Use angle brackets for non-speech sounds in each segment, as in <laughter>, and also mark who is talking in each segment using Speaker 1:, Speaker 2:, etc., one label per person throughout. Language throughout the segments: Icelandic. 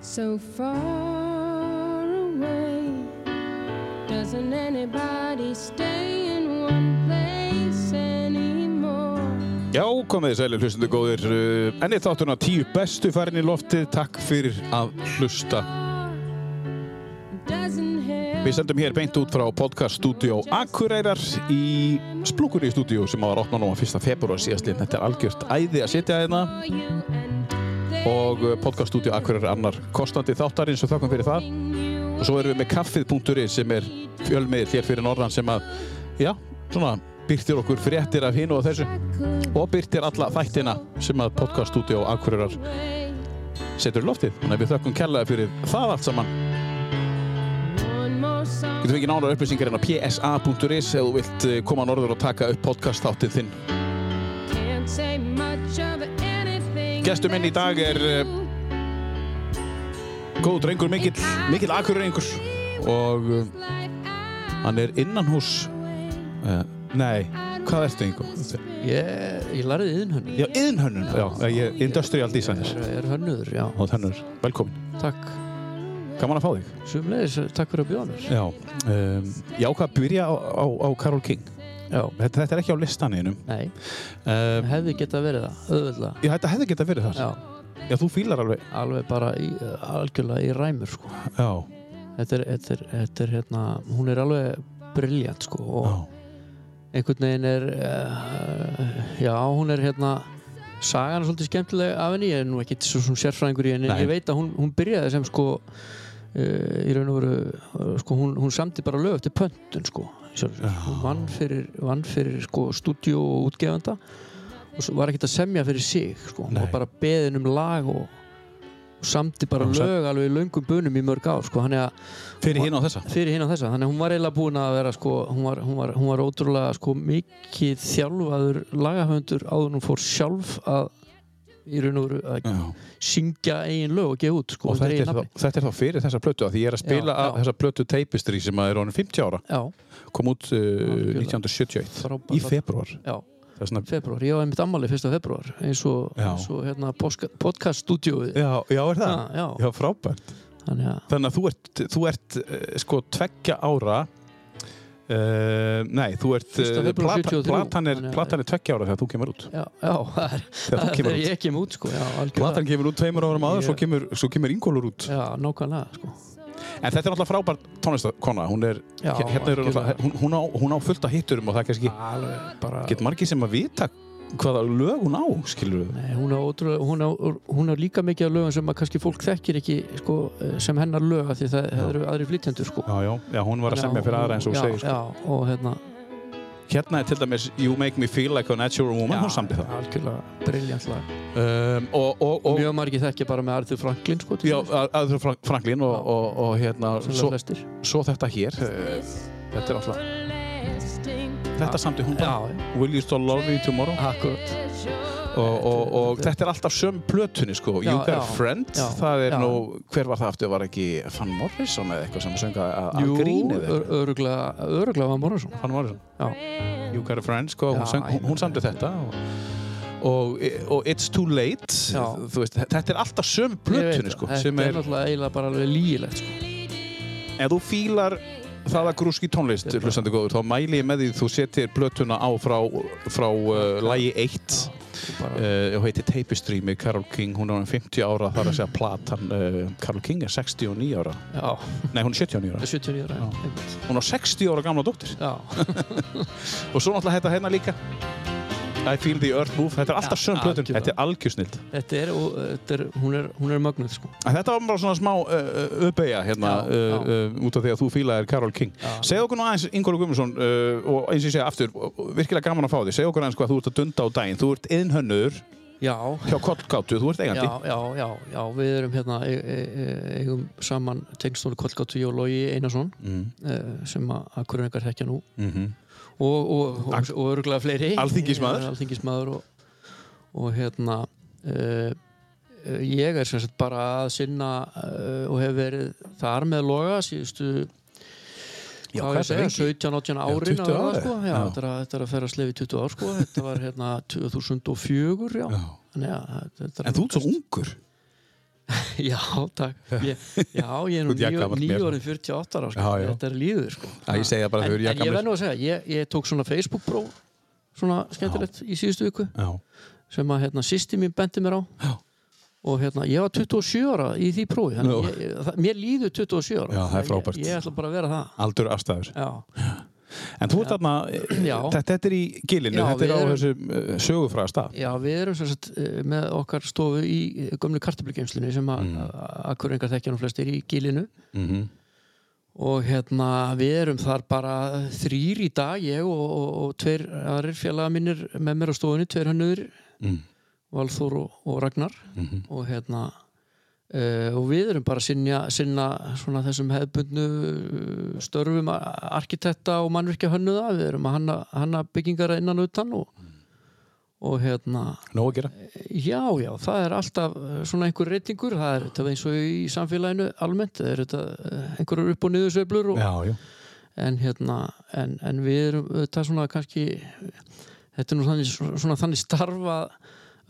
Speaker 1: so far away. Doesn't anybody stay in one place anymore?
Speaker 2: Já, komið þið sælir hlustundu góðir uh, Enni þáttuna tíu bestu farin í loftið Takk fyrir að hlusta
Speaker 1: Doesn't help.
Speaker 2: Við sendum hér beint út frá podcast stúdíó Akureyrar í Splúkunni stúdíó sem var opnað núna 1. februar síðastlinn Þetta er algjört æði að sitja hérna
Speaker 1: For you and they
Speaker 2: og uh, podcast stúdíó Akureyrar er annar kostandi þáttarins og þakkum fyrir það
Speaker 1: bring you
Speaker 2: og svo erum við með kaffið.ri sem er fjölmiðil hér fyrir norðan sem að já, svona byrtir okkur fréttir af hinu og þessu
Speaker 1: could
Speaker 2: og byrtir alla þættina sem að podcast stúdíó Akureyrar
Speaker 1: wait.
Speaker 2: setur í loftið þannig að við þökkum kærlega fyrir það allt saman
Speaker 1: One more song.
Speaker 2: Getum við ekki nánar upplýsingar en á psa.is ef þú vilt eh, koma norður og taka upp podcast þáttið þinn
Speaker 1: Can't say much of anything.
Speaker 2: Gestur minn í dag er, eh, góð drengur mikill, mikill akureyringur og eh, hann er innan hús uh, nei, hvað ertu einhver?
Speaker 3: Ég, ég lærði yðinhönnur.
Speaker 2: Já, yðnhönnun, já, eh, ég, industrial designer
Speaker 3: Ég er hönnur, já.
Speaker 2: og þennur, velkomin,
Speaker 3: Takk.
Speaker 2: gaman að fá þig
Speaker 3: Sumleis, takk fyrir að bjóða mér.
Speaker 2: Já, um, ég ákvað að byrja á, á, á Karol King
Speaker 3: Já.
Speaker 2: þetta, þetta er ekki á listaninum
Speaker 3: Nei,
Speaker 2: um,
Speaker 3: hefði geta verið það, auðvitað.
Speaker 2: Já, þetta hefði geta verið þar
Speaker 3: Já,
Speaker 2: Já, þú fílar alveg
Speaker 3: alveg bara í, algjörlega í ræmur, sko.
Speaker 2: Já,
Speaker 3: Þetta er, þetta er, þetta er hérna, hún er alveg briljant, sko. Og
Speaker 2: já,
Speaker 3: einhvern veginn er, uh, já, hún er hérna, sagan er svolítið skemmtileg af henni, ég er nú ekki svo svona sérfræðingur í henni, en
Speaker 2: Nei.
Speaker 3: ég veit að hún, hún byrjaði sem, sko, uh, í raun og veru, uh, sko, hún, hún samti bara lög eftir pöntun, sko. Sjálf, hún vann fyrir, vann fyrir sko, stúdíu og útgefanda og svo var ekkert að semja fyrir sig sko. hún
Speaker 2: Nei.
Speaker 3: var bara beðin um lag og, og samti bara
Speaker 2: Hún sam-
Speaker 3: lög alveg í löngum bunum í mörg ár sko. þannig að
Speaker 2: fyrir hinn á þessa
Speaker 3: fyrir hinn á þessa þannig að hún var eiginlega búin að vera sko, hún, var, hún, var, hún var ótrúlega sko, mikið þjálfaður lagahöndur áður en hún fór sjálf að í raun og veru að
Speaker 2: Já
Speaker 3: syngja eigin lög og gefa út sko,
Speaker 2: og
Speaker 3: undir
Speaker 2: þetta
Speaker 3: eigin
Speaker 2: er,
Speaker 3: nafni.
Speaker 2: þá, þetta er þá fyrir þessa plötu af því ég er að spila
Speaker 3: Já,
Speaker 2: af
Speaker 3: já.
Speaker 2: þessa plötu Tapestry sem að er honum 50 ára
Speaker 3: já,
Speaker 2: kom út uh,
Speaker 3: Algjörlega.
Speaker 2: 1978
Speaker 3: frábært.
Speaker 2: í februar
Speaker 3: já,
Speaker 2: það er svona
Speaker 3: februar, ég á einmitt ammali fyrsta februar eins og,
Speaker 2: Já.
Speaker 3: eins og hérna, podcast-stúdíóið Ah,
Speaker 2: já, já, er það?
Speaker 3: já,
Speaker 2: Já, frábært
Speaker 3: þannig að
Speaker 2: Þannig að þú ert, þú ert uh, sko tveggja ára uh, Nei, þú ert
Speaker 3: Fyrsta
Speaker 2: eh,
Speaker 3: febrúar
Speaker 2: plata-
Speaker 3: 73,
Speaker 2: platan er,
Speaker 3: þannig að-
Speaker 2: platan er tveggja ára þegar þú kemur út
Speaker 3: já, já, <laughs> það er,
Speaker 2: Þegar þú
Speaker 3: það
Speaker 2: kemur
Speaker 3: er
Speaker 2: út
Speaker 3: ég kemur út sko, já, algjörlega
Speaker 2: Platan kemur út tveimur árum aður, svo
Speaker 3: Ég-
Speaker 2: kemur, svo kemur Ingólur út
Speaker 3: já, nákvæmlega sko.
Speaker 2: En þetta er alltaf frábær tónlistakona Hún er,
Speaker 3: já,
Speaker 2: hér- hérna er hún,
Speaker 3: algjörlega.
Speaker 2: náttúrulega- hún, hún, á, hún á fullt að hitturum og það er kannski
Speaker 3: alveg bara
Speaker 2: get margir sem að vita hvaða lög hún á, skilur við
Speaker 3: Nei, hún, á ótrúlega, hún, á, hún á líka mikið af lögum sem að kannski fólk þekkir ekki sko, eh, sem hennar lög af því það, það eru aðri flytjendur sko.
Speaker 2: Já, já, já, hún var að semja fyrir aðra eins og
Speaker 3: já,
Speaker 2: þú segir sko.
Speaker 3: já, og hérna
Speaker 2: Hérna er til dæmis You Make Me Feel Like a Natural Woman, hún samdi það
Speaker 3: algjörlega briljant lag
Speaker 2: um, Og, og, og
Speaker 3: mjög margir þekkja bara með Arthur Franklin sko, til
Speaker 2: Já,
Speaker 3: dæmis,
Speaker 2: að- aður frá Frank- Franklin og,
Speaker 3: Já.
Speaker 2: og, og hérna,
Speaker 3: sem
Speaker 2: svo,
Speaker 3: flestir
Speaker 2: svo þetta hér eh, Þetta er alltaf,
Speaker 1: Everlasting
Speaker 2: þetta samti hún bara
Speaker 3: já, já,
Speaker 2: Will You Still Love Me Tomorrow
Speaker 3: akkurat
Speaker 1: treasure.
Speaker 2: og, og, og þetta er alltaf söm plötunni sko
Speaker 3: Já,
Speaker 2: You Got a
Speaker 3: já.
Speaker 2: Friend,
Speaker 3: Já,
Speaker 2: það er
Speaker 3: já.
Speaker 2: nú hver var það aftur, var ekki Van Morrison eða eitthvað sem sönga að, að
Speaker 3: Jú,
Speaker 2: grínið
Speaker 3: ör- öruglega, öruglega var Morrison
Speaker 2: Van Morrison
Speaker 1: Friend.
Speaker 2: You Got a Friend, sko, hún,
Speaker 3: Já,
Speaker 2: söng,
Speaker 3: ég
Speaker 2: hún,
Speaker 3: meina-
Speaker 2: hún samdi þetta og, og, og It's Too Late
Speaker 3: Já.
Speaker 2: þú veist, þetta er alltaf söm
Speaker 3: Ég veit
Speaker 2: plötunni
Speaker 3: það.
Speaker 2: sko,
Speaker 3: þetta
Speaker 2: sem
Speaker 3: er
Speaker 2: er,
Speaker 3: náttúrulega eiginlega bara alveg lígilegt sko.
Speaker 2: ef þú fílar það að grúski tónlist,
Speaker 3: Ég bara-
Speaker 2: hlustandi góður þá mæli ég með því þú setir plötuna á frá, frá uh, lagi 1
Speaker 3: bara,
Speaker 2: uh, og heitir Tapestry með Karol King, hún er orðin 50 ára þar að segja platan, uh, Karol King er 69 ára,
Speaker 3: já,
Speaker 2: nei hún er 79 ára
Speaker 3: 79 ára einmitt.
Speaker 2: hún er 60 ára gamla dóttir
Speaker 3: já,
Speaker 2: og svo náttúrulega þetta hérna líka I feel the earth move, þetta er alltaf
Speaker 3: Ja,
Speaker 2: söm plötun,
Speaker 3: algjörlega.
Speaker 2: þetta er algjörsnild
Speaker 3: þetta er, og, eh, þetta er hún er, hún er mögnuð sko.
Speaker 2: En Þetta var bara svona smá uh, uppeyja hérna
Speaker 3: Já, já.
Speaker 2: Uh, uh, út af því að þú fílaðir Karol King.
Speaker 3: Já.
Speaker 2: Segð okkur nú aðeins, Ingóla Guðmundsson, uh, og eins og ég segja aftur, og- og virkilega gaman að fá þig, segð okkur aðeins hvað þú ert að dunda á daginn. Þú ert innhönnur
Speaker 3: já,
Speaker 2: hjá Kollgátu, þú ert
Speaker 3: já,
Speaker 2: eigandi.
Speaker 3: já, já, já við erum hérna e- e- e- eigum saman tengstónu Kolkátu Jó Lógi Einarsson
Speaker 2: Mm.
Speaker 3: eh, sem að hverjum einhver hekja nú
Speaker 2: Mm -hmm.
Speaker 3: og, og, og,
Speaker 2: Ak-
Speaker 3: og öruglega fleiri
Speaker 2: Alþingismaður.
Speaker 3: alþingismadur og, og hérna uh, ég er sem sagt bara að sinna uh, og hef verið þar með loga síðustu
Speaker 2: Já,
Speaker 3: hvað á ég
Speaker 2: hvað
Speaker 3: að segja,
Speaker 2: lengi?
Speaker 3: 17-18
Speaker 2: Já,
Speaker 3: árin
Speaker 2: 20
Speaker 3: að verða,
Speaker 2: ár,
Speaker 3: sko. já,
Speaker 2: já.
Speaker 3: Þetta, er að, þetta er að fer að slefi 20 ár sko. þetta var hérna 2004 já.
Speaker 2: Já.
Speaker 3: Þannig, að þetta er
Speaker 2: En þú ert svo ungur.
Speaker 3: <laughs> já, takk ég, já, ég er
Speaker 2: Þú
Speaker 3: nú
Speaker 2: ert jafngamall mér, sko.
Speaker 3: nýjórið 48 ára sko.
Speaker 2: Já, já.
Speaker 3: þetta er líður sko.
Speaker 2: Já, ég segi það bara, þú
Speaker 3: en,
Speaker 2: eru
Speaker 3: en ég
Speaker 2: jafngamlir.
Speaker 3: verð nú að segja, ég, ég tók svona Facebook bró svona skemmtilegt í síðustu viku
Speaker 2: Já.
Speaker 3: sem að hérna, sýsti mín bendi mér á
Speaker 2: Já.
Speaker 3: og hérna, ég var 27 ára í því prófi þannig
Speaker 2: Nú.
Speaker 3: að ég, það, mér líður 27 ára
Speaker 2: Já, það er
Speaker 3: Þannig að
Speaker 2: frábært.
Speaker 3: ég, ég ætla bara að vera það
Speaker 2: Aldur afstæður.
Speaker 3: já,
Speaker 2: En þú ert þarna, e,
Speaker 3: Já.
Speaker 2: þetta, þetta er í gilinu,
Speaker 3: Já,
Speaker 2: þetta er
Speaker 3: við
Speaker 2: á
Speaker 3: erum-
Speaker 2: þessu uh, sögufræða stað.
Speaker 3: já við erum sem sagt, eh, með okkar stofu í eh, gömlu kartablikgeimslunni sem að mm. akkurengar þekkja nú flestir í gilinu
Speaker 2: Mm -hmm.
Speaker 3: og hérna við erum þar bara þrýr í dag, ég og, og, og tveir aðrir félaga minnir með mér á stofunni, tveir hönnuður
Speaker 2: Mm.
Speaker 3: Valþór og, og Ragnar
Speaker 2: Mhm.
Speaker 3: og hérna Uh, og við erum bara að sinna, sinna svona þessum hefðbundnu eh, störfum a- arkitekta og mannvirkja hönnuða, við erum að hanna, hanna byggingar að innan og utan og, og hérna,
Speaker 2: Nó að gera.
Speaker 3: já, já, það er alltaf eh, svona einhver reytingur, það er þetta eins og í samfélaginu almennt, það er þetta eh, einhverjar upp og niður sveiflur og,
Speaker 2: Já, já.
Speaker 3: en hérna en, en við erum þetta svona kannski þetta er nú þannig, svona þannig starfa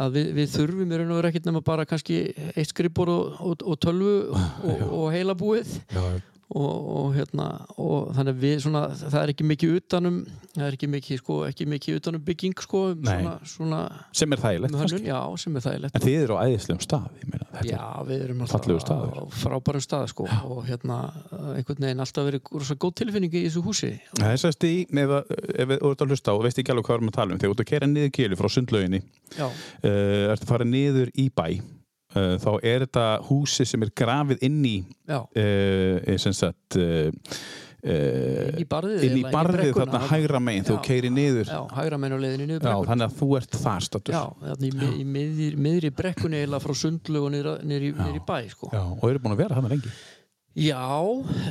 Speaker 3: að við, við þurfum í raun og vera ekkert nema bara kannski eitt skrifbor og, og, og tölvu og, og heila búið
Speaker 2: já, já.
Speaker 3: og, og hérna og þannig að við svona það er ekki mikið utanum það er ekki mikið sko ekki mikið utanum bygging sko um
Speaker 2: Nei.
Speaker 3: svona, svona
Speaker 2: Sem er þægilegt.
Speaker 3: um hönnun,
Speaker 2: kannski.
Speaker 3: já sem er þægilegt
Speaker 2: En þið eru á æðislegum stað, ég meina. Þetta
Speaker 3: Já, við erum
Speaker 2: Fallegur
Speaker 3: alltaf
Speaker 2: staður.
Speaker 3: á frábærum stað sko, og hérna einhvern veginn alltaf verið rosa góð tilfinning í þessu húsi
Speaker 2: Það er sérst í, ef að- ef þú ert að hlusta og veist ekki alveg hvað við erum að tala um, þegar þú ert að kera niður kjölu frá sundlauginni,
Speaker 3: Já,
Speaker 2: uh, ert að fara niður í bæ, uh, þá er þetta húsi sem er grafið inn í,
Speaker 3: já
Speaker 2: uh, sem sagt, uh, uh,
Speaker 3: inn í
Speaker 2: inn
Speaker 3: barðið
Speaker 2: í
Speaker 3: eiginlega,
Speaker 2: barðið
Speaker 3: brekkuna,
Speaker 2: þarna hægra megin, þú
Speaker 3: Já.
Speaker 2: keiri niður.
Speaker 3: já, hægra menn á leiðinni niður
Speaker 2: Já,
Speaker 3: brekkuna
Speaker 2: þannig að þú ert þar status.
Speaker 3: já, þannig í, mið- í miðri, miðri brekkunni eiginlega frá sundlu og niður, niður, í, niður í bæ sko.
Speaker 2: Já, og eru búin að vera þarna lengi.
Speaker 3: já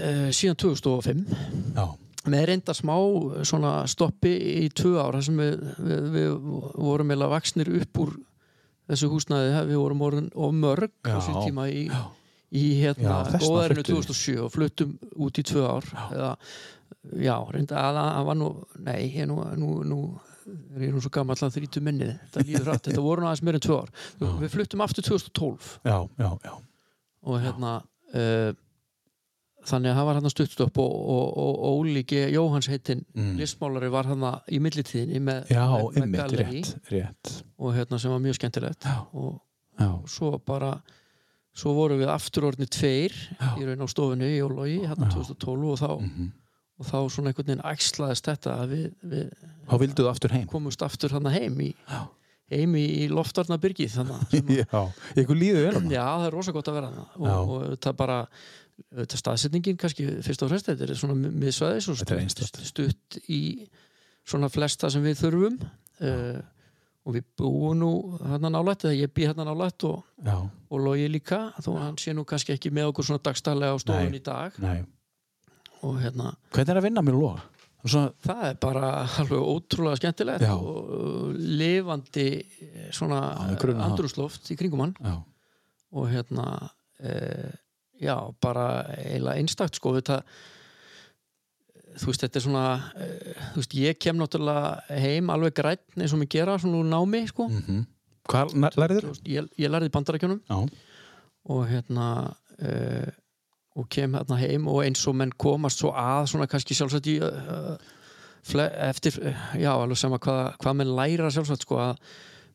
Speaker 3: eh, síðan 2005
Speaker 2: Já,
Speaker 3: með reynda smá eh, svona stoppi í tvö ár þar sem við, við, við vorum eiginlega vaksnir upp úr þessu húsnaði við vorum orðin of mörg á
Speaker 2: Já.
Speaker 3: sér tíma í,
Speaker 2: Já.
Speaker 3: í hérna
Speaker 2: Já, þessna
Speaker 3: góðærinu
Speaker 2: fluttuð.
Speaker 3: 2007 og fluttum út í tvö ár já, eða, já reynda að það var nú nei, ég nú, nú, nú er ég nú svo gammal að þrítu minnið þetta líður rætt, þetta voru nú aðeins meir en tvö ár við, við fluttum aftur 2012
Speaker 2: já, já, já.
Speaker 3: og hérna uh, þannig að það var hann að stuttstopp og, og, og, og ólíki Jóhans heitin
Speaker 2: Mm.
Speaker 3: listmálari var hann í millitíðinni með,
Speaker 2: Já,
Speaker 3: með, með
Speaker 2: ymmit,
Speaker 3: gallerí
Speaker 2: rétt, rétt.
Speaker 3: og hérna sem var mjög skemmtilegt
Speaker 2: Já.
Speaker 3: og,
Speaker 2: Já,
Speaker 3: og svo bara svo vorum við aftur orðni tveir í raun á stofunni í Ólogi hérna 2012 og þá,
Speaker 2: Mm. Mhm.
Speaker 3: og þá svona einhvern veginn æxlaðist þetta að við, við
Speaker 2: þá vildu þú aftur heim.
Speaker 3: komumst aftur hann heim í, heim í, í loftarnabyrgið þannig að
Speaker 2: <laughs> Já, ykkur líður vel á það.
Speaker 3: Já, það er rosa gott að vera það
Speaker 2: Já.
Speaker 3: og, og það bara þetta staðsetningin kannski fyrst og fremst þetta er svona mi- miðsvæðis og
Speaker 2: Þetta er
Speaker 3: stutt,
Speaker 2: einstakt.
Speaker 3: stutt í svona flesta sem við þurfum uh, og við búum nú hérna nálætt eða ég bý hérna nálætt og,
Speaker 2: Já,
Speaker 3: og logi líka þó að hann sé nú kannski ekki með okkur svona dagstarlega á stofun
Speaker 2: Nei.
Speaker 3: í dag
Speaker 2: nei.
Speaker 3: og hérna
Speaker 2: Hvernig er að vinna mér loga? Svona,
Speaker 3: það er bara alveg ótrúlega skemmtilegt
Speaker 2: Já.
Speaker 3: og uh, lifandi eh, svona
Speaker 2: Já, í grunninn það.
Speaker 3: andrúsloft í kringum hann
Speaker 2: já,
Speaker 3: og hérna e, já, bara eiginlega einstakt sko þetta eh, þú veist, þetta er svona e, þú veist, ég kem náttúrulega heim alveg græn eins og mér gera, svona úr námi sko.
Speaker 2: mm -hmm. hvað nær- lærið
Speaker 3: Þú
Speaker 2: þér?
Speaker 3: veist, ég, ég lærði í bandarækjunum
Speaker 2: Já,
Speaker 3: og hérna e, og kem hérna heim og eins og menn komast svo að svona kannski sjálfsagt í uh, fle, eftir, já, alveg sama hvað, hvað menn læra sjálfsagt sko að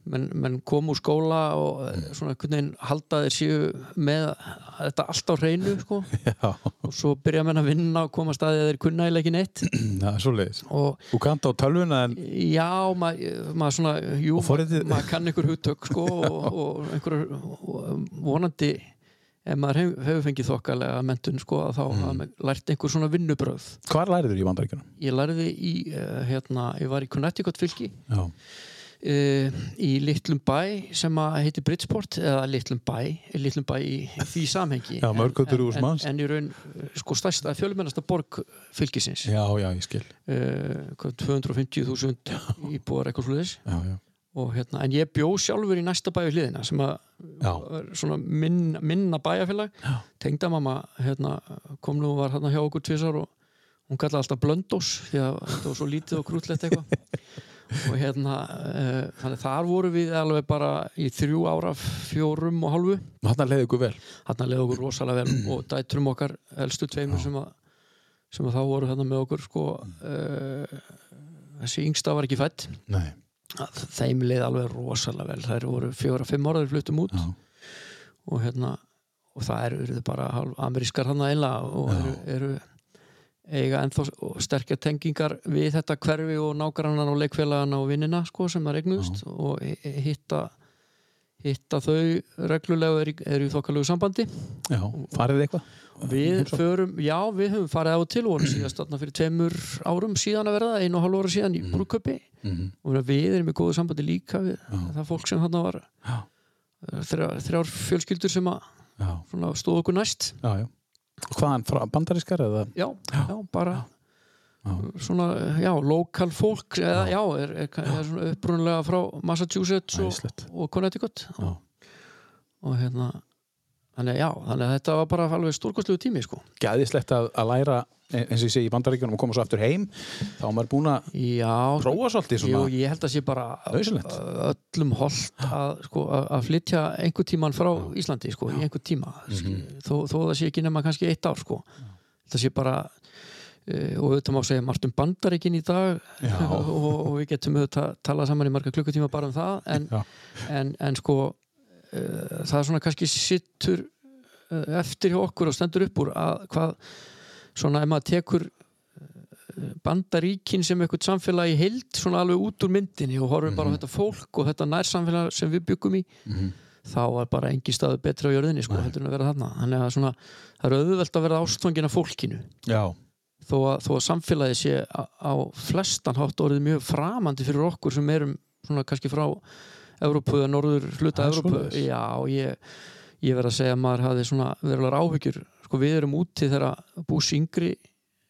Speaker 3: menn, menn kom úr skóla og eh, svona einhvern veginn halda þeir séu með þetta allt á hreinu sko
Speaker 2: já,
Speaker 3: og svo byrja menn að vinna og koma staðið að þeir kunna eiginlega ekki neitt
Speaker 2: það er svo leiðis.
Speaker 3: og
Speaker 2: Þú kanta á tölvuna en
Speaker 3: já, ma- maður svona jú,
Speaker 2: Og forritið-
Speaker 3: maður kann einhver hugtök
Speaker 2: <laughs>
Speaker 3: sko og, og einhver og vonandi ef maður hef- hefur fengið þokkalega mentun sko að þá mm. lært einhver svona vinnubröð
Speaker 2: hvað lærið þér í bandaríkjunum?
Speaker 3: ég lærði í, eh, hérna, ég var í Connecticut fylki
Speaker 2: Já,
Speaker 3: uh, í litlum bæ sem að heiti Bridgeport eða litlum bæ, litlum bæ í því samhengi
Speaker 2: Já,
Speaker 3: En-
Speaker 2: mörgötur
Speaker 3: en-
Speaker 2: hús
Speaker 3: en-
Speaker 2: manns.
Speaker 3: En í raun eh, sko stærsta fjölmennasta borg fylgisins
Speaker 2: já, já, ég skil.
Speaker 3: uh, 250.000 íbúar eitthvað slúðis
Speaker 2: Já, já,
Speaker 3: og hérna, en ég bjó sjálfur í næsta bæu hliðina sem að
Speaker 2: já,
Speaker 3: var svona minna, minna bæjarfélag
Speaker 2: Já.
Speaker 3: tengdamamma hérna, kom nú og var hérna hjá okkur tvisar og hún kallaði alltaf blöndós því að þetta var svo lítið og krútlegt eitthvað og hérna uh, þannig þar vorum við alveg bara í þrjú ára fjórum og hálfu
Speaker 2: Þarna leiði ykkur vel
Speaker 3: þarna leði okkur rosalega vel og dætrum okkar elstu tveimur sem að, sem að þá voru þarna með okkur sko, uh, þessi yngsta var ekki fætt
Speaker 2: Nei,
Speaker 3: Að þeim leið alveg rosalega vel þær voru fjóra-fimm ára þeir fluttum út
Speaker 2: já,
Speaker 3: og hérna og það eru urðu bara hálf amerískar hann aðeila og
Speaker 2: Já.
Speaker 3: eru, eru eiga ennþá s- og sterkja tengingar við þetta hverfi og nágrannan og leikfélagana og vinnina sko sem það regnuðst og hi- hi- hitta hitta þau reglulega og eru, í- eru í þokkalegu sambandi
Speaker 2: já, farið þið eitthvað?
Speaker 3: við
Speaker 2: Heimsókn?
Speaker 3: förum, já við höfum farið á til og vorum síðast þarna fyrir tveimur árum síðan að verða, einu og halvu ára síðan í brúköpi
Speaker 2: Mhm.
Speaker 3: og meina, við erum í góðu sambandi líka við það fólk sem þarna var
Speaker 2: Já.
Speaker 3: þrjár, þrjár fjölskyldur sem að
Speaker 2: Já,
Speaker 3: svona, stóð okkur næst
Speaker 2: já, já Og Hvaðan, frá bandarískar eða?
Speaker 3: já, já, bara
Speaker 2: Já.
Speaker 3: svona, já, lokal fólk eða, já, er, er, er svona upprunalega frá Massachusetts og,
Speaker 2: Æslegt.
Speaker 3: og Connecticut
Speaker 2: Já.
Speaker 3: og hérna þannig, að já, þannig að þetta var bara alveg stórkostlegu tími sko.
Speaker 2: Gæðislegt að, að læra e, eins og ég segi í bandaríkjunum og koma svo aftur heim þá er maður búin að
Speaker 3: já, sko,
Speaker 2: prófa svolítið
Speaker 3: jú,
Speaker 2: svona
Speaker 3: ég held að sé bara
Speaker 2: Nauðsynlegt.
Speaker 3: öllum holdt að, sko, að að flytja einhver tíman frá Íslandi sko, í einhver tíma þó, þó það sé ekki nema kannski eitt ár sko. þetta sé bara eh, og auðvitað má segja margt um bandaríkin í dag
Speaker 2: Já.
Speaker 3: og, og við getum auðvitað talað saman í marga klukkutíma bara um það en,
Speaker 2: Já.
Speaker 3: en, en sko uh, það er svona kannski sittur uh, eftir hjá okkur og stendur upp úr að hvað svona ef maður tekur eh, bandaríkin sem eitthvað samfélag í heild svona alveg út úr myndinni og horfum
Speaker 2: Mhm.
Speaker 3: bara á þetta fólk og þetta nærsamfélag sem við byggum í þá var bara engin staðu betra á jörðinni sko, heldur en að vera þarna þannig að svona, það er auðvelt að vera ástfangin af fólkinu
Speaker 2: Já,
Speaker 3: þó að, þó að samfélagi sé á, á flestan hátt orðið mjög framandi fyrir okkur sem erum svona kannski frá Evrópu eða norður hluta
Speaker 2: Það er
Speaker 3: Evrópu
Speaker 2: svoleiðis.
Speaker 3: Já, ég, ég verð að segja að maður hafi svona verulegar áhyggjur sko við erum úti þegar bús yngri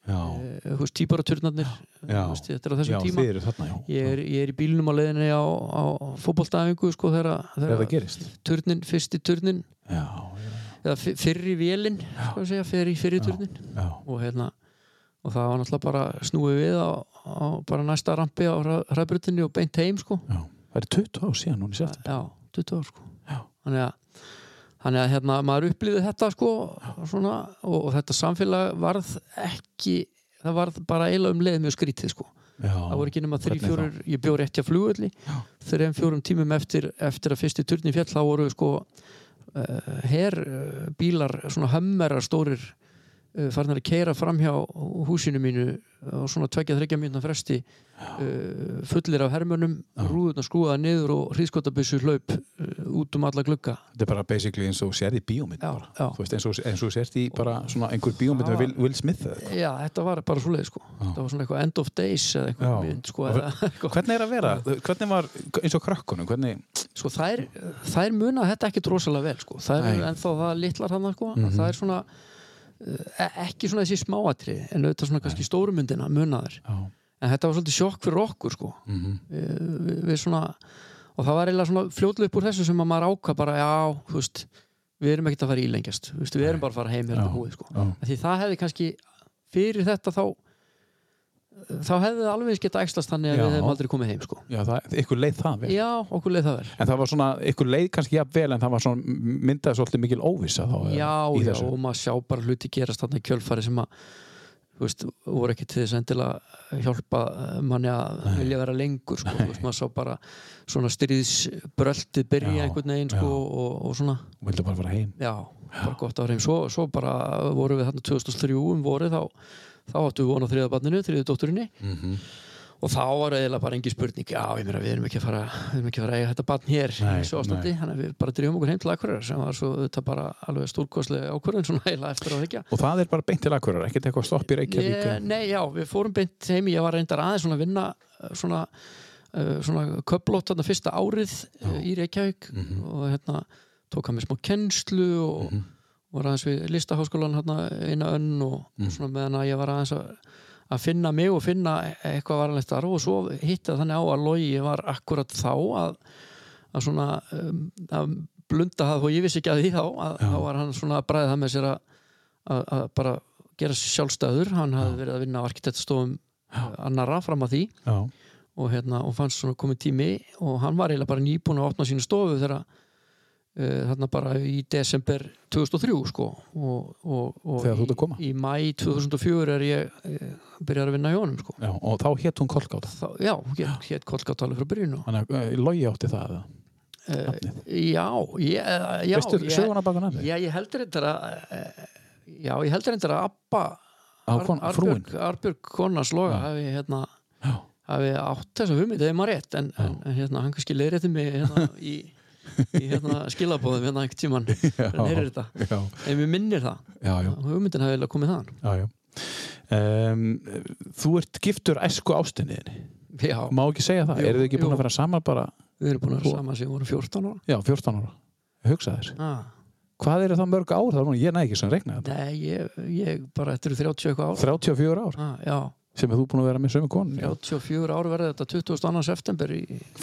Speaker 2: já,
Speaker 3: eh, húst típaraturnarnir
Speaker 2: Já.
Speaker 3: veist, þetta er á
Speaker 2: já
Speaker 3: þessum tíma
Speaker 2: þið eru þarna já.
Speaker 3: ég er, ég er í bílnum á leiðinni á, á fótboltaæfingu sko þegar,
Speaker 2: Þegar það
Speaker 3: þegar
Speaker 2: gerist
Speaker 3: turnin, fyrsti turnin
Speaker 2: Já,
Speaker 3: eða fyr- fyrri vélin sko að segja, fyrri, fyrri turnin
Speaker 2: já,
Speaker 3: og hérna og það var náttúrulega bara snúið við á, á bara næsta rampi á hræðbrutinni og beint heim sko
Speaker 2: já Það er 20 ár síðan hún í september
Speaker 3: já, 20 ár sko
Speaker 2: Já.
Speaker 3: þannig að, þannig að hérna, maður upplýði þetta sko svona, og, og þetta samfélag varð ekki það varð bara eiginlega um leið mjög skrítið sko
Speaker 2: Já,
Speaker 3: það voru ekki nema þrjú,
Speaker 2: Hvernig
Speaker 3: fjórir, ég bjóð rétt hjá flugulli þreim, fjórum tímum eftir, eftir að fyrsti turnin fjall, þá voru sko uh, her uh, bílar svona hömmerar stórir uh, farnar að keira fram hjá húsinu mínu og svona tvekja, þryggja mínúna fresti uh, fullir af hermönum rúðuna skrúðaða niður og hrískotabissu hlaup uh, út um alla glugga
Speaker 2: Þetta er bara basically eins og þú sérði bíómynd
Speaker 3: já,
Speaker 2: bara.
Speaker 3: já.
Speaker 2: Þú veist, eins og, eins og þú sért í bara svona einhver bíómynd með Will, Will Smith eða eitthvað.
Speaker 3: já, þetta var bara svoleið sko þetta var svona eitthvað end of days eða
Speaker 2: Já.
Speaker 3: eitthvað mynd sko, eða, <laughs> eitthvað.
Speaker 2: Hvernig er að vera? Hvernig var, eins og krökkunum, hvernig
Speaker 3: sko þær, þær muna þetta ekkit rosalega vel sko. þær
Speaker 2: Nei. Mhm.
Speaker 3: eru ennþá það litlar hann sko. mm það er svona eh, ekki svona þessi smáatri en auðvitað svona kannski stórumyndina muna þær
Speaker 2: Já,
Speaker 3: en þetta var svolítið sjokk fyrir okkur sko.
Speaker 2: mm
Speaker 3: Eh, við, við svona og það var eiginlega svona fljótlega upp úr þessu sem að maður ákvað bara já, þú veist við erum ekkit að fara ílengjast, Þú veist, við erum bara að fara heim hérna
Speaker 2: Já.
Speaker 3: búið sko.
Speaker 2: já,
Speaker 3: Af því það hefði kannski fyrir þetta þá þá hefði það alveg eins geta ekstast þannig að
Speaker 2: Já.
Speaker 3: við hefðum aldrei komið heim sko.
Speaker 2: já það, ykkur leið það vel
Speaker 3: já, okkur leið það vel
Speaker 2: En það var svona, ykkur leið kannski jafn vel en það var svona, myndaði svolítið mikil óvissa þá eða,
Speaker 3: já,
Speaker 2: í
Speaker 3: já,
Speaker 2: þessu.
Speaker 3: og maður sjá bara hluti gerast þarna í kjölfari sem að þú veist, voru ekki til þess endilega hjálpa eh, manni að vilja vera lengur sko, þú veist, maður sá bara svona stríðsbröltið byrja
Speaker 2: Já,
Speaker 3: einhvern veginn sko,
Speaker 2: já.
Speaker 3: og, og svona,
Speaker 2: og vildi bara fara heim
Speaker 3: já, bara gott að vera heim svo, svo bara voru við þarna 2003 um voru þá, þá áttu við vona þriðabanninu, þriðudótturinni
Speaker 2: mm -hmm.
Speaker 3: og þá var eiginlega bara engin spurning já, ég meira, við erum ekki að fara, við erum ekki að fara að eiga þetta barn hér í
Speaker 2: Nei,
Speaker 3: þessu ástandi, þannig að við bara drifum okkur heim til Akureyrar sem var svo þetta bara alveg stúrkoslega ákvörðin svona eiginlega eftir á þykja
Speaker 2: Og það er bara beint til akkurar, ekkert eitthvað stopp í Reykjavík
Speaker 3: Nei,
Speaker 2: eða-
Speaker 3: nei, já, við fórum beint heim ég var reyndar aðeins svona að vinna uh, svona, uh, svona köplót þarna fyrsta árið uh, í Reykjavík
Speaker 2: Mhm.
Speaker 3: og hérna tók hann með smá kennslu og var aðeins við listaháskólan hérna eina önn og
Speaker 2: Mhm.
Speaker 3: svona meðan að ég var aðeins að, að finna mig og finna eitthvað varanlegt þar og svo hitti það þannig á að logi var akkurat þá að, að svona um, að blunda það og ég vissi ekki að því þá að þá var hann svona að bræða það með sér að að, að bara gera sig sjálfstæður hann hafði verið að vinna á arkitektstofum annara eh, fram að því
Speaker 2: Já,
Speaker 3: og hérna, og fannst svona komið tími og hann var eiginlega bara nýbúin að opna sínu stofu þegar uh, þarna bara í desember 2003 sko og, og, og
Speaker 2: Þegar þú ert
Speaker 3: í,
Speaker 2: að koma.
Speaker 3: í mæ 2004 er ég uh, byrjar að vinna í honum sko
Speaker 2: Já, og þá hétt hún Kolkáta.
Speaker 3: Þá, já, hétt hét Kolkatáli frá byrjun og
Speaker 2: Þannig að eh, logi átti það eða?
Speaker 3: uh,
Speaker 2: Nafnið.
Speaker 3: já, ég, eh, já
Speaker 2: Veistu
Speaker 3: ég,
Speaker 2: söguna baka nafnið?
Speaker 3: Já, ég heldur reyndar að eh, Já, ég heldur reyndar að Abba
Speaker 2: Á kon, frúin.
Speaker 3: Arbjörg, Arbjörg Konars loga
Speaker 2: Já.
Speaker 3: hafi, hérna,
Speaker 2: Já.
Speaker 3: hafi átt þessa hugmynd eða ég maður rétt en, en en, hérna, hann kannski leiðrétti mig hérna, í, í
Speaker 2: <laughs>
Speaker 3: hérna, skilabóðum hérna einhvern tíman en heyrir þetta
Speaker 2: Já,
Speaker 3: en mér minnir það
Speaker 2: já, já.
Speaker 3: hugmyndin hafi eiginlega komið þaðan
Speaker 2: já, já. Um, þú ert giftur æsku ástinniðinni.
Speaker 3: Já,
Speaker 2: Má ekki segja það?
Speaker 3: Jú,
Speaker 2: Eru þið ekki búin
Speaker 3: jú.
Speaker 2: að vera saman bara,
Speaker 3: við erum búin að
Speaker 2: Þú-
Speaker 3: vera saman sem vorum 14 ára
Speaker 2: já, 14 ára? Hugsa þér.
Speaker 3: ah,
Speaker 2: Hvað eru það mörg ár? Það er núna, ég næg ekki sem regna þetta.
Speaker 3: Nei, ég, ég bara þetta eru 30 eitthvað ára
Speaker 2: 34 ár
Speaker 3: ah, Já,
Speaker 2: sem er þú búin að vera með sömu konun.
Speaker 3: 34 ára verði þetta 22. september í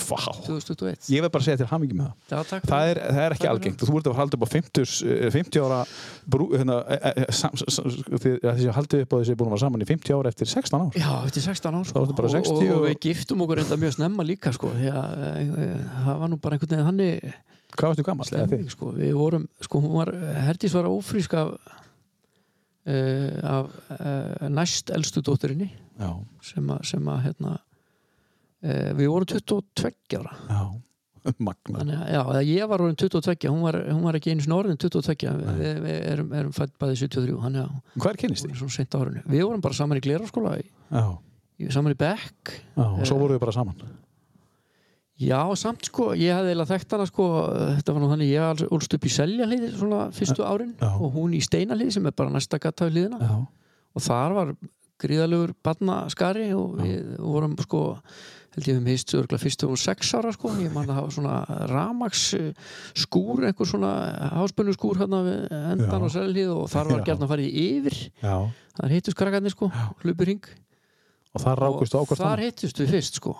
Speaker 2: Vá.
Speaker 3: 2021
Speaker 2: Ég verð bara að segja til hamingi með það.
Speaker 3: Já, takk
Speaker 2: Það er, það er ekki
Speaker 3: Takk fyrir.
Speaker 2: algengt. Þú ert að halda upp á 50, eh, 50 ára brú, hérna, e, e, sam, sam, því að þessi haldið upp á þessi búin að vera saman í 50 ára eftir 16 ár.
Speaker 3: Já, þetta er 16 ár sko.
Speaker 2: Þá ertu bara 60
Speaker 3: og, og,
Speaker 2: og-
Speaker 3: og við giftum okkur reynda mjög snemma líka sko, því að e, það var nú bara einhvern veginn hannig
Speaker 2: Hvað varstu gammal?
Speaker 3: stemning sko. við vorum, sko hún var Herdís var ófrísk af e, af e, næst elstu dótturinni
Speaker 2: Já,
Speaker 3: sem að, sem að hérna e, við vorum 22 ára
Speaker 2: <laughs> já. Magna.
Speaker 3: þannig að, já, eða ég var orðin 22 hún var, hún var ekki einu sinni orðin 22 við, við erum, erum fætt bæði 73 þannig að
Speaker 2: Hvað er kynnist
Speaker 3: hún
Speaker 2: því?
Speaker 3: er svona seint á árinu við vorum bara saman í gleraskóla í,
Speaker 2: Já,
Speaker 3: í- saman í Beck
Speaker 2: já. og Svo voruð þið bara saman.
Speaker 3: Já, samt sko, ég hafði eiginlega þekkt hana sko, þetta var nú þannig, ég alls- ólst upp í selja hliði svona fyrstu árin
Speaker 2: Já.
Speaker 3: og hún í steina hliði sem er bara næsta gata við hliðina
Speaker 2: Já,
Speaker 3: og þar var gríðalegur barnaskari og
Speaker 2: Já.
Speaker 3: við vorum sko, held ég við meist örgla fyrst þegar hún var sex ára sko, ég man að hafa svona ramags skúr, einhver svona háspönnu skúr hérna við endan
Speaker 2: Já.
Speaker 3: á selja hliði og þar var
Speaker 2: Já.
Speaker 3: gert að fara í yfir,
Speaker 2: já.
Speaker 3: þar hittust krakkarnir sko,
Speaker 2: Já.
Speaker 3: hlupur hing
Speaker 2: Og það rákust
Speaker 3: og
Speaker 2: ákvart <laughs>
Speaker 3: þar
Speaker 2: það.
Speaker 3: hittust við fyrst sko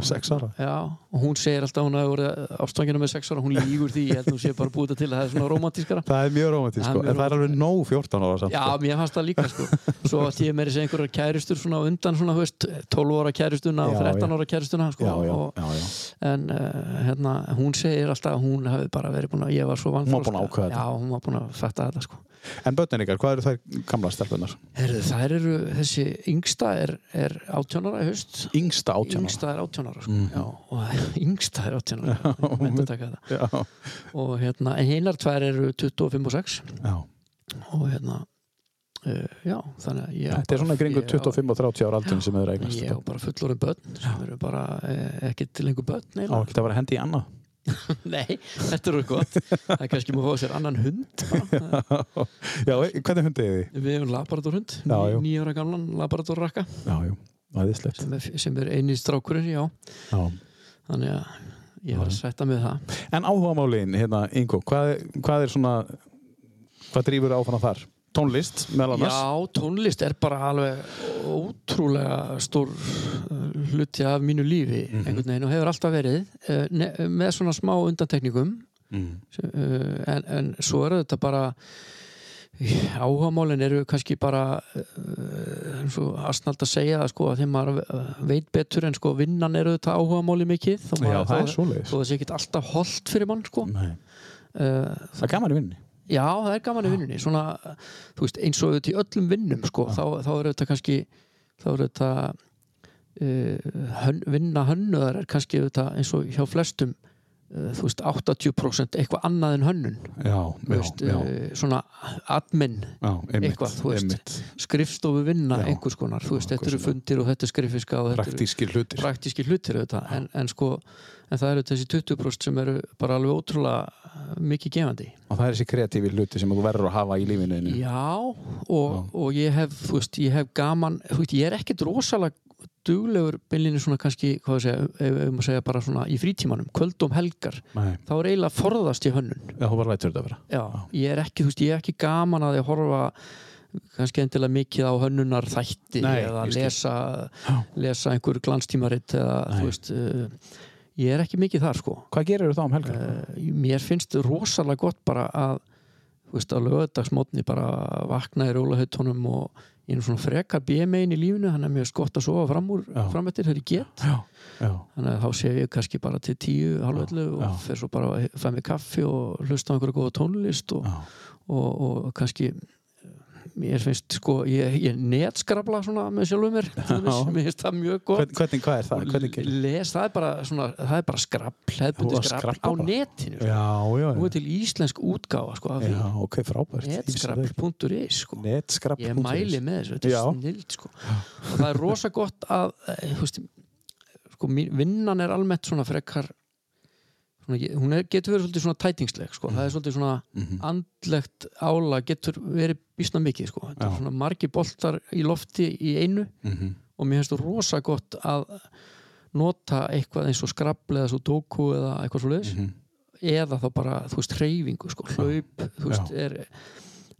Speaker 2: Sex ára.
Speaker 3: Já, og hún segir alltaf að hún hafi voru ástfangina með sex ára, hún lígur því, ég held að hún sé bara búið þetta til að það er svona romantískara.
Speaker 2: Það er mjög romantísk,
Speaker 3: Það er
Speaker 2: sko.
Speaker 3: mjög
Speaker 2: En það er alveg nóg 14 ára samt.
Speaker 3: Já,
Speaker 2: sko.
Speaker 3: mér fannst það líka, sko. Svo að ég meiri segja einhverjar kæristur svona á undan svona, þú veist, 12 ára kæristuna og
Speaker 2: Já,
Speaker 3: 13 ára kæristuna, sko.
Speaker 2: Já, já,
Speaker 3: Og,
Speaker 2: já, já.
Speaker 3: en uh, hérna, hún segir alltaf að hún hafi bara verið búin að, ég var svo vann.
Speaker 2: Hún var búin að ákveða þetta.
Speaker 3: Já, hún var búin að fatta þetta, sko.
Speaker 2: En börnin ykkar, hvað eru þær gamla stelpunar?
Speaker 3: Herðu, þær eru, þessi yngsta er, er 18 ára í haust.
Speaker 2: Yngsta átján ára. Mhm.
Speaker 3: Yngsta er 18 ára, sko. Já, og <laughs> yngsta er 18 ára. Ég myndi að taka þetta.
Speaker 2: Já,
Speaker 3: og hérna, en hinar tvær eru 25 og 6
Speaker 2: já.
Speaker 3: og hérna uh, já, þannig að ég
Speaker 2: Þetta er svona kringu
Speaker 3: ég á-
Speaker 2: 25 og 30 ára aldurinn sem þið er eignast.
Speaker 3: ég á bara fullorinn börn sem eru bara eh, ekki til lengur börn
Speaker 2: Á
Speaker 3: eiginlega.
Speaker 2: ekki að vera að hendi í annað.
Speaker 3: <laughs> nei, þetta eru gott það er kannski maður að fá sér annan hund bara.
Speaker 2: Já, e- hvernig hundið er þið?
Speaker 3: við hefum laboratorhund,
Speaker 2: Já, já.
Speaker 3: nýjára gamlan laboratorrakka
Speaker 2: Já, jú, aðeinslegt.
Speaker 3: sem er, sem er eini strákurinn, já
Speaker 2: Já.
Speaker 3: þannig að ég var að sætta með það
Speaker 2: En áhugamálin, hérna, Ingo, hvað, hvað er svona, hvað drýfur áfram þar? Tónlist, meðal annars?
Speaker 3: já, tónlist er bara alveg ótrúlega stór eh, hluti af mínu lífi
Speaker 2: Mhm.
Speaker 3: einhvern veginn og hefur alltaf verið eh, ne- með svona smá undantekningum
Speaker 2: Mm.
Speaker 3: Sem, uh, en, en svo eru þetta bara áhagamálin eru kannski bara uh, eins og asnald að segja það sko að þeim maður uh, veit betur en sko vinnan eru þetta áhagamáli mikið þó
Speaker 2: Já,
Speaker 3: maður-
Speaker 2: það er
Speaker 3: þó-
Speaker 2: svoleiðis. Mhm.
Speaker 3: þó það sé ekkert alltaf holdt fyrir mann sko
Speaker 2: Nei.
Speaker 3: uh,
Speaker 2: Það er gaman í vinninni.
Speaker 3: já það er gaman í vinnunni svona þú veist eins og þetta í öllum vinnum sko þá, þá eru þetta kannski þá eru þetta uh, hön, vinna hönnuðar er kannski þetta eins og hjá flestum uh, þú veist 80% eitthvað annað en hönnun
Speaker 2: Já,
Speaker 3: Þú veist,
Speaker 2: já,
Speaker 3: eh, svona admin
Speaker 2: já, einmitt.
Speaker 3: eitthvað, þú veist.
Speaker 2: Einmitt.
Speaker 3: skrifstofu vinna
Speaker 2: Já.
Speaker 3: einhvers konar þú veist,
Speaker 2: Já,
Speaker 3: þetta eru
Speaker 2: eitthvað
Speaker 3: fundir og þetta er skrifiska og þetta eru
Speaker 2: Praktískir hlutir.
Speaker 3: praktíski hlutir auðvitað, en, en sko en það eru þessi 20% sem eru bara alveg ótrúlega eh, mikið gefandi
Speaker 2: Og það er þessi kreatífi hluti sem þú verður að hafa í lífinu. þínu.
Speaker 3: já, og, og ég hef þú veist, ég hef gaman, þú veist, ég er ekkit rosalega duglegur beinlinni svona kannski, hvað að segja, ef, ef maður segja bara svona í frítímanum, kvöldum helgar
Speaker 2: Nei,
Speaker 3: þá er eiginlega að forðast í hönnun
Speaker 2: já, þú bara lætur þetta vera.
Speaker 3: Já, ég er ekki, þú veist, ég er ekki gaman að ég horfa kannski endilega mikið á hönnunar þætti
Speaker 2: Nei,
Speaker 3: eða
Speaker 2: ég skil.
Speaker 3: lesa,
Speaker 2: Já.
Speaker 3: lesa einhver glanstímarit eða,
Speaker 2: Nei.
Speaker 3: þú veist, uh, ég er ekki mikið þar, sko.
Speaker 2: Hvað gerir þú þá um helgar?
Speaker 3: Uh, mér finnst rosalega gott bara að, þú veist, að lögadagsmótni bara vakna í rólahautunum og ég er nú svona frekar BMI-in í lífinu hann er mjög skott að sofa fram úr
Speaker 2: Já.
Speaker 3: framöttir þegar ég get
Speaker 2: já, já,
Speaker 3: þannig að þá sef ég kannski bara til tíu halvöldu
Speaker 2: Já.
Speaker 3: og fer svo bara að fæ mig kaffi og hlusta á einhverju góða tónlist og,
Speaker 2: já,
Speaker 3: og, og kannski mér finnst sko, ég, ég netskrabla svona með sjálfum mér þú veist, mér finnst það mjög gott
Speaker 2: Hvern, hvernig, hvað er það, hvernig gerir
Speaker 3: les, það er bara svona, það er bara skrapp
Speaker 2: Þú
Speaker 3: hefðbundi
Speaker 2: að
Speaker 3: skrapp
Speaker 2: skrabba
Speaker 3: á
Speaker 2: bara?
Speaker 3: netinu
Speaker 2: Já,
Speaker 3: sko.
Speaker 2: já,
Speaker 3: nú er
Speaker 2: já,
Speaker 3: til íslensk útgáfa sko, af því
Speaker 2: já, ok, frábært Ég vissi það ekki.
Speaker 3: netskrapp.is sko.
Speaker 2: Netskrapp
Speaker 3: ég mæli með þessu, þetta
Speaker 2: Já.
Speaker 3: er snild sko. og það er rosa gott að eh, þú veist, sko, mín- vinnan er almennt svona frekar svona, ég- hún er, getur verið svolítið svona tætingsleg sko. það er svolítið svona
Speaker 2: Mhm.
Speaker 3: andlegt ála getur verið býsna mikið sko. þetta
Speaker 2: Já.
Speaker 3: er svona margi boltar í lofti í einu
Speaker 2: Mhm.
Speaker 3: og mér finnst þú rosa gott að nota eitthvað eins og skrabli eða svo doku eða eitthvað svo leiðis
Speaker 2: Mhm.
Speaker 3: eða þá bara, þú veist, hreyfingu sko, hlaup, þú veist, er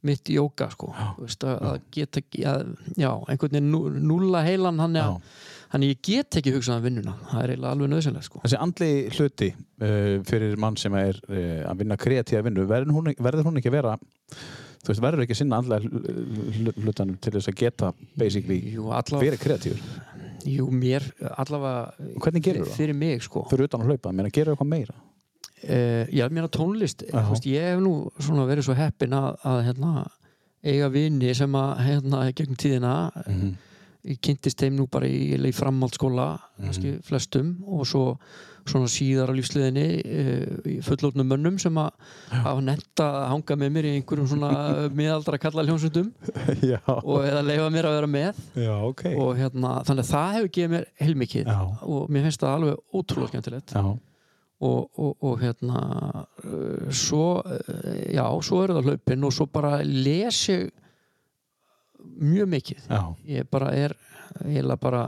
Speaker 3: mitt jóka, sko, þú veist, að, að geta, ekki- að, já, einhvern veginn nú- núlla heilan, hann er, hann ég get ekki hugsað um vinnuna, það er eiginlega alveg nöðsynlega, sko.
Speaker 2: Þessi andli hluti uh, fyrir mann sem er uh, að vinna kreatíða vinnu, verður hún, verður hún ekki að vera þú veist, verður ekki að sinna andlega hl- hl- hlutanum til þess að geta basically
Speaker 3: Jú, allavega,
Speaker 2: verið kreatífur
Speaker 3: jú, mér, allavega,
Speaker 2: Hvernig gerirðu það?
Speaker 3: Fyrir mig, sko.
Speaker 2: fyrir utan að hlaupa, menn að gera eitthvað meira
Speaker 3: Uh, já, mér að tónlist,
Speaker 2: Já.
Speaker 3: þú veist, ég hef nú svona verið svo heppin að, að hérna, eiga vini sem að, hérna, gegn tíðina, ég kynntist þeim nú bara í, í framhaldsskóla kannski flestum og svo svona síðar á lífsliðinni eh, í fullótnum mönnum sem að hafa netta að hanga með mér í einhverjum svona miðaldra kalla hljónsundum
Speaker 2: <laughs> já,
Speaker 3: og eða leifa mér að vera með
Speaker 2: já, ok
Speaker 3: og hérna, þannig að það hefur gefið mér heilmikið
Speaker 2: já,
Speaker 3: og mér finnst það alveg ótrúlega skemmtilegt
Speaker 2: já,
Speaker 3: og, og, og hérna eh, svo, eh, já, svo eru það hlaupin og svo bara les ég mjög mikið
Speaker 2: já
Speaker 3: ég bara er, ég bara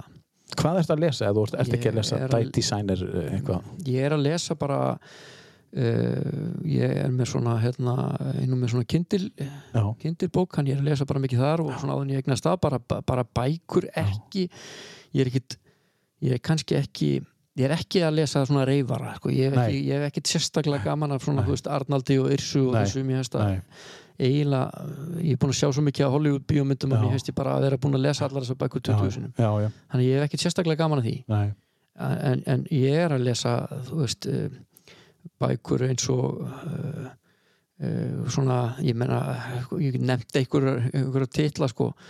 Speaker 2: Hvað ertu að lesa, eða þú ert, ert ekki að
Speaker 3: Ég
Speaker 2: lesa
Speaker 3: er að-
Speaker 2: Diet Designer eh, eitthvað
Speaker 3: ég er að lesa bara uh, ég er með svona hérna, innum með svona kindil
Speaker 2: Já,
Speaker 3: kindilbók, hann ég er að lesa bara mikið þar og svona áður en ég eignast það, bara, bara bækur ekki, ég er ekkit ég er kannski ekki ég er ekki að lesa svona reyfara sko. ég, hef
Speaker 2: Nei.
Speaker 3: ekki, ég hef ekkit sérstaklega gaman af svona, þú veist, Arnaldi og Yrsu og
Speaker 2: Nei.
Speaker 3: þessum ég hefst að
Speaker 2: nei,
Speaker 3: eiginlega ég er búin að sjá svo mikið á Hollywood bíómyndum
Speaker 2: Já.
Speaker 3: að mér hefst ég bara að vera búin að lesa allar þessar bækur 20 sinum,
Speaker 2: já, já,
Speaker 3: þannig ég hef ekkit sérstaklega gaman af því
Speaker 2: nei
Speaker 3: en, en ég er að lesa þú veist eh, bækur eins og uh, uh, svona, ég menna ég nefndi einhverjar einhverjar titla sko, uh,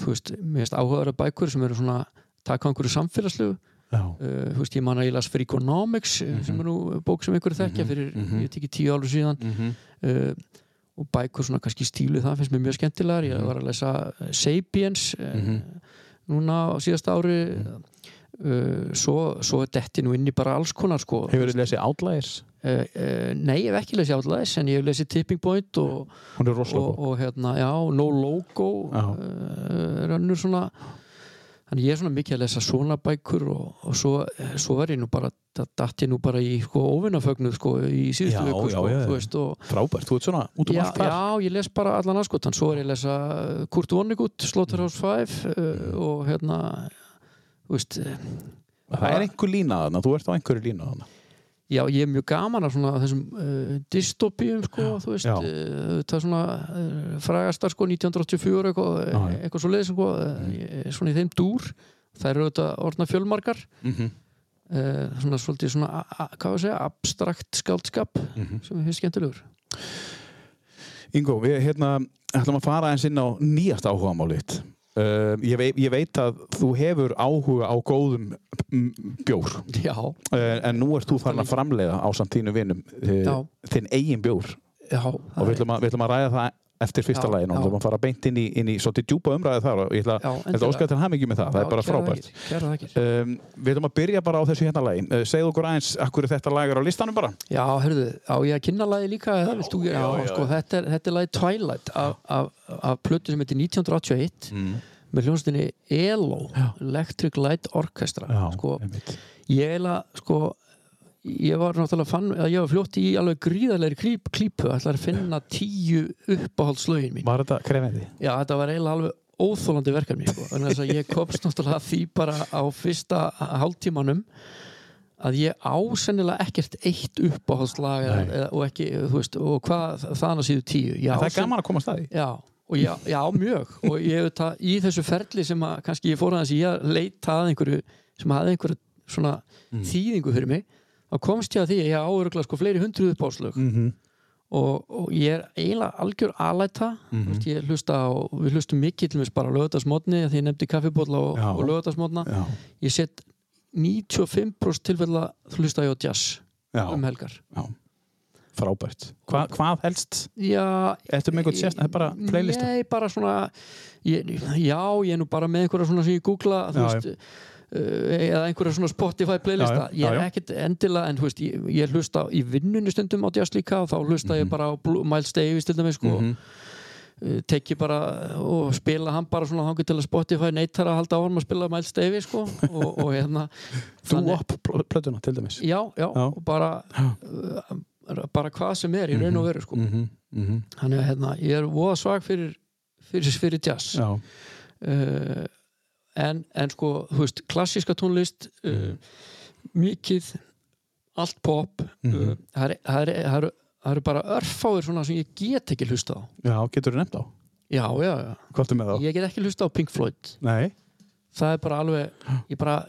Speaker 3: þú veist mér finnst áhugaður bækur sem eru svona taka á einhverju samfélagslegu
Speaker 2: Já,
Speaker 3: uh, þú veist, ég man að ég las Freakonomics mm sem er nú bók sem einhverju þekkja fyrir ég veit ekki tíu álu síðan
Speaker 2: Mhm,
Speaker 3: uh, og bækur svona kannski stílu það finnst mér mjög skemmtilegar, ég var að lesa eh, Sapiens mm
Speaker 2: Mhm.
Speaker 3: núna á síðasta ári
Speaker 2: Mm.
Speaker 3: uh, svo, svo er detti nú inn í bara alls konar sko
Speaker 2: hefur þið lesið Outliers
Speaker 3: uh, uh, nei, ég hef ekki lesið átlaðis en ég hef lesið Tipping Point og,
Speaker 2: Hún er rosalega
Speaker 3: og,
Speaker 2: góð
Speaker 3: og hérna, já, No Logo
Speaker 2: Já.
Speaker 3: uh, er önnur svona þannig ég er svona mikið að lesa svona bækur og, og svo, eh, svo var ég nú bara da- datt ég nú bara í sko, óvinnafögnuð sko, í síðustu
Speaker 2: Já,
Speaker 3: viku
Speaker 2: já,
Speaker 3: sko,
Speaker 2: já, já.
Speaker 3: þú veist, og,
Speaker 2: Frábært, þú ert svona út um
Speaker 3: já,
Speaker 2: allt þar
Speaker 3: já, ég les bara allan aðskotan svo er ég að lesa uh, Kurt Vonnegut,
Speaker 2: Mm.
Speaker 3: Slaughterhouse 5 uh, og hérna þú veist, eh,
Speaker 2: Það er einhver lína þarna, þú ert á einhverju lína þarna
Speaker 3: já, ég er mjög gaman af svona þessum uh, dystopíum sko, þú veist,
Speaker 2: já.
Speaker 3: uh, það er svona uh, frægastar sko 1984 eitthvað, eh,
Speaker 2: Já, Mm. já.
Speaker 3: eitthvað svo leiðis sko, uh, svona í þeim dúr þær eru auðvitað orðna fjölmargar uh, svona svolítið svona a- a- hvað á að segja, abstrakt skáldskap
Speaker 2: Mhm.
Speaker 3: sem er fyrst skemmtilegur
Speaker 2: Ingo, við hérna ætlum að fara eins inn á nýjast áhugamálið þitt. Uh, ég, veit, ég veit að þú hefur áhuga á góðum mm, bjór uh,
Speaker 3: já,
Speaker 2: en nú ert þú farin að framleiða á samt þínu vinum uh,
Speaker 3: Já.
Speaker 2: þinn eigin bjór
Speaker 3: já
Speaker 2: og við ætlum, að, við ætlum að ræða það eftir fyrsta
Speaker 3: Já,
Speaker 2: lagi og
Speaker 3: já.
Speaker 2: við ætlum að fara beint inn í, inn í svolítið djúpa umræði þar og ég ætla,
Speaker 3: Já,
Speaker 2: ég ætla að óska til hamingi með það, það er bara frábært
Speaker 3: kæra þakir
Speaker 2: um, Við ætlum að byrja bara á þessu hérna lagi uh, segðu okkur aðeins, akkur þetta lag er á listanum bara
Speaker 3: Já, hörðu, á ég að kynna lagi líka eða vilt þú gera? Já, sko, þetta er, þetta er lagi Twilight af, af, af plötu sem heitir 1981 með hljónstinni ELO Electric Light Orchestra sko,
Speaker 2: einmitt.
Speaker 3: ég eiginlega, sko ég var náttúrulega fann, eða ég var fljótt í alveg gríðarlegri klíp, klípu, ætlar að finna tíu uppáhaldslögin mín
Speaker 2: Var þetta krefindi?
Speaker 3: Já, þetta var eiginlega alveg óþólandi verkefni sko. Vegna þess að ég komst náttúrulega að því bara á fyrsta hálftímanum að ég á sennilega ekkert eitt uppáhaldslag eða-
Speaker 2: Nei.
Speaker 3: eða- og ekki, þú veist, og hvað þaðan að síðu tíu ég
Speaker 2: En
Speaker 3: á
Speaker 2: það er
Speaker 3: sen-
Speaker 2: gaman að koma að staði
Speaker 3: Já, og já, já, mjög og ég hef þetta í þessu ferli sem að kannski ég fór aðeins í að leita að einhverju sem hafði einhverju svona
Speaker 2: Mhm.
Speaker 3: þýðingu fyrir mig þá komst ég að því að ég áurugla sko fleiri hundruð uppáslög
Speaker 2: Mhm.
Speaker 3: og, og ég er eiginlega algjör alæta
Speaker 2: Mhm.
Speaker 3: mm -hmm. ég hlusta á, við hlustum mikið til mér bara á lögðarsmótni því ég nefndi kaffibólla og,
Speaker 2: Já.
Speaker 3: og lögðarsmótna
Speaker 2: Já,
Speaker 3: ég set 95% tilfella hlusta ég á jazz
Speaker 2: já,
Speaker 3: um helgar
Speaker 2: já. Frábært. Hva, hvað helst?
Speaker 3: Já,
Speaker 2: Ertu með einhvern sérst? Það er bara playlista.
Speaker 3: Nei, bara svona ég, Já, ég er nú bara með einhverja svona sem ég googla
Speaker 2: Já,
Speaker 3: þú veist, uh, eða einhverja svona Spotify
Speaker 2: Já,
Speaker 3: playlista
Speaker 2: já,
Speaker 3: Ég
Speaker 2: já,
Speaker 3: er
Speaker 2: já.
Speaker 3: ekkert endilega, en þú veist ég, ég hlusta í vinnunni stundum á jazz líka og þá hlusta ég bara á Blue, Miles Davis til dæmis sko, mm
Speaker 2: Mhm.
Speaker 3: teki bara og spila hann bara svona þangur til að Spotify neitar að halda á hann að spila Miles Davis sko, og, og hérna
Speaker 2: <laughs> Þú
Speaker 3: þannig-
Speaker 2: upp pl- plötuna til dæmis.
Speaker 3: Já, já,
Speaker 2: Já.
Speaker 3: og bara uh, bara hvað sem er í raun og veru sko
Speaker 2: -hmm. Mm -hmm.
Speaker 3: þannig að hérna, ég er voða svag fyrir fyrir, fyrir jazz
Speaker 2: Já,
Speaker 3: uh, en, en sko, þú veist, klassíska tónlist uh,
Speaker 2: Mhm.
Speaker 3: mikið allt pop
Speaker 2: mhm.
Speaker 3: uh, það er- það er- það eru það eru bara örfáir svona sem ég get ekki hlusta á
Speaker 2: já getur þú nefnt á?
Speaker 3: já, já, já,
Speaker 2: Hvort er með þá?
Speaker 3: ég get ekki hlusta á Pink Floyd
Speaker 2: Nei.
Speaker 3: það er bara alveg ég bara,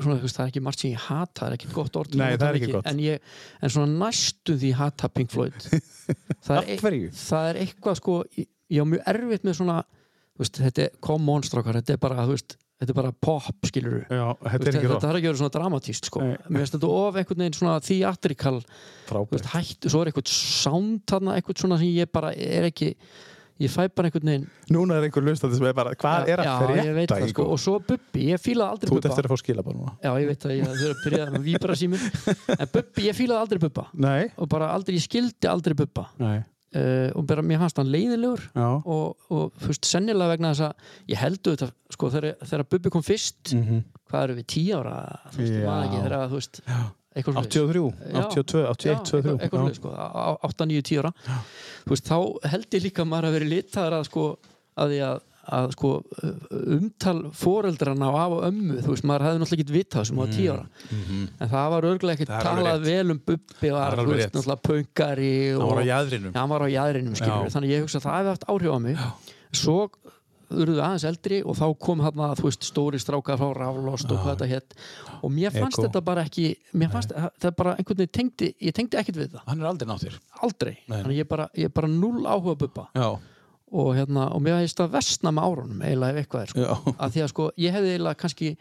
Speaker 3: svona, þú veist, það er ekki margt sem ég hata það er ekki gott orð til
Speaker 2: Nei,
Speaker 3: að nota
Speaker 2: það er ekki
Speaker 3: mikið,
Speaker 2: gott.
Speaker 3: en, ég, en svona næstu því hata
Speaker 2: <laughs>
Speaker 3: Pink Floyd það e-
Speaker 2: Af hverju?
Speaker 3: það er eitthvað sko ég ég á mjög erfitt með svona þú veist, þetta er come on strákar, þetta er bara, þú veist, þetta er bara pop skilur
Speaker 2: Já, þetta er
Speaker 3: þetta
Speaker 2: ekki
Speaker 3: þetta
Speaker 2: rátt.
Speaker 3: þarf ekki að vera svona dramatíst sko.
Speaker 2: Nei.
Speaker 3: mér finnst þetta of einhvern veginn svona theatrical þú
Speaker 2: Frábært.
Speaker 3: veist, hættu, svo er eitthvað sound þarna, eitthvað svona sem ég bara er ekki ég fæ bara einhvern veginn
Speaker 2: Núna er einhver lustandi sem er bara, hvað Ah, er að
Speaker 3: Já,
Speaker 2: fyrir
Speaker 3: ég veit það, sko, og svo Bubbi, ég fílaði aldrei
Speaker 2: Þú ert
Speaker 3: Bubba
Speaker 2: eftir að fá skila bara núna.
Speaker 3: Já, ég veit að ég þurfa að byrja með víbra
Speaker 2: <laughs>
Speaker 3: símur En Bubbi, ég fílaði aldrei Bubba
Speaker 2: Nei.
Speaker 3: Og bara aldrei, ég skildi aldrei Bubba
Speaker 2: Nei.
Speaker 3: uh, Og bara mér fannst hann leiðilegur
Speaker 2: Já.
Speaker 3: Og, og þú veist, sennilega vegna þess að Ég heldu þetta, sko, þegar, þegar Bubbi kom fyrst
Speaker 2: Mm -hmm.
Speaker 3: Hvað eru við, tíu ára? Þú veist, ég maður
Speaker 2: Já.
Speaker 3: ekki þegar, þú veist Eitthvað svoleiðis.
Speaker 2: 83,
Speaker 3: Já.
Speaker 2: 82, 81, 82.
Speaker 3: Já, eitthvað
Speaker 2: já.
Speaker 3: svoleiðis, sko, 8, 9, 10 ára þú veist, þá held ég líka að maður að vera litaðar að sko að því að, að sko umtal foreldrana á af og ömmu þú veist, maður hefði náttúrulega ekkert vitað þessum á 10 ára en það var örglega ekkert
Speaker 2: Mm, mhm. Það er alveg
Speaker 3: talað vel um Bubbi
Speaker 2: er
Speaker 3: var,
Speaker 2: alveg
Speaker 3: þú
Speaker 2: rétt.
Speaker 3: veist, náttúrulega pöngari
Speaker 2: Hann var á
Speaker 3: og
Speaker 2: jæðrinum.
Speaker 3: hann var á jæðrinum, skilur
Speaker 2: Já.
Speaker 3: þannig að ég hugsa að það hefði haft áhrif á mig svo urðu aðeins eldri og þá kom hann að þú veist stóri stráka frá raflost og hvað þetta hétt og mér fannst
Speaker 2: Ego.
Speaker 3: þetta bara ekki mér fannst, það er bara einhvern veginn tengdi ég tengdi ekkert við það
Speaker 2: Hann er aldrei náttir.
Speaker 3: aldrei
Speaker 2: Nei.
Speaker 3: þannig ég bara, ég bara null áhuga á bubba
Speaker 2: Já.
Speaker 3: og, hérna, og mér hefðist að versna með árunum eiginlega ef eitthvað er sko.
Speaker 2: Já.
Speaker 3: að því að sko, ég hefði eiginlega kannski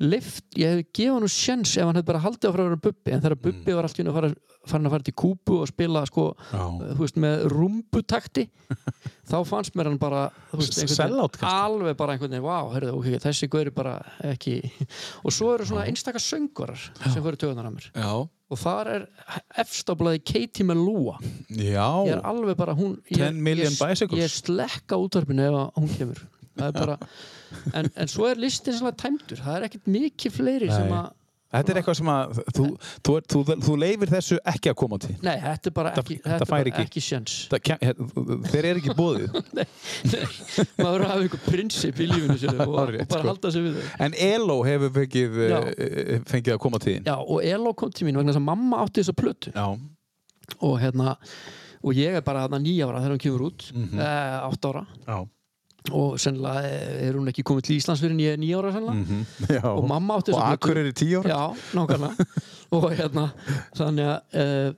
Speaker 3: lift, ég hefði gefið hann sjens ef hann hefði bara haldið áfram að vera bubbi en þegar
Speaker 2: Mm.
Speaker 3: bubbi var allt í einu að fara, farin að fara til Kúbu og spila sko,
Speaker 2: Já.
Speaker 3: þú veist, með rúmbutakti þá fannst mér hann bara þú veist, einhvern veginn-
Speaker 2: Sellout kannski.
Speaker 3: alveg bara einhvern veginn, wow, heyrðu, okay, þessi gaur er bara ekki og svo eru svona einstaka söngurar sem fyrir töðunar að mér
Speaker 2: Já.
Speaker 3: og þar er efstablaði Katie Melua ég er
Speaker 2: Já.
Speaker 3: alveg bara hún ég,
Speaker 2: 10 million
Speaker 3: ég,
Speaker 2: bicycles.
Speaker 3: ég slekka útvarpinu ef að hún kemur Það er
Speaker 2: <laughs>
Speaker 3: bara, en, en svo er listin sannlega tæmdur það er ekkert mikið fleiri sem
Speaker 2: Nei.
Speaker 3: að
Speaker 2: Þetta er eitthvað sem að þú, þú, er, þú, þú leifir þessu ekki að koma til.
Speaker 3: nei, þetta er bara
Speaker 2: Það-
Speaker 3: ekki,
Speaker 2: það
Speaker 3: þetta er
Speaker 2: fær
Speaker 3: bara
Speaker 2: ekki.
Speaker 3: ekki sjens
Speaker 2: Það kem- hérna, Þeir eru ekki
Speaker 3: <laughs>
Speaker 2: búið
Speaker 3: maður verður að hafa einhver prinsip í lífinu
Speaker 2: <laughs>
Speaker 3: sér og,
Speaker 2: Hárrétt,
Speaker 3: og bara
Speaker 2: sko.
Speaker 3: halda sig við þau
Speaker 2: En Elo hefur fengið,
Speaker 3: Já.
Speaker 2: eh, fengið að koma til þín
Speaker 3: já, og Elo kom til mín vegna þess að mamma átti þessa plötu
Speaker 2: Já.
Speaker 3: og hérna og ég er bara þarna nýja ára þegar hún kemur út mm
Speaker 2: Mhm.
Speaker 3: átt ára
Speaker 2: Já.
Speaker 3: og sennilega eh, er hún ekki komið til Íslands fyrir en ég er nýja ára sennilega
Speaker 2: Mhm. Já.
Speaker 3: og mamma átti
Speaker 2: Og
Speaker 3: þessa plötu
Speaker 2: Akur er í tíu ára
Speaker 3: Já, nákvæmlega
Speaker 2: <laughs>
Speaker 3: og hérna, þannig að uh,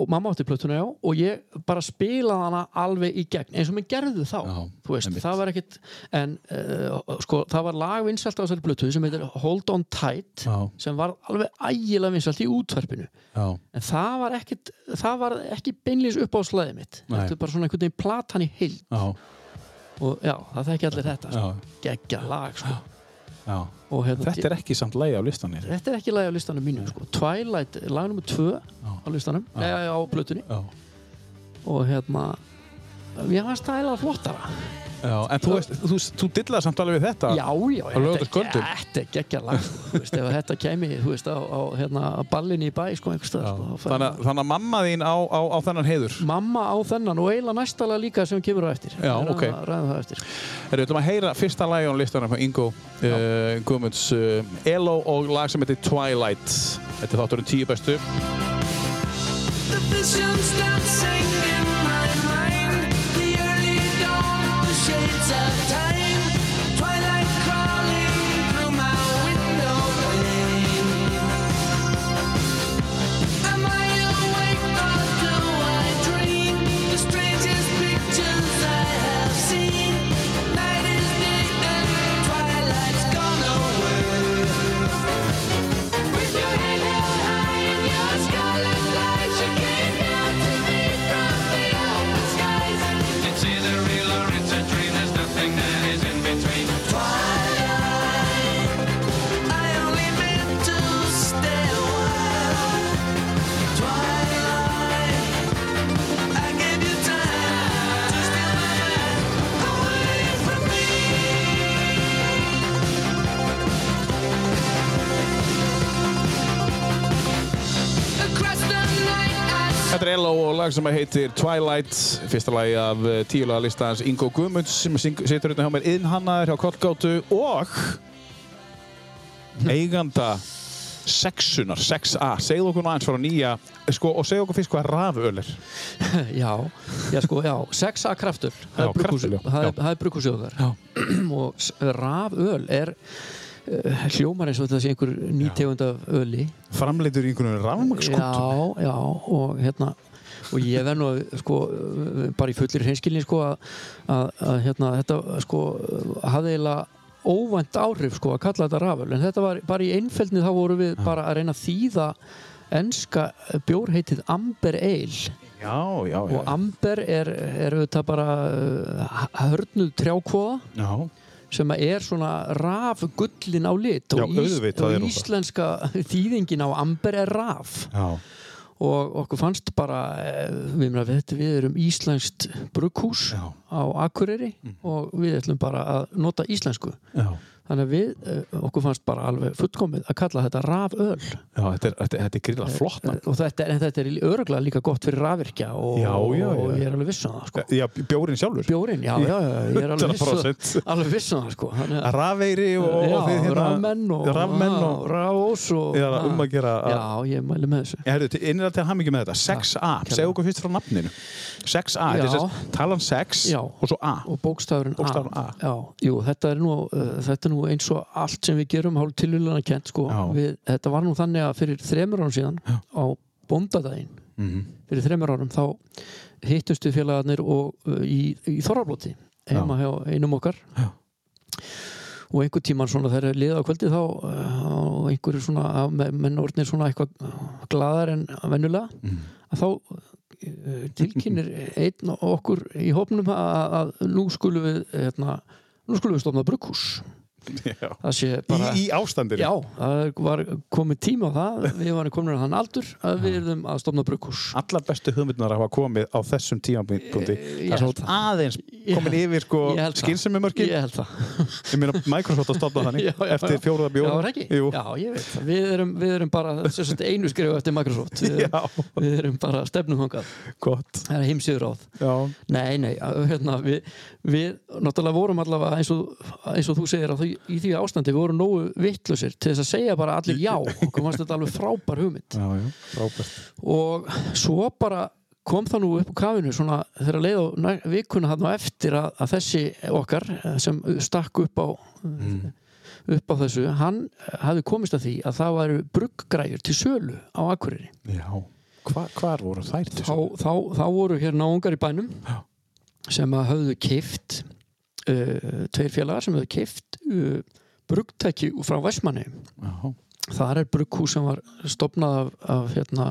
Speaker 3: og mamma átti plötuna já og ég bara spilaði hana alveg í gegn eins og mér gerðu þá
Speaker 2: Já,
Speaker 3: þú veist,
Speaker 2: einmitt.
Speaker 3: það var ekkit en uh, sko, það var lag vinsælt á þessari plötu sem heitir Hold on Tight
Speaker 2: Já.
Speaker 3: sem var alveg ægilega vinsælt í útverfinu
Speaker 2: Já.
Speaker 3: en það var ekkit það var ekki beinlýs upp á slæðið mitt
Speaker 2: Nei.
Speaker 3: þetta er bara svona einhvern veginn platan í heild
Speaker 2: Já.
Speaker 3: og já, það þekki allir þetta sko.
Speaker 2: Já.
Speaker 3: geggja lag sko.
Speaker 2: Já.
Speaker 3: og hérna,
Speaker 2: Þetta er ekki samt lægi á listanir
Speaker 3: Þetta er ekki lagi á listanum mínu sko. Twilight, lag nr. 2 á listanum, nei á blötunni
Speaker 2: Já.
Speaker 3: og hérna ég var stæla flottara
Speaker 2: Já. En þú, veist, þú, þú dillar samt alveg við þetta
Speaker 3: Já, já,
Speaker 2: laugardags
Speaker 3: þetta
Speaker 2: kvöldum?
Speaker 3: er- þetta er geggja lag sko. Þú veist, ef þetta kæmi, þú veist, á, á hérna, ballinni í bæ, sko, einhvers
Speaker 2: Já.
Speaker 3: staðar sko, þá færi
Speaker 2: Þannig, að- þannig að mamma þín á, á, á þennan heiður
Speaker 3: maður- Mamma á þennan og eiginlega næstala líka sem kemur á eftir
Speaker 2: Já,
Speaker 3: Við ræðum
Speaker 2: ok.
Speaker 3: það- Ræðum það eftir sko.
Speaker 2: Erum við ætlum að heyra fyrsta lagi á listanum frá Ingo uh, Guðmunds uh, Elo og lag sem heitir Twilight Þetta er þátturinn tíu bestu
Speaker 4: The visions dancing in my mind. The early dawn
Speaker 2: Morello og lag sem heitir Twilight fyrsta lagi af eh, tíu laga listans Ingo Guðmunds sem syng- situr hérna hjá mér innhannaður hjá Kollgátu og eiganda sexunar, 6A segðu okkur nú aðeins frá nýja eh, sko, og segðu okkur fyrst hvað raföl er
Speaker 3: já, já sko, já, 6A kraftur það
Speaker 2: Já,
Speaker 3: er
Speaker 2: kraftur,
Speaker 3: brugghúsið-
Speaker 2: já.
Speaker 3: það
Speaker 2: Já.
Speaker 3: er- það er brugghúsið okkar <clears throat> og s- raföl er uh, hljómar eins og þetta sé einhver nýtegund af öli
Speaker 2: framleitur í einhvern veginn rafmagnskútu
Speaker 3: já, já, og hérna og ég verð nú sko eh, bara í fullir hreinskilni sko að, að, að hérna, þetta sko hafði eiginlega óvænt áhrif sko að kalla þetta raföl en þetta var bara í einfeldni þá vorum við bara að reyna að þýða enska bjórheitið Amber Ale
Speaker 2: já, já, já,
Speaker 3: og Amber er, er auðvitað bara eh, hörnuð trjákóða
Speaker 2: já.
Speaker 3: sem að er svona rafgullin á lit og,
Speaker 2: Já, auðvitað er
Speaker 3: og
Speaker 2: hún það.
Speaker 3: íslenska þýðingin á Amber er raf
Speaker 2: já.
Speaker 3: og okkur fannst bara eh, við, meina, við, við erum íslenskt brugghús
Speaker 2: Já. Mhm.
Speaker 3: á Akureyri og við ætlum bara að nota íslensku
Speaker 2: já.
Speaker 3: þannig að við, eh, okkur fannst bara alveg fullkomið að kalla þetta raföl
Speaker 2: Já, þetta er, þetta, þetta er
Speaker 3: Eh,
Speaker 2: gríðlega flott nafn.
Speaker 3: og þetta, en þetta er öruglega líka gott fyrir rafvirkja og,
Speaker 2: Já, já,
Speaker 3: og
Speaker 2: já.
Speaker 3: ég er alveg viss um það sko.
Speaker 2: Já, bjórin sjálfur
Speaker 3: bjórin, já, já, já, ég er alveg viss
Speaker 2: 100%.
Speaker 3: um- alveg viss um það sko. þannig að
Speaker 2: Rafeiri og,
Speaker 3: já,
Speaker 2: og þið hérna
Speaker 3: rafmenn og,
Speaker 2: Rafmenn
Speaker 3: já,
Speaker 2: og
Speaker 3: rafós og
Speaker 2: Já, um að gera að-
Speaker 3: já, ég mæli með þessu
Speaker 2: Herru, innrætt til hamingi með þetta 6A, segðu okkur fyrst frá nafninu 6A, þetta er
Speaker 3: Já.
Speaker 2: sérst talan 6
Speaker 3: Já.
Speaker 2: og svo A
Speaker 3: og bókstafurinn
Speaker 2: Bókstafurinn A.
Speaker 3: Já, jú, þetta, er nú, uh, þetta er nú eins og allt sem við gerum hálf tilvíðlega kent sko.
Speaker 2: Já.
Speaker 3: við, þetta var nú þannig að fyrir þremur árum síðan á bóndadaginn
Speaker 2: Mhm.
Speaker 3: fyrir þremur árum þá hittustu félagarnir og, uh, í, í Þorrablóti heima hjá einum okkar
Speaker 2: Já.
Speaker 3: og einhver tíman svona þegar liða á kvöldi þá uh, og einhverju svona að me- menn orðnir svona eitthvað gladar en vennulega
Speaker 2: Mhm.
Speaker 3: að þá eh, tilkynir einn og okkur í hópnum að, að nú skulum við hérna, nú skulum við stofna brugghús
Speaker 2: Já.
Speaker 3: það sé
Speaker 2: Í,
Speaker 3: bara
Speaker 2: í ástandinu
Speaker 3: já, það var komið tíma á það við varum komin að þann aldur að við erum að stofna brugghús
Speaker 2: Allar bestu hugmyndunar hafa komið á þessum tímapunkti
Speaker 3: Eh, Ég
Speaker 2: Það
Speaker 3: held
Speaker 2: er
Speaker 3: það.
Speaker 2: aðeins <laughs>
Speaker 3: Ég-
Speaker 2: komin yfir sko
Speaker 3: Ég held það.
Speaker 2: skynsemi mörkin
Speaker 3: ég held það
Speaker 2: Ég meina Microsoft að stopna þannig
Speaker 3: <laughs> Já, já,
Speaker 2: eftir
Speaker 3: já.
Speaker 2: fjóruða
Speaker 3: já,
Speaker 2: bjóra
Speaker 3: er ekki?
Speaker 2: Jú.
Speaker 3: já, ég veit það við erum, við erum bara sem sagt, einu skrifu eftir
Speaker 2: <laughs>
Speaker 3: Microsoft við erum,
Speaker 2: Já.
Speaker 3: við erum bara stefnumhangað
Speaker 2: gott
Speaker 3: það er heimsýður áð
Speaker 2: Já,
Speaker 3: Nei, nei, að- hérna, við, við náttúrulega vorum allavega eins og, eins og þú segir að því, í því ástandi við vorum nógu vittlusir til þess að segja bara allir já okkur fannst þetta alveg frábær hugmynd
Speaker 2: já, já, frábært
Speaker 3: og svo bara kom það nú upp á kafinu svona þegar leið á næ- vikuna hann á eftir að, að þessi okkar eh, sem stakk upp á upp á þessu, hann hafi komist að því að það væru brugggræjur til sölu á Akureyri
Speaker 2: Já, Hva, hvar voru þær til
Speaker 3: þá, þá, þá voru hér náungar í bænum
Speaker 2: Já.
Speaker 3: sem að höfðu keift uh, tveir félagar sem höfðu keift uh, brugtæki frá Vestmanni
Speaker 2: Já,
Speaker 3: þar er brugghús sem var stopnað af, af hérna,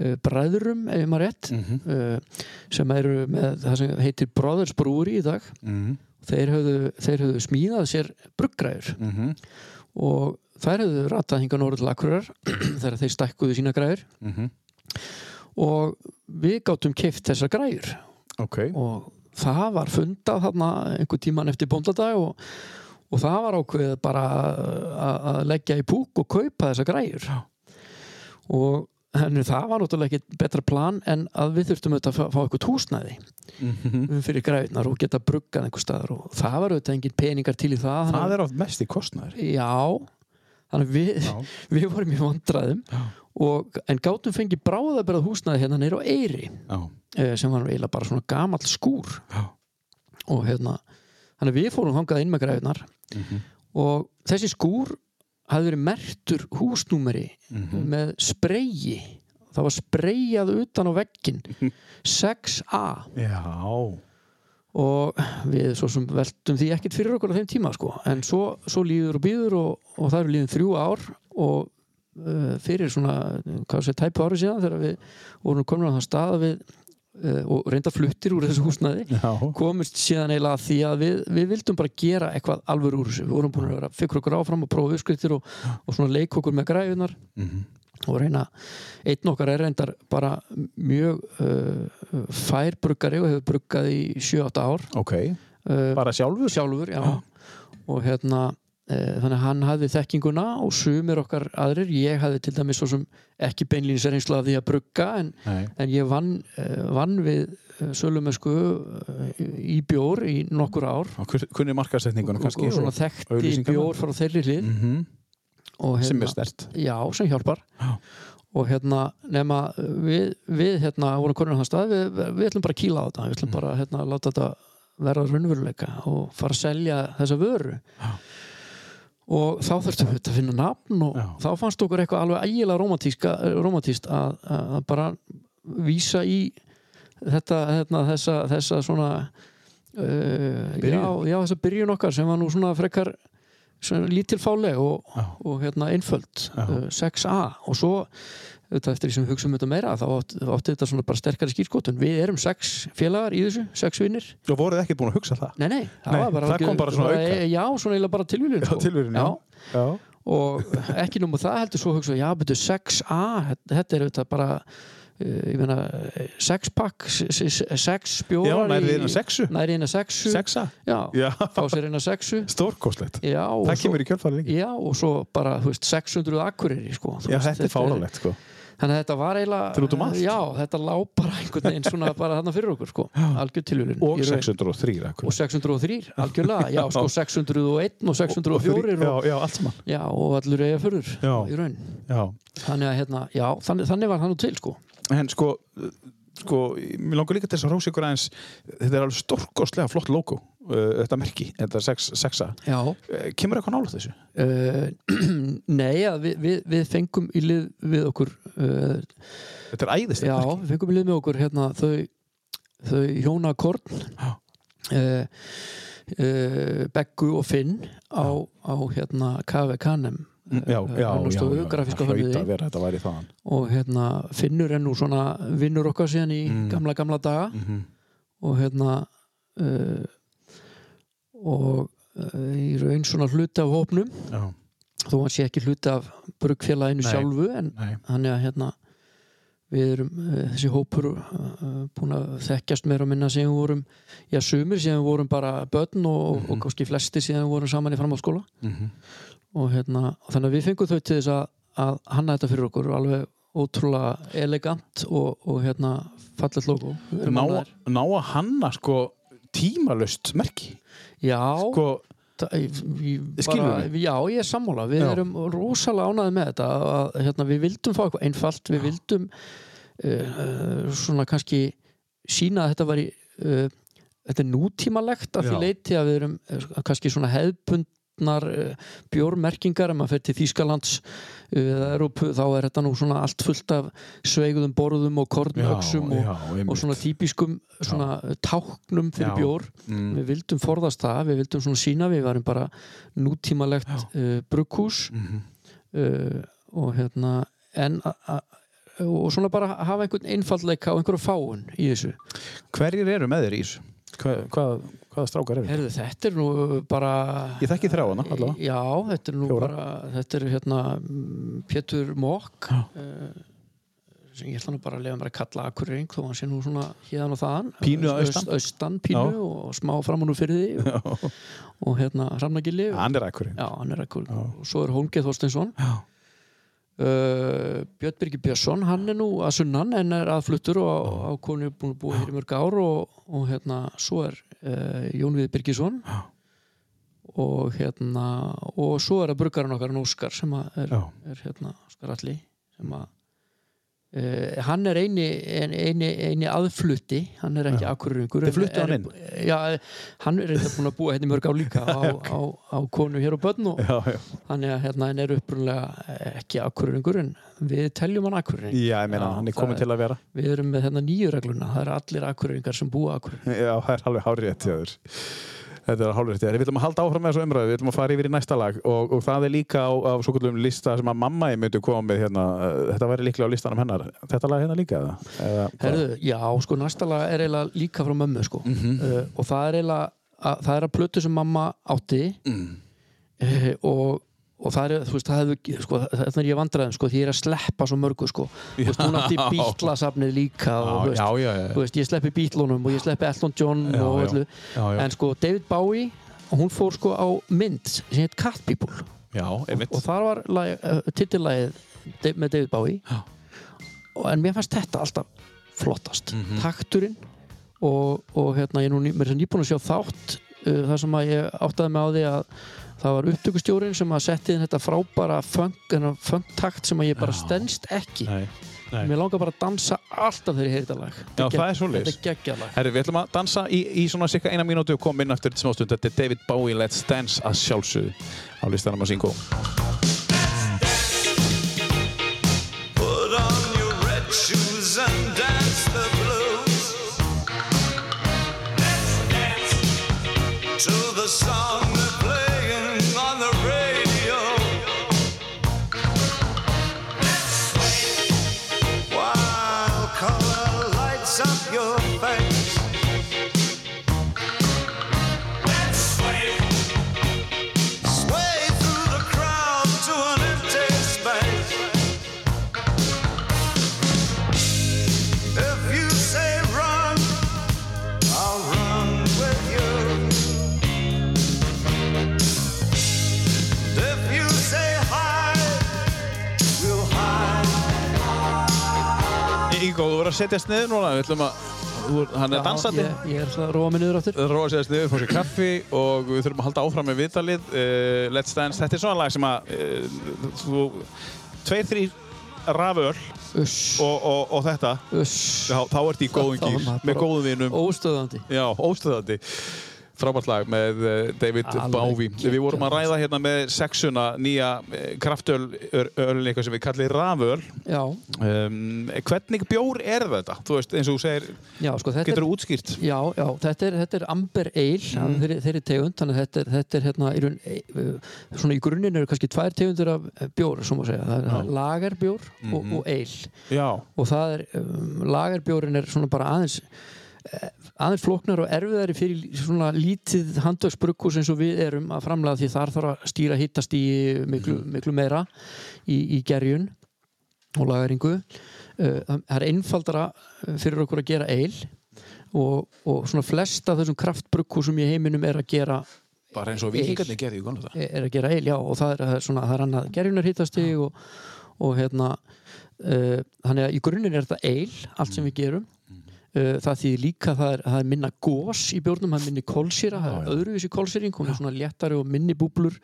Speaker 3: uh, bræðurum ef maður rétt
Speaker 2: Mhm.
Speaker 3: uh, sem eru með það sem heitir Brothers Brewery í dag
Speaker 2: Mhm,
Speaker 3: þeir höfðu, þeir höfðu smíðað sér bruggræður
Speaker 2: mhm,
Speaker 3: og þær höfðu ratað hingað norður til Akureyrar <clears throat> þegar þeir stækkuðu sína græður
Speaker 2: mhm
Speaker 3: og við gátum keift þessar græður
Speaker 2: Ok,
Speaker 3: og það var fundað þarna einhver tíman eftir bóndadag og, og það var ákveðið bara að, að leggja í púk og kaupa þessa græjur og henni, það var náttúrulega ekki betra plan en að við þurftum auðvitað að fá, fá eitthvað húsnæði
Speaker 2: Mhm.
Speaker 3: fyrir græjurnar og geta bruggað einhver staðar og það var auðvitað engin peningar til í það
Speaker 2: það er oft mest í kostnæður
Speaker 3: Já, þannig að við, <laughs> við vorum í vandræðum og, en gátum fengið bráðaberað húsnæði hérna neyra á Eyri
Speaker 2: Já,
Speaker 3: eh, sem var nú eiginlega bara svona gamall skúr
Speaker 2: Já.
Speaker 3: og hérna þannig að við fórum þangað inn með græðunar og þessi skúr hafði verið mertur húsnúmeri með spreyi það var spreyjað utan á veggin 6A
Speaker 2: já
Speaker 3: og við svo sem veltum því ekkert fyrir okkur á þeim tíma sko en svo, svo líður og býður og, og það eru líðin þrjú ár og uh, fyrir svona, uh, hvað sé, tæpu ári síðan þegar við vorum komin á það stað að við uh, og reynda fluttir úr þessu húsnaði
Speaker 2: Já,
Speaker 3: komist síðan eiginlega að því að við, við vildum bara gera eitthvað alvöru úr þessu við vorum búin að vera, fikkur okkur áfram og prófa uppskriftir og, og svona leik okkur með græðunar og reyna einn okkar er reyndar bara mjög uh, fær bruggari og hefur bruggað í 7-8 ár
Speaker 2: ok
Speaker 3: uh,
Speaker 2: Bara sjálfur?
Speaker 3: sjálfur já. og hérna Eh, þannig að hann hafði þekkinguna og sumir okkar aðrir, ég hafði til dæmis svo sem ekki beinlýnserinsla því að brugga en,
Speaker 2: Nei.
Speaker 3: en ég vann, eh, vann við eh, sölumesku eh, í bjór í nokkur ár
Speaker 2: Og kun- kunni markasetningun og
Speaker 3: og,
Speaker 2: kannski
Speaker 3: og svona
Speaker 2: svo,
Speaker 3: þekkti
Speaker 2: auglýsingarnar.
Speaker 3: bjór frá þeirri hlið
Speaker 2: mm
Speaker 3: og
Speaker 2: sem er
Speaker 3: hérna,
Speaker 2: stert
Speaker 3: já, sem hjálpar
Speaker 2: Já.
Speaker 3: og hérna nema við, við hérna vorum konur á þann stað við, við ætlum bara að kýla á þetta við ætlum
Speaker 2: Mm.
Speaker 3: bara hérna að láta þetta verða raunveruleika og fara að selja þessa vöru
Speaker 2: Já.
Speaker 3: og þá þurftum við að finna nafn og
Speaker 2: Já.
Speaker 3: þá fannst okkur eitthvað alveg ægilega romantíska, romantíst að, að bara vísa í þetta, þetta þessa, þessa svona uh, já,
Speaker 2: Byrjun.
Speaker 3: já, þessa byrjun okkar sem var nú svona frekar svona lítilfáleg og,
Speaker 2: Já.
Speaker 3: og hérna einföld
Speaker 2: Já.
Speaker 3: uh, 6A og svo þetta eftir því sem við hugsaum um þetta meira þá átti, átti þetta svona bara sterkari skýrskotun við erum sex félagar í þessu, sex vinnir
Speaker 2: og voruð ekki búin að hugsa það
Speaker 3: nei, nei,
Speaker 2: Nei,
Speaker 3: var
Speaker 2: það
Speaker 3: algjör- Eh,
Speaker 2: kom bara svona auka.
Speaker 3: já, svona eiginlega bara tilvílun sko.
Speaker 2: tilvílun, já. já,
Speaker 3: og ekki núma það heldur svo hugsaum við, já, betur 6A þetta- þetta er þetta bara uh, ég meina, 6 pakk 6
Speaker 2: já
Speaker 3: bjórar
Speaker 2: nærið innan sexu
Speaker 3: nærið inn að 6
Speaker 2: sexa,
Speaker 3: já,
Speaker 2: já,
Speaker 3: fá sér inn að 6
Speaker 2: stórkostlegt
Speaker 3: já, og
Speaker 2: það
Speaker 3: svo-
Speaker 2: kemur í kjölfarið líka
Speaker 3: Já, og svo bara, þú veist, 600 akkurýri, sko. Þú
Speaker 2: já,
Speaker 3: veist,
Speaker 2: þetta er fáralegt sko
Speaker 3: Þannig að þetta var eiginlega...
Speaker 2: Þetta er út um allt.
Speaker 3: Já, þetta lá bara einhvern veginn svona bara þarna fyrir okkur, sko. Algjör tilhjulun.
Speaker 2: og 603 akkur.
Speaker 3: Og 603, algjörlega. Já,
Speaker 2: <laughs>
Speaker 3: sko, 601 og 604 og...
Speaker 2: já, já, allt saman
Speaker 3: Já, og allur eiga förður
Speaker 2: Já.
Speaker 3: í raun.
Speaker 2: já.
Speaker 3: Þannig að, hérna, já, þannig, þannig var hann nú til, sko.
Speaker 2: en sko, uh, sko mér langar líka til þess að rósa ykkur aðeins þetta er alveg stórkostlega flott logo uh, þetta merki, þetta sex, sexa
Speaker 3: Já.
Speaker 2: uh, kemur eitthvað nála þessu?
Speaker 3: Uh, <clears throat> nei, að við, við, við fengum í lið við okkur... Uh,
Speaker 2: þetta er æðist
Speaker 3: já, við fengum í lið með okkur, hérna, þau, þau Jóna Korn
Speaker 2: Já.
Speaker 3: uh, uh, Beggu og Finn á, á hérna KV Kanem
Speaker 2: já, já,
Speaker 3: hann og
Speaker 2: já,
Speaker 3: stóðu
Speaker 2: já,
Speaker 3: grafíska
Speaker 2: það hlaut
Speaker 3: hönnuði.
Speaker 2: að vera, þetta væri þaðan
Speaker 3: og hérna Finnur er nú svona vinnur okkar síðan í
Speaker 2: Mm.
Speaker 3: gamla gamla daga
Speaker 2: mm -hmm.
Speaker 3: og hérna uh, og uh, í raun svona hluti af hópnum
Speaker 2: já,
Speaker 3: þó hann sé ekki hluti af brugfélaginu
Speaker 2: Nei.
Speaker 3: sjálfu en
Speaker 2: nei,
Speaker 3: hann er að hérna við erum, eh, þessi hópur eh, búin að þekkjast meira og minna síðan við vorum, já sumir síðan við vorum bara börn og, og kannski flesti síðan við vorum saman í framhaldsskóla
Speaker 2: mm -hmm.
Speaker 3: og hérna, þannig að við fengum þau til þess að, að hanna þetta fyrir okkur alveg ótrúlega elegant og, og hérna fallet logo Við erum
Speaker 2: ná,
Speaker 3: ánægðir.
Speaker 2: ná að hanna sko tímalust merki
Speaker 3: já, sko,
Speaker 2: sko,
Speaker 3: bara,
Speaker 2: Skilurðu?
Speaker 3: já, ég er sammála við
Speaker 2: Já.
Speaker 3: erum rosalega ánæði með þetta að, að, hérna, við vildum fá eitthvað einfalt við vildum uh, svona kannski sína að þetta var í uh, þetta er nútímalegt af því
Speaker 2: Já.
Speaker 3: leiti að við erum eh, kannski svona hefðbundnar uh, bjórmerkingar ef maður fer til Þýskalands uh, Európu, þá er þetta nú svona allt fullt af sveigðum borðum og kornöksum og, og svona típiskum svona táknum fyrir
Speaker 2: Já.
Speaker 3: bjór
Speaker 2: mm,
Speaker 3: við vildum forðast það, við vildum svona sína við varum bara nútímalegt uh, brugghús
Speaker 2: Mhm.
Speaker 3: uh, og hérna en a- a- og svona bara hafa einhvern einfaldleika og einhverja fáun í þessu
Speaker 2: hverjir eru með þér í þessu? Hva, hvað, hvaða strákar eru?
Speaker 3: Herðu, þetta er nú bara
Speaker 2: ég þekki þrá hana allavega
Speaker 3: Já, þetta er nú
Speaker 2: Fjóra.
Speaker 3: bara þetta er hérna mm, Pétur Mokk
Speaker 2: Já.
Speaker 3: uh, sem ég ætla nú bara að leiða mér að kalla Akureyring þó hann sé nú svona hérðan og þaðan
Speaker 2: Pínu að
Speaker 3: Öst-
Speaker 2: austan.
Speaker 3: austan pínu
Speaker 2: Já.
Speaker 3: og smá framan úr fyrir því og hérna Ramnagili
Speaker 2: hann er akkurinn
Speaker 3: Já, hann er ekkur.
Speaker 2: Já.
Speaker 3: Og svo er Hólmgeð Þorsteinsson.
Speaker 2: Já.
Speaker 3: Uh, Björn Birgir Björnsson, hann er nú að sunnan en er aðfluttur og á, á konu búin að búa hér í mörg ár og, og hérna, svo er uh, Jón Við Birgisson
Speaker 2: Já.
Speaker 3: og hérna og svo er að bruggarinn okkar hann Óskar sem að er,
Speaker 2: Já.
Speaker 3: er hérna Óskar Alli sem að Uh, hann er eini, ein- eini, eini aðflutti hann er ekki akkurringur
Speaker 2: Þið fluttu hann inn?
Speaker 3: já, hann er reynda búin að búa hérna í mörg á
Speaker 2: <laughs>
Speaker 3: líka á, á, á konu hér og börn og
Speaker 2: já, já.
Speaker 3: þannig að hérna hann er upprunlega ekki akkurringur en við teljum hann akkurring
Speaker 2: já, ég meina,
Speaker 3: Já,
Speaker 2: hann er
Speaker 3: það
Speaker 2: komin
Speaker 3: er-
Speaker 2: til að vera
Speaker 3: við erum með hérna nýju regluna það eru allir akkurringar sem búa akkurring
Speaker 2: já, það er alveg hárið þér Þetta er hálfrétt hjá þér. Við ætlum að halda áfram með þessu umræðu, við ætlum að fara yfir í næsta lag og, og það er líka á, á svo kvöldum lista sem að mamma ég myndi koma með hérna, eh, þetta væri líklega á listanum hennar. Þetta lag hérna líka eða? eða
Speaker 3: Herðu, já, sko næsta lag er eiginlega líka frá mömmu sko
Speaker 2: Mhm.
Speaker 3: uh, og það er eiginlega að, það er að plötu sem mamma átti
Speaker 2: Mm.
Speaker 3: uh, og og það er, þú veist, það hefur sko, þannig er ég vandræðum, sko, því ég er að sleppa svo mörgu, sko, þú veist, hún átti
Speaker 2: Já.
Speaker 3: bítlasafnið líka og, þú
Speaker 2: já,
Speaker 3: veist,
Speaker 2: já, já, já.
Speaker 3: þú veist, ég sleppi Bítlunum og ég sleppi Elton John
Speaker 2: Já,
Speaker 3: og
Speaker 2: já.
Speaker 3: öllu
Speaker 2: Já, já.
Speaker 3: en sko David Bowie og hún fór sko á mynd sem heit Cat People
Speaker 2: Já, einmitt
Speaker 3: og þar var lag, uh, titillagið Da- með David Bowie
Speaker 2: Já.
Speaker 3: og, en mér fannst þetta alltaf flottast
Speaker 2: Mhm.
Speaker 3: takturinn og, og hérna ég er nú ný- mér er nýbúin að sjá þátt uh, þar sem að ég áttaði mig á því að það var upptökustjórin sem að setti inn þetta frábæra funk, þennan funktakt sem að ég bara
Speaker 2: Já.
Speaker 3: stendst ekki
Speaker 2: Nei, nei
Speaker 3: mér langar bara að dansa alltaf þegar ég heyri þetta lag
Speaker 2: Já,
Speaker 3: Þetta
Speaker 2: það er
Speaker 3: gegg- þetta
Speaker 2: svoleiðis
Speaker 3: er geggjalag
Speaker 2: Herri, við ætlum að dansa í, í svona cirka eina mínútu og koma inn aftur til smástund. Þetta er David Bowie, Let's Dance að sjálfsögðu á listanum að Singo.
Speaker 4: Put on your red shoes and dance the blues. Let's dance to the song they're playing on the radio. While color lights up your face. Let's sway. Sway through the crowd to an empty space. If you say run, I'll run with you. If you say hide, we'll hide.
Speaker 2: Ingo, þú verður að setjast niður núna. Við ætlum að, þú, er- hann er dansandi.
Speaker 3: ég, ég er alltaf að róa mig niður áttur
Speaker 2: Róa að setjast niður, fá sér kaffi og við þurfum að halda áfram með viðtalið. Uh, Let's Dance, þetta er svona lag sem að, uh, þú, tveir, þrýr raföl
Speaker 3: uss,
Speaker 2: og, og, og þetta,
Speaker 3: uss
Speaker 2: já, þá ert í góðum
Speaker 3: Þá er
Speaker 2: gýr,
Speaker 3: maður
Speaker 2: með
Speaker 3: bara-
Speaker 2: góðum vinum.
Speaker 3: óstöðandi
Speaker 2: Já, óstöðandi frábært lag með eh, David
Speaker 3: Alveg
Speaker 2: Bowie Við vorum að
Speaker 3: geggjað.
Speaker 2: ræða hérna með sexuna nýja eh, kraftöl ör- ölin eitthvað sem við kallir raföl
Speaker 3: já,
Speaker 2: um, Hvernig bjór er þetta? Þú veist, eins og þú segir,
Speaker 3: já sko þetta er
Speaker 2: getur þú útskýrt?
Speaker 3: Já, já, þetta er, þetta er Amber Ale, mm. þeirri, þeirri tegund, þannig að þetta er, þetta er hérna, í raun, e- uh, svona í grunninn eru kannski tvær tegundir af eh, bjór, svo má segja, það er það er lagerbjór og, og ale
Speaker 2: Já,
Speaker 3: og það er, um, lagerbjórin er svona bara aðeins eh, aðeins flóknar og erfiðari fyrir svona lítið handverksbrukkus eins og við erum að framlega því þar þarf að stýra hittast í miklu, miklu meira í, í gerjun og lageringu Eh, það það er einfaldara eh, fyrir okkur að gera eil og, og svona flesta þessum kraftbrukkusum í heiminum er að gera
Speaker 2: bara eins og
Speaker 3: víkingarnir
Speaker 2: gerði í góðan þetta
Speaker 3: er að gera eil, já, og það er, það er svona, það er annað gerjunar hýtastig og, og hérna uh, þannig að í grunninn er þetta eil, allt sem við gerum uh, það því líka það er, það er minna gós í bjórnum, það er minni kolsýra það er öðruvísi kolsýring, hún er svona léttari og minni búblur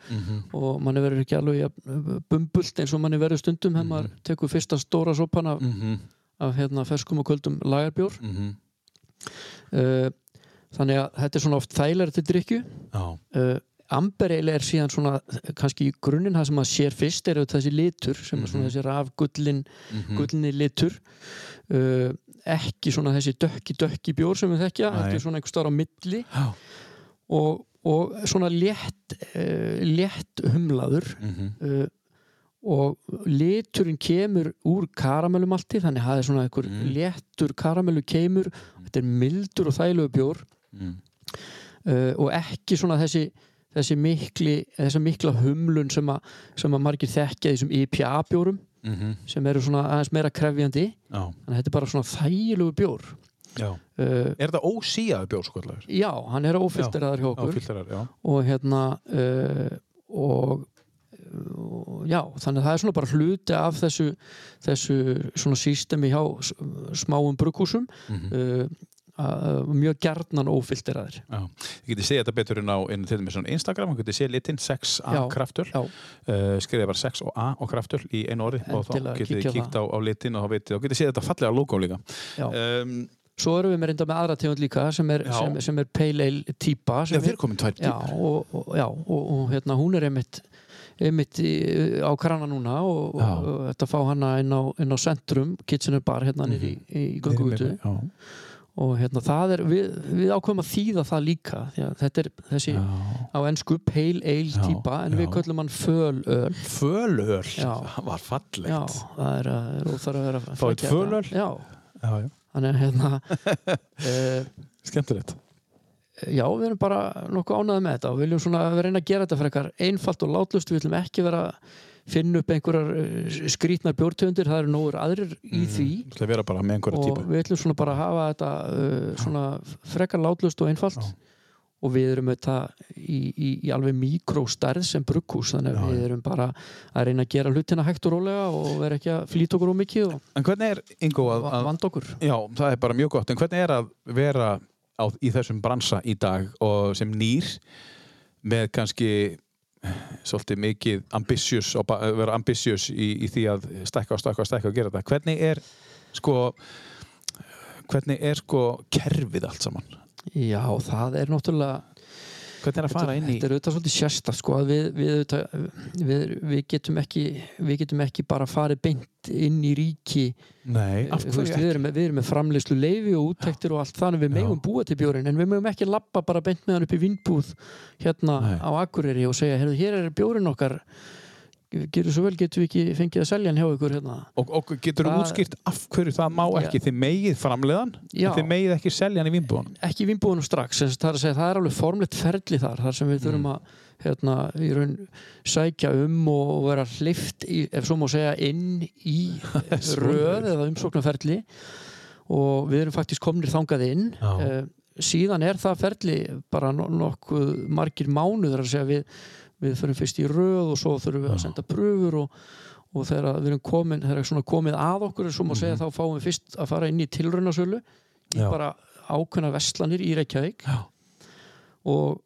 Speaker 3: og manni verður ekki alveg jafn, bumbult eins og manni verður stundum þegar maður tekur fyrsta stóra sopan
Speaker 2: Mm.
Speaker 3: af, af hérna ferskum og köldum lagarbjór uh, þannig að þetta er svona oft þælar til drykju
Speaker 2: Já,
Speaker 3: uh, Amberil er síðan svona eh, kannski í grunninn það sem að sér fyrst er auðvitað þessi litur sem er
Speaker 2: Mhm.
Speaker 3: svona þessi rafgullin mm litur uh, ekki svona þessi dökki dökki bjór sem við þekkja,
Speaker 2: Nei.
Speaker 3: þetta er svona einhver star á milli
Speaker 2: Já.
Speaker 3: og, og svona létt uh, létt humlaður
Speaker 2: Mhm,
Speaker 3: uh, og liturinn kemur úr karamellumalti þannig að það er svona einhver léttur karamellu kemur, þetta er mildur og þægilegu bjór
Speaker 2: Mm.
Speaker 3: uh, og ekki svona þessi þessi mikli, þessa mikla humlun sem að, sem að margir þekkja í þessum IPA bjórum
Speaker 2: mhm.
Speaker 3: sem eru svona aðeins meira krefjandi
Speaker 2: já,
Speaker 3: þannig að þetta er bara svona þægilegu bjór
Speaker 2: já
Speaker 3: uh,
Speaker 2: Er þetta ósíjaðu bjór svo kallar?
Speaker 3: já, hann er ófilteraður hjá okkur
Speaker 2: Áfyltarar, já
Speaker 3: og hérna uh, og og já, þannig að það er svona bara hluti af þessu, þessu svona sístemi hjá s- smáum brugghúsum
Speaker 2: Mhm.
Speaker 3: mm mjög gjarnan ófilteraðir
Speaker 2: Já, þið getið séð þetta betur inn á inn, til dæmis á Instagram, þið getið séð litinn 6A
Speaker 3: Já,
Speaker 2: kraftur,
Speaker 3: já.
Speaker 2: uh, skriðið bara 6 og A og kraftur í einu orði og þá
Speaker 3: Endilega,
Speaker 2: getið
Speaker 3: kíkja
Speaker 2: þið
Speaker 3: á
Speaker 2: kíkt á, á litinn og þá getið, þá getið séð þetta fallega logo líka
Speaker 3: Já.
Speaker 2: um,
Speaker 3: svo erum við með reynda með aðra tegund líka sem er,
Speaker 2: Já.
Speaker 3: sem, sem er pale ale típa
Speaker 2: Já,
Speaker 3: sem
Speaker 2: þér komin tvær
Speaker 3: já, og, og, já, og, og hérna hún er einmitt, einmitt í, á krana núna og,
Speaker 2: Já.
Speaker 3: og, og þetta fá hana inn á, inn á centrum, kitchen and bar hérna nýri
Speaker 2: Mhm.
Speaker 3: í, í göngugutu
Speaker 2: Já,
Speaker 3: og hérna það er, við, við ákveðum að þýða það líka því að þetta er þessi á ennsku pale ale
Speaker 2: Já,
Speaker 3: típa en
Speaker 2: já.
Speaker 3: við köllum hann fölöl
Speaker 2: Fölöl,
Speaker 3: Já.
Speaker 2: það var
Speaker 3: já,
Speaker 2: fallegt
Speaker 3: það er að, er óþarf að vera að
Speaker 2: Fá eitt
Speaker 3: flækja
Speaker 2: fölöl?
Speaker 3: þetta. já,
Speaker 2: já, já.
Speaker 3: þannig að hérna
Speaker 2: <laughs>
Speaker 3: uh,
Speaker 2: Skemmtilegt
Speaker 3: Já, við erum bara nokkuð ánæðið með þetta og viljum svona við reyna að gera þetta frekar einfalt og látlust, við viljum ekki vera að finna upp einhverjar eh, skrýtnar bjórtegundir, það eru nógur aðrir í
Speaker 2: Mhm.
Speaker 3: því
Speaker 2: Það vera bara með einhverja
Speaker 3: og
Speaker 2: típu
Speaker 3: við viljum svona bara hafa þetta uh, svona frekar látlust og einfalt og við erum þetta í, í, í alveg mikrostærð sem brugghús þannig að
Speaker 2: Já,
Speaker 3: við erum bara að reyna að gera hlutina hægt og rólega og vera ekki að flýta okkur og mikið og
Speaker 2: En hvernig er, Ingo, að,
Speaker 3: va-
Speaker 2: að
Speaker 3: vanda okkur
Speaker 2: Já, það er bara mjög gott, en hvernig er að vera á, í þessum bransa í dag og sem nýr með kannski eh, svolítið mikið ambisjus og ba- vera ambisjus í, í því að stækka og stækka og stækka og gera þetta hvernig er sko hvernig er sko kerfið allt saman
Speaker 3: Já, það er náttúrulega
Speaker 2: hvernig er að fara inn í
Speaker 3: Þetta er auðvitað svolítið sérsta sko, að við, við, auðvitað, við, við, getum ekki, við getum ekki bara farið beint inn í ríki
Speaker 2: Nei, af
Speaker 3: Eh, Þú veist,
Speaker 2: hverju
Speaker 3: við, erum, með- við erum með framleyslu leifi og úttektir og allt þannig við
Speaker 2: Já.
Speaker 3: megum búa til bjórin en við megum ekki lappa bara beint með hann upp í vinnbúð hérna
Speaker 2: Nei.
Speaker 3: á Akureyri og segja "Heyrðu, hér er bjórin okkar gerðu svo vel getum við ekki fengið að selja hann hjá ykkur hérna
Speaker 2: og, og getur þú
Speaker 3: Það-
Speaker 2: útskýrt af hverju það má
Speaker 3: Já.
Speaker 2: ekki þið megið framleiðan
Speaker 3: Já.
Speaker 2: en þið megið ekki selja hann í vinnbúðan
Speaker 3: ekki í vinnbúðunum strax en það er, að segja, það er alveg formlegt ferli þar þar sem við þurfum að hérna, í raun sækja um og og vera hlift í, ef svo má segja inn í röð eða umsóknarferli og við erum faktisk komnir þangað inn
Speaker 2: Já.
Speaker 3: Eh, síðan er það ferli bara no- nokkuð margir mánuður að segja við, við förum fyrst í röð og svo þurfum við að senda pröfur og, og þegar við erum komin þegar er svona komið að okkur svo má segja þá fáum við fyrst að fara inn í tilraunasölu í
Speaker 2: Já.
Speaker 3: bara ákveðna vestlanir í Reykjavík
Speaker 2: Já.
Speaker 3: og,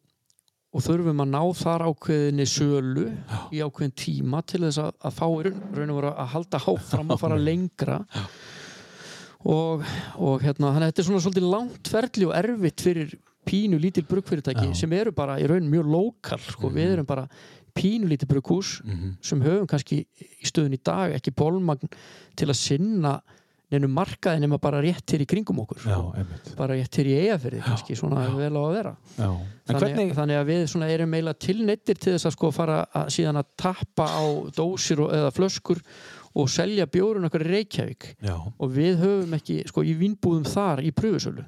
Speaker 3: og þurfum að ná þar ákveðinni sölu í ákveðin tíma til þess að, að fá í raun, raun og vera að halda háfram og fara lengra og, og hérna þannig að þetta er svona svolítið langt ferli og erfitt fyrir pínu lítil brugfyrirtæki
Speaker 2: Já. Mhm.
Speaker 3: sem eru bara í raun mjög lokal sko. við erum bara pínu lítil brughús sem höfum kannski í stöðun í dag ekki bólmagn til að sinna nefnum markaði nema bara rétt hér í kringum okkur
Speaker 2: Já,
Speaker 3: sko
Speaker 2: einmitt
Speaker 3: bara ég til í eigafyrði kannski svona vel á að vera
Speaker 2: Já. En
Speaker 3: þannig,
Speaker 2: hvernig,
Speaker 3: þannig að við svona erum eiginlega tilneittir til þess að sko fara að, síðan að tappa á dósir og, eða flöskur og selja bjórun okkar í Reykjavík
Speaker 2: já,
Speaker 3: og við höfum ekki sko í vinnbúðum þar í pröfusölu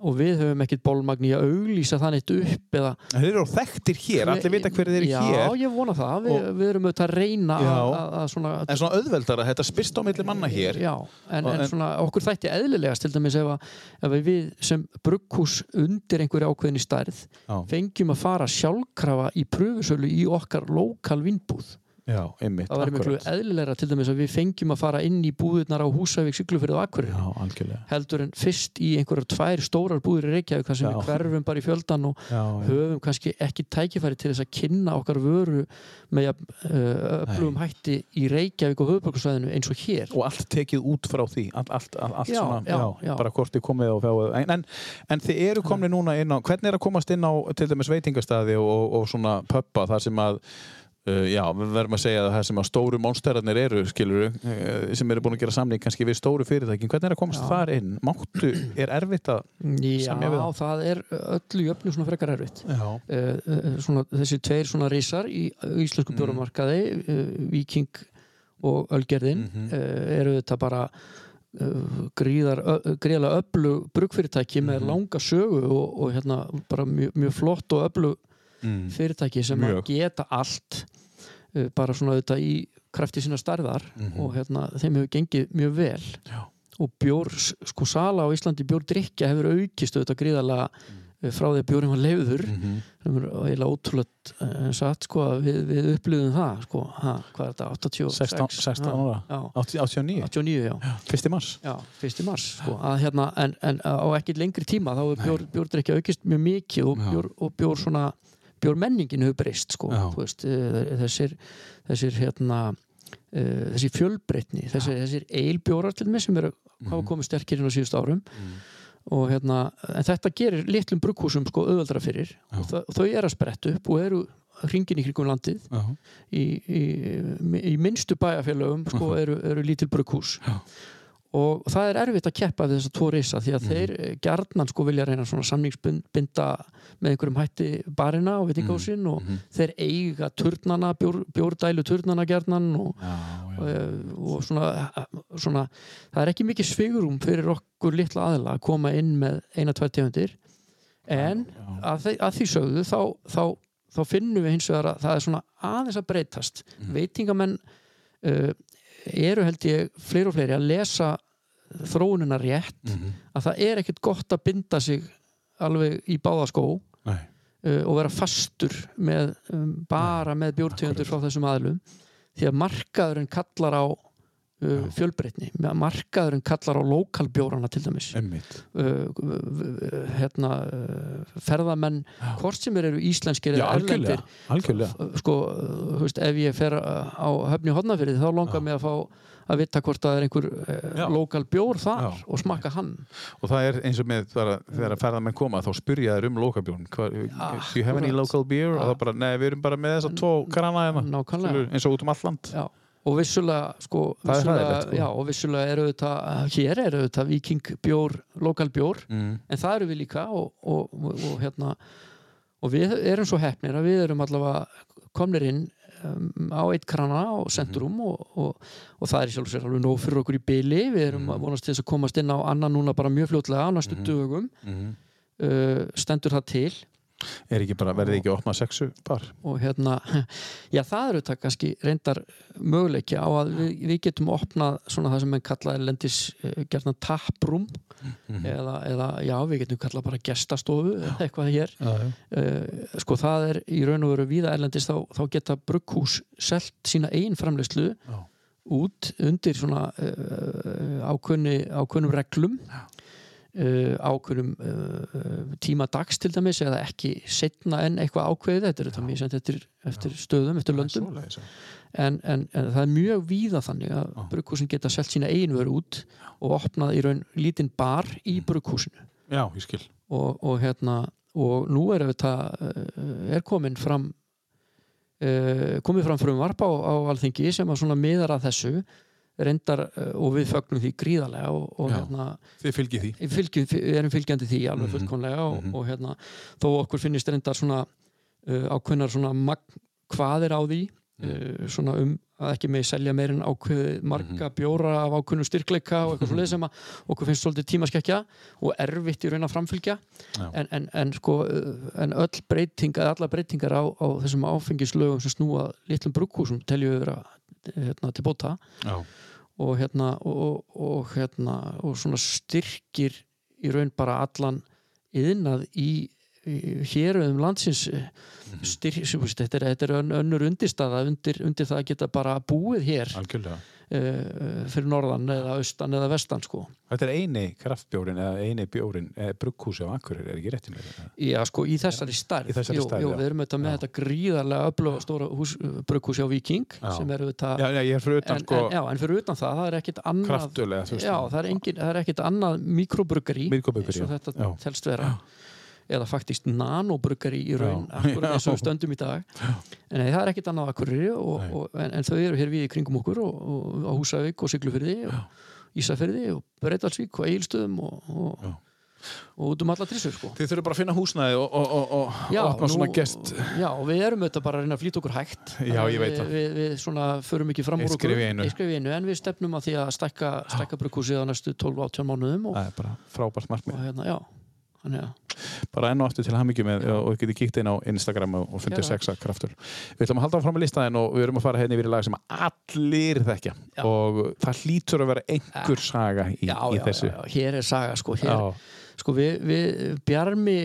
Speaker 3: og við höfum ekkit bólmagni að auglýsa þannig upp eða
Speaker 2: En Þeir eru þektir hér, allir vita hverju þeir eru
Speaker 3: já,
Speaker 2: hér
Speaker 3: ég vona það, við,
Speaker 2: Og-
Speaker 3: við erum auðvitað að reyna
Speaker 2: Já.
Speaker 3: að, að, að svona
Speaker 2: En svona auðveldara, þetta spyrst á milli manna hér
Speaker 3: Já, en,
Speaker 2: Og-
Speaker 3: en
Speaker 2: en-
Speaker 3: svona okkur þætti eðlilegast til dæmis ef, að, ef að við sem brugghús undir einhverju ákveðinni stærð
Speaker 2: Já.
Speaker 3: fengjum að fara sjálfkrafa í pröfusölu í okkar lokal vinnbúð.
Speaker 2: Já, einmitt,
Speaker 3: Það væri miklu
Speaker 2: akkúrat.
Speaker 3: eðlilegra til dæmis að við fengjum að fara inn í búðirnar á Húsavík, Siglufyrði og Akkurinn
Speaker 2: Já, algjörlega
Speaker 3: heldur en fyrst í einhverjar tvær stórar búðir í Reykjavík þar sem
Speaker 2: Já.
Speaker 3: við hverfum bara í fjöldan og
Speaker 2: já,
Speaker 3: höfum kannski ekki tækifæri til þess að kynna okkar vöru með jafn, uh, öflugum hætti í Reykjavík og höfuborgarsvæðinu eins og hér
Speaker 2: Og allt tekið út frá því Allt, allt, allt, allt
Speaker 3: Já,
Speaker 2: svona,
Speaker 3: já, já.
Speaker 2: bara hvort þið komið og fáið en, en, en þið eru komni núna inn á Hvernig er að komast inn á til dæmis veitingastæði og, og, og svona pöppa þar sem að Uh, já, við verðum að segja að það sem að stóru monsterarnir eru, skilur uh, sem eru búin að gera samning kannski við stóru fyrirtækin hvernig er að komast
Speaker 3: Já.
Speaker 2: þar inn? Máttu, er erfitt að
Speaker 3: Já,
Speaker 2: Semja við þá?
Speaker 3: það er öllu jöfnu svona frekar erfitt.
Speaker 2: Já,
Speaker 3: Uh, svona, þessi tveir svona risar í íslensku
Speaker 2: Mm.
Speaker 3: bjóramarkaði, uh, Viking og Ölgerðin,
Speaker 2: Mhm.
Speaker 3: uh, eru þetta bara uh, gríðar, ö, gríðarlega öllu brugfyrirtæki
Speaker 2: Mhm.
Speaker 3: með langa sögu og, og hérna bara mjög, mjög flott og öllu
Speaker 2: mm.
Speaker 3: fyrirtæki sem
Speaker 2: Mjög.
Speaker 3: að geta allt uh, bara svona þetta í krafti sína starðar og hérna þeim hefur gengið mjög vel
Speaker 2: Mhm. Já.
Speaker 3: og bjór, sko sala á Íslandi bjórdrykja hefur aukist auðvitað gríðalega mm. frá því að bjórinn var leiður mm
Speaker 2: Mhm.
Speaker 3: sem er eiginlega ótrúlega en satt sko að við, við upplýðum það sko, ha, hvað er þetta, 86
Speaker 2: 16, 16 ára
Speaker 3: já,
Speaker 2: 80 89,
Speaker 3: 89 já
Speaker 2: fyrsti mars
Speaker 3: Já, fyrst í mars sko, að hérna, en, en á ekkert lengri tíma þá er bjór, bjórdrykja aukist mjög mikið og
Speaker 2: Já.
Speaker 3: bjór, og bjór svona bjórmenningin hefur breyst sko,
Speaker 2: Já.
Speaker 3: þú veist, eh, þessir, þessir hérna uh, þessi fjölbreytni, þessir, þessir eilbjórar til mig sem eru,
Speaker 2: Mhm.
Speaker 3: hafa komið sterkir inn á síðust árum og hérna, en þetta gerir litlum brugghúsum sko auðveldra fyrir og þau, þau eru að spretta upp og eru hringin í krigum landið
Speaker 2: Já.
Speaker 3: í, í, í minnstu bæjarfélögum sko, eru, eru lítil brugghús
Speaker 2: Já.
Speaker 3: og það er erfitt að keppa við þessa tvo risa því að þeir eh, gjarnan sko vilja reyna svona samningsbinda með einhverjum hætti barina og veitingásinn og þeir eiga turnana, bjór, bjórdælu turnana gjarnan og,
Speaker 2: Já, já.
Speaker 3: eh, og svona, svona það er ekki mikið svigurum fyrir okkur litla aðila að koma inn með eina, tvær tegundir en að, þe- að því sögðu þá, þá, þá finnum við hins vegar að það er svona aðeins að breytast veitingamenn uh, eru held ég fleiri og fleiri að lesa þróunina
Speaker 2: Mhm.
Speaker 3: rétt að það er ekkert gott að binda sig alveg í báðaskó
Speaker 2: Nei.
Speaker 3: uh, og vera fastur með, um, bara með bjórtegundur frá þessum aðlum því að markaðurinn kallar á uh, fjölbreytni, markaðurinn kallar á lokalbjórana til dæmis
Speaker 2: Einmitt.
Speaker 3: uh, uh, hérna, uh, ferðamenn hvort sem þeir eru íslenskir
Speaker 2: Já,
Speaker 3: eða
Speaker 2: algjörlega,
Speaker 3: erlendir
Speaker 2: algjörlega.
Speaker 3: uh, sko, uh, þú veist, ef ég fer uh, á höfni hodnafyrði þá langar mig að fá að vita hvort það er einhver
Speaker 2: Já.
Speaker 3: uh, lokal bjór þar
Speaker 2: Já.
Speaker 3: og smakka hann
Speaker 2: Og það er eins og með þegar, þegar að ferðamenn koma þá spyrja þér um lokabjórn Hva- Do you have any
Speaker 3: Akkurat.
Speaker 2: local beer? Og
Speaker 3: Já.
Speaker 2: það bara, nei, við erum bara með þess að tvo krana hérna
Speaker 3: nákvæmlega.
Speaker 2: skilurðu, eins og út um alland
Speaker 3: já. og vissulega, sko,
Speaker 2: Það er
Speaker 3: vissulega
Speaker 2: hræðilegt, sko.
Speaker 3: já, og vissulega eru þetta hér eru þetta vikingbjór, lokal bjór
Speaker 2: mm.
Speaker 3: en það eru við líka og, og, og, og hérna og við erum svo hefnir að við erum allavega komnir inn um, á eitt krana og sendurum
Speaker 2: Mhm.
Speaker 3: og, og, og það er sjálf sér alveg nóg fyrir okkur í byli við erum
Speaker 2: Mhm.
Speaker 3: að vonast til þess að komast inn á annan núna bara mjög fljótlega á næstu dögum
Speaker 2: Mhm.
Speaker 3: uh, stendur það til
Speaker 2: Er ekki bara, verði ekki að opna sexu bar?
Speaker 3: og hérna, <laughs> já það eru þetta kannski reyndar möguleiki á að við, við getum opnað svona það sem menn kalla erlendis uh, gerna taprum eða, eða já við getum kallað bara gestastofu eða eitthvað hér
Speaker 2: Mhm. Já, já.
Speaker 3: uh, sko það er í raun og veru víða erlendis þá, þá geta brugghús selt sína eigin framleyslu
Speaker 2: Já.
Speaker 3: út undir svona uh, ákunni, ákunnum reglum uh, ákunnum uh, tíma dags til dæmis eða ekki setna en eitthvað ákveðið þetta er þetta mjög sent eftir, eftir stöðum, eftir löndum
Speaker 2: Svoleiðis, já.
Speaker 3: en, en, en það er mjög víða þannig að brugghúsin geta selt sína eigin veru út og opnað í raun lítinn bar í brugghúsinu
Speaker 2: Já, ég skil
Speaker 3: og, og hérna og nú er þetta eh, er komin fram eh, komið fram frumvarp á, á alþingi sem að svona miðar að þessu reyndar eh, og við fögnum því gríðarlega og, og
Speaker 2: Já.
Speaker 3: hérna
Speaker 2: Þið fylgið því
Speaker 3: fylgjum, við erum fylgjandi því alveg
Speaker 2: Mhm.
Speaker 3: fullkomlega og, og hérna þó okkur finnist reyndar svona uh, ákveðnar svona magn, hvað er á því
Speaker 2: Mhm.
Speaker 3: uh, svona um að ekki megi selja meir en ákveð marga bjóra af ákveðnum styrkleika og eitthvað svo sem að okkur finnst svolítið tímaskekkja og erfitt í raun að framfylgja
Speaker 2: Já.
Speaker 3: en, en, en sko uh, en öll breytinga, allar breytingar á, á þessum áfengislögum sem snúa litlum brúkhúsum telju vera hérna, til bóta
Speaker 2: Já,
Speaker 3: og hérna og, og hérna og svona styrkir í raun bara allan yðnað í, í héruðum landsins
Speaker 2: Mhm.
Speaker 3: styrk, sem, þú veist, þetta er, þetta er ön- önnur undirstaða undir, undir það að geta bara búið hér uh,
Speaker 2: algjörlega
Speaker 3: fyrir norðan eða austan eða vestan sko.
Speaker 2: Þetta er eini kraftbjórin eða eini bjórin eða brugghúsi á Akureyri, er ekki réttinlega þetta?
Speaker 3: Já, sko, í þessari stærð,
Speaker 2: Í þessari stærð,
Speaker 3: jú,
Speaker 2: já.
Speaker 3: við erum auðvitað með
Speaker 2: Já.
Speaker 3: þetta gríðarlega öfluga stóra hús, eh, brugghúsi á Viking
Speaker 2: Já.
Speaker 3: sem eru auðvitað
Speaker 2: Já, já, ég er fyrir
Speaker 3: en,
Speaker 2: utan sko
Speaker 3: en, já, en fyrir utan það, það er ekkit annað
Speaker 2: kraftulega, þú veist
Speaker 3: Já, það er, engin, það er ekkit annað mikrobrugari
Speaker 2: Mikrobryggeri,
Speaker 3: eins og
Speaker 2: já.
Speaker 3: þetta
Speaker 2: Já.
Speaker 3: telst vera eða faktist nanobrugari í raun
Speaker 2: Já.
Speaker 3: akkurat eins og við
Speaker 2: Já.
Speaker 3: stöndum í dag en nei, það er ekkit annað akkurri og,
Speaker 2: Nei.
Speaker 3: og, en, en þau eru hér við í kringum okkur og, og, á Húsavík og Siglufyrði og Ísafyrði og Breitalsvík og Egilstöðum og, og,
Speaker 2: Já.
Speaker 3: og út um alla trissur sko
Speaker 2: Þið þurfum bara að finna húsnæði og, og, og, og opna svona gest
Speaker 3: já, og við erum auðvitað bara að reyna að flýta okkur hægt
Speaker 2: Já, ég veit
Speaker 3: við,
Speaker 2: það.
Speaker 3: við, við svona förum ekki fram
Speaker 2: Eitt
Speaker 3: úr okkur
Speaker 2: skref í einu.
Speaker 3: Eitt skref í einu, en við stefnum að því að stækka, stækka brukkúsið á næstu 12-18 mánuðum og,
Speaker 2: Það er bara frábært markmið
Speaker 3: og hérna, já Þannig að,
Speaker 2: bara enn og aftur til hamingju með og þið getið kíkt inn á Instagram og og fundið
Speaker 3: Já.
Speaker 2: sexa kraftur. Við ætlum að halda áfram með listaðin og við erum að fara hérna yfir í lag sem allir þekkja
Speaker 3: Já.
Speaker 2: og það hlýtur að vera einhver saga í,
Speaker 3: já,
Speaker 2: í
Speaker 3: já, já,
Speaker 2: þessu.
Speaker 3: já, hér er saga sko, hér,
Speaker 2: Já.
Speaker 3: sko við, við bjarmi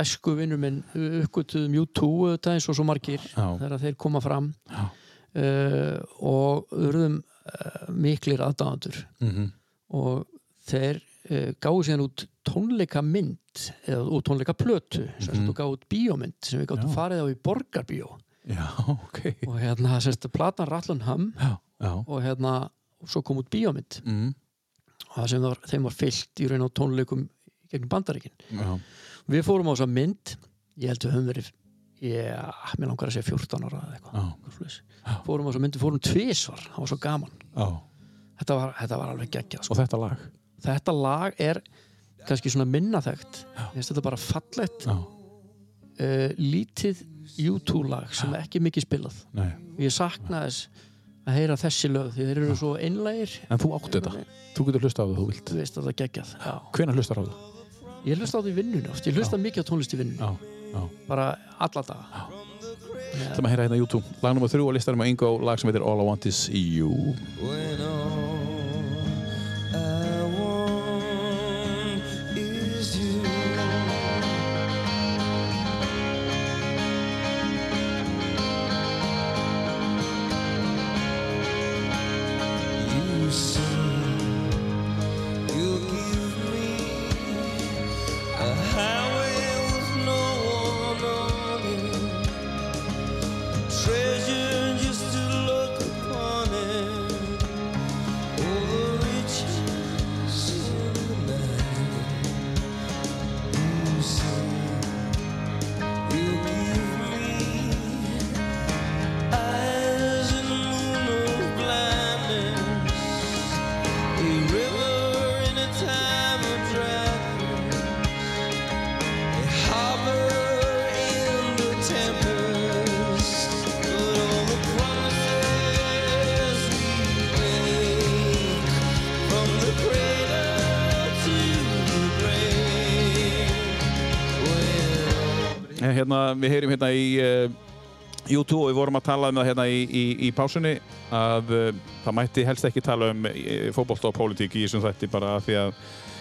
Speaker 3: æsku vinnum en uppgötuðum YouTube auðvitað eins og svo margir
Speaker 2: Já.
Speaker 3: þegar þeir koma fram
Speaker 2: Já.
Speaker 3: uh, og urðum uh, miklir aðdáðandur
Speaker 2: Mhm.
Speaker 3: og þeir uh, gáðu síðan út tónleikamynd eða út tónleikaplötu sem mm -hmm. gáðu út bíómynd sem við
Speaker 2: Mhm.
Speaker 3: gáttum
Speaker 2: Já.
Speaker 3: farið á í borgarbíó
Speaker 2: já, ok.
Speaker 3: og hérna sérst platan Rattlunham
Speaker 2: Já, já.
Speaker 3: og hérna og svo kom út bíómynd
Speaker 2: Mm.
Speaker 3: og það sem var, þeim var fyllt í raun á tónleikum í gegnum bandaríkin
Speaker 2: já.
Speaker 3: við fórum á þessa mynd ég held við höfum verið já, mér langar að segja 14 ára eða eitthvað
Speaker 2: Já.
Speaker 3: eitthvað svoleiðis. fórum á þessa mynd, við fórum tvisvar það var svo gaman,
Speaker 2: já.
Speaker 3: þetta var, þetta var alveg geggjað sko.
Speaker 2: Og þetta lag.
Speaker 3: þetta lag er kannski svona minna þekkt ég finnst þetta bara fallegt
Speaker 2: Já,
Speaker 3: uh, lítið U2 lag sem er ekki mikið spilað
Speaker 2: nei.
Speaker 3: ég sakna þess að heyra þessi lög því þeir eru svo einlægir
Speaker 2: En þú átt þetta. Þú getur hlusta á það þú vilt.
Speaker 3: þú veist að það geggjað já.
Speaker 2: Hvenær hlustar á það?
Speaker 3: ég hlusta á því vinnun oft, ég hlusta mikið á tónlist í vinnun
Speaker 2: Já, já.
Speaker 3: bara alla daga
Speaker 2: Það maður heyra hérna YouTube. Lag nummer þrjú á listanum á Ingo, lag sem heitir All I Want Is You.
Speaker 4: When all I want is you.
Speaker 2: hérna, við heyrim hérna í uh, U2 og við vorum að tala um það hérna í, í, í pásunni að uh, það mætti helst ekki tala um uh, fótbolt og pólitík í þessum þætti bara af því að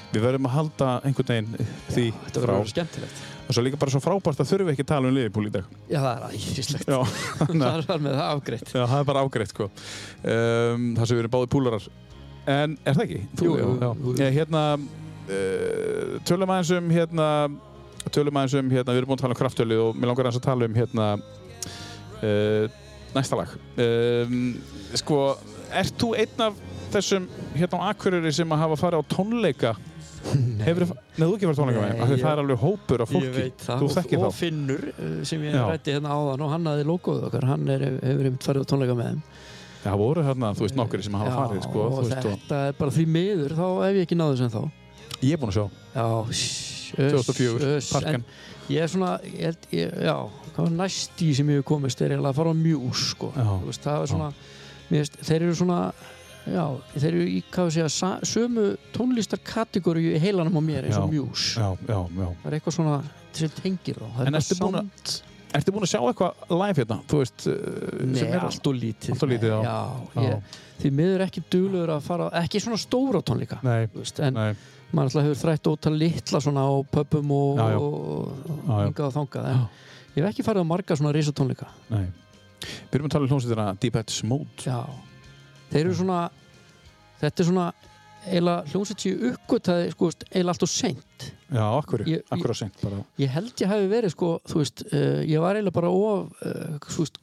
Speaker 2: við verðum að halda einhvern veginn eh, því
Speaker 3: Þetta
Speaker 2: frá.
Speaker 3: verður alveg skemmtilegt.
Speaker 2: Og svo líka bara svo frábært að þurfum ekki að tala um liðbúl í dag.
Speaker 3: Já, það er æðislegt.
Speaker 2: Já, þannig að-
Speaker 3: Það var með það afgreitt.
Speaker 2: já, það er bara ágreitt sko. Um, þar sem við erum báði púlarar. En er það ekki?
Speaker 3: Jú, jú,
Speaker 2: já.
Speaker 3: jú, jú.
Speaker 2: Ég, hérna, uh, tölum aðeins um hérna, tölum aðeins um hérna, við erum búin að tala um kraftölu og mér langar aðeins að tala um hérna uh, næsta lag. Um, sko, ert þú einn af þessum hérna á Akureyri sem að hafa farið á tónleika? Hefur þú ekki farið á tónleika með?
Speaker 3: Nei,
Speaker 2: Af því
Speaker 3: ég-
Speaker 2: Það er alveg hópur af fólki.
Speaker 3: Ég veit það.
Speaker 2: Þú þekkir
Speaker 3: og,
Speaker 2: þá.
Speaker 3: og Finnur eh, sem ég
Speaker 2: Já.
Speaker 3: rætti hérna áðan og hann aði logoðu okkar. Hann er, hefur einmitt farið á tónleika með þeim.
Speaker 2: Það voru hérna, þú veist, nokkri sem hafa farið, sko,
Speaker 3: Já,
Speaker 2: þú
Speaker 3: og
Speaker 2: veist, og
Speaker 3: þetta er bara því miður, þá hef ég ekki náðu sem þá.
Speaker 2: ég er búinn að sjá.
Speaker 3: Já, uss,
Speaker 2: 2004,
Speaker 3: uss,
Speaker 2: Parken.
Speaker 3: en Ég er svona, ég, held- ég, já, hvað var næst í sem ég hef komist er eiginlega að fara á mjús, sko.
Speaker 2: Já,
Speaker 3: Þú veist, það er svona, mér veist, þeir eru svona, já, þeir eru í, hvað sé að segja, sa- sömu tónlistarkategóri í heilanum á mér eins og
Speaker 2: Já.
Speaker 3: mjús.
Speaker 2: Já, já, já.
Speaker 3: Það er eitthvað svona sem tengir þá. Það er
Speaker 2: En ertu búin að-
Speaker 3: samt-
Speaker 2: Ertu búinn að sjá eitthvað live hérna, þú veist, uh,
Speaker 3: Nei,
Speaker 2: sem er allt?
Speaker 3: allt og lítið.
Speaker 2: allt of lítið, já.
Speaker 3: Já, ég, því miður ekki duglegur að fara, á- ekki svona stóra tónleika.
Speaker 2: Nei,
Speaker 3: þú Veist, en
Speaker 2: nei,
Speaker 3: maður alltaf hefur þrætt ótal litla svona á pöpum og,
Speaker 2: Já, já.
Speaker 3: og, og
Speaker 2: Já, já.
Speaker 3: hingað og þangað en
Speaker 2: Já.
Speaker 3: ég hef ekki farið á marga svona risatónleika
Speaker 2: nei. Við erum að tala um hljómsveitina Deep Head Smooth.
Speaker 3: já, þeir eru svona þetta er svona eila hljómsveit séu uppgötaði sko, veist, eila allt og seint
Speaker 2: Já, akkur,
Speaker 3: Ég- ég-
Speaker 2: akkur á sent bara.
Speaker 3: ég held ég hafi verið sko þú veist, uh, ég var eila bara of uh, þú veist,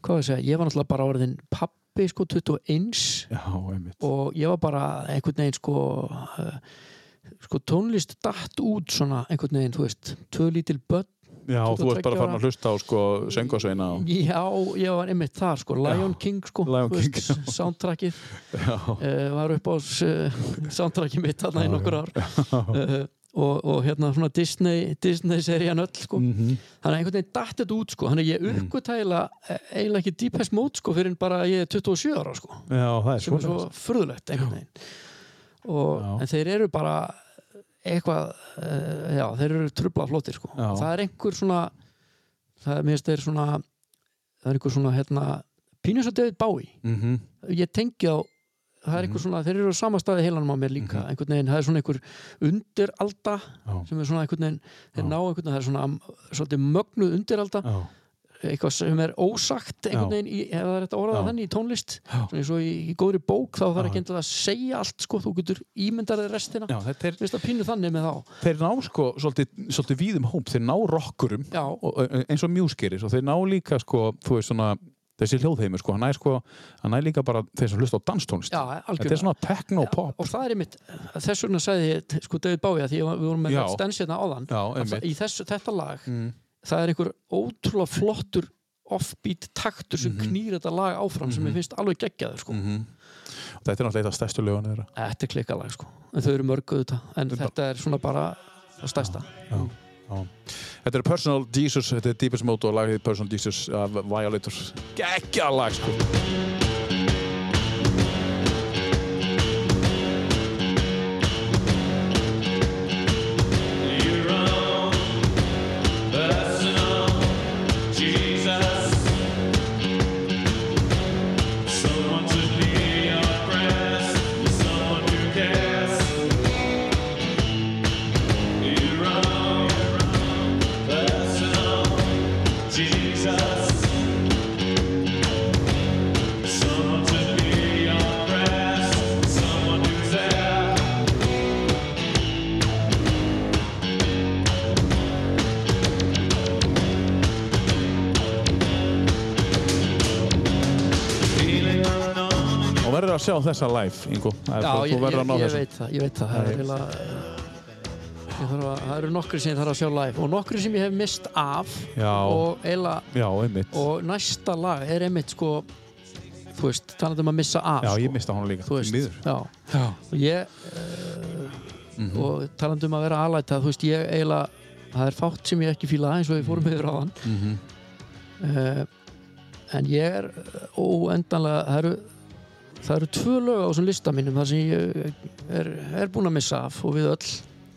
Speaker 3: hvað á ég að segja ég var náttúrulega bara orðin pappi sko 21
Speaker 2: Já, einmitt.
Speaker 3: og ég var bara einhvern veginn sko uh, sko tónlist datt út svona einhvern veginn, þú veist, tvö lítil börn
Speaker 2: já, og þú
Speaker 3: 22
Speaker 2: ert bara farin
Speaker 3: ára.
Speaker 2: að hlusta á, sko, söngasveina og...
Speaker 3: já, ég var einmitt þar sko, Lion King sko,
Speaker 2: Lion
Speaker 3: þú
Speaker 2: King, já.
Speaker 3: soundtrackið
Speaker 2: Já,
Speaker 3: uh, var upp á uh, soundtrackið mitt þarna í
Speaker 2: Já,
Speaker 3: nokkur ár uh, og, og hérna svona Disney Disney serían öll sko
Speaker 2: Mhm.
Speaker 3: þannig að einhvern veginn datt þetta út sko, þannig að ég
Speaker 2: Mm.
Speaker 3: uppgötæla eiginlega ekki Deepest Mode sko fyrir en bara ég er 27 ára sko
Speaker 2: já, það er
Speaker 3: sem
Speaker 2: svo.
Speaker 3: er svo furðulegt einhvern veginn og,
Speaker 2: Já.
Speaker 3: en þeir eru bara eitthvað uh, já, þeir eru trubla flóttir sko
Speaker 2: Já.
Speaker 3: það er einhver svona það er, mér finnst þeir svona það er einhver svona hérna pínus og David Bowie
Speaker 2: Mhm.
Speaker 3: ég tengi á það er einhver svona, þeir eru á sama staði heilanum á mér líka einhvern veginn, það er svona einhver undiralda
Speaker 2: Mhm. Já.
Speaker 3: sem er svona einhvern veginn þeir
Speaker 2: Já.
Speaker 3: ná einhvern veginn, það er svona svolítið mögnuð undiralda
Speaker 2: Já,
Speaker 3: eitthvað sem er ósagt einhvern veginn, í, ef það er þetta
Speaker 2: Já.
Speaker 3: orðað þannig í tónlist
Speaker 2: Já.
Speaker 3: svona eins og í, í góðri bók þá þarf
Speaker 2: Já.
Speaker 3: ekki endilega að segja allt sko, þú getur ímyndarið restina
Speaker 2: já þetta er,
Speaker 3: Mér finnst það pínu þannig með þá
Speaker 2: þeir ná sko svolítið, svolítið víðum hóp, þeir ná rockurum
Speaker 3: já,
Speaker 2: og, ö- eins og mjúskeris og þeir ná líka sko, þú veist svona þessi hljóðheimur sko, hann er sko hann er líka bara þeir sem hlusta á danstónlist
Speaker 3: já,
Speaker 2: þetta er
Speaker 3: algjörlega
Speaker 2: svona techno-pop
Speaker 3: og það er einmitt, þess vegna sagði ég sko David Bowie að því að við vorum með
Speaker 2: Já.
Speaker 3: stensina áðan
Speaker 2: já,
Speaker 3: að það-
Speaker 2: einmitt
Speaker 3: í þessu, þetta lag
Speaker 2: Mm.
Speaker 3: það er einhver ótrúlega flottur offbeat taktur sem knýr þetta lag áfram sem mér finnst alveg geggjaður sko.
Speaker 2: Mhm. og þetta er náttúrulega eitt af stærstu lögun þeirra
Speaker 3: þetta er klikkalag sko, en þau eru mörguð þetta en þetta er svona bara það stærsta
Speaker 2: þetta er Personal Jesus, þetta er Deepest Mode og lagið Personal Jesus af Violators geggja lag sko
Speaker 5: Someone to be oppressed, someone who's there.
Speaker 2: og verður að sjá þessa live, Ingo Það er
Speaker 3: Já,
Speaker 2: bara-
Speaker 3: ég,
Speaker 2: þú verður að
Speaker 3: ég,
Speaker 2: ná
Speaker 3: ég
Speaker 2: þessu
Speaker 3: veit það, ég veit það, það er
Speaker 2: Nei.
Speaker 3: eiginlega ég þarf að, það eru nokkri sem ég þarf að sjá live og nokkri sem ég hef mist af
Speaker 2: Já.
Speaker 3: og eiginlega,
Speaker 2: já, einmitt,
Speaker 3: og næsta lag er einmitt sko, þú veist, talandi um að missa af
Speaker 2: já, ég
Speaker 3: sko,
Speaker 2: mista hún líka
Speaker 3: þú veist,
Speaker 2: Miður.
Speaker 3: já,
Speaker 2: Já. Mhm.
Speaker 3: og ég uh, og talandi um að vera alæta, þú veist, ég eiginlega það er fátt sem ég ekki fíla eins og við
Speaker 2: Mhm.
Speaker 3: fórum yfir á hann en ég er eh, óendanlega, það eru eh, það eru tvö lög á þessum lista mínum þar sem ég er, er búin að missa af og við öll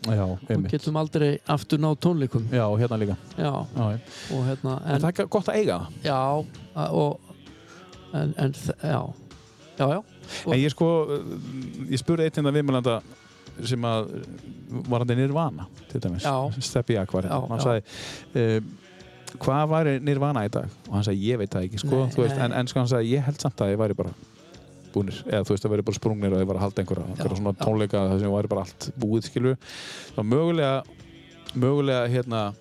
Speaker 2: Já,
Speaker 3: og
Speaker 2: einmitt.
Speaker 3: getum aldrei aftur ná tónleikum
Speaker 2: Já, hérna líka.
Speaker 3: já,
Speaker 2: Já, já.
Speaker 3: og hérna
Speaker 2: En
Speaker 3: en,
Speaker 2: það er gott að eiga það.
Speaker 3: já, a- og en, en þ- já, já, já Og-
Speaker 2: En ég sko, ég spurði einn hérna viðmælanda sem að var hann nirvana, til dæmis.
Speaker 3: Já.
Speaker 2: Steppi Akvar.
Speaker 3: Já,
Speaker 2: Hann
Speaker 3: já.
Speaker 2: sagði, uh, hvað væri nirvana í dag? Og hann sagði, ég veit það ekki, sko.
Speaker 3: Nei,
Speaker 2: þú veist,
Speaker 3: nei.
Speaker 2: en, en sko hann sagði, ég held samt að ég væri bara búnir, eða þú veist að væri bara sprungnir og ég var að halda einhverja, einhverja svona
Speaker 3: já.
Speaker 2: tónleika þar sem væri bara allt búið skilur þá mögulega mögulega hérna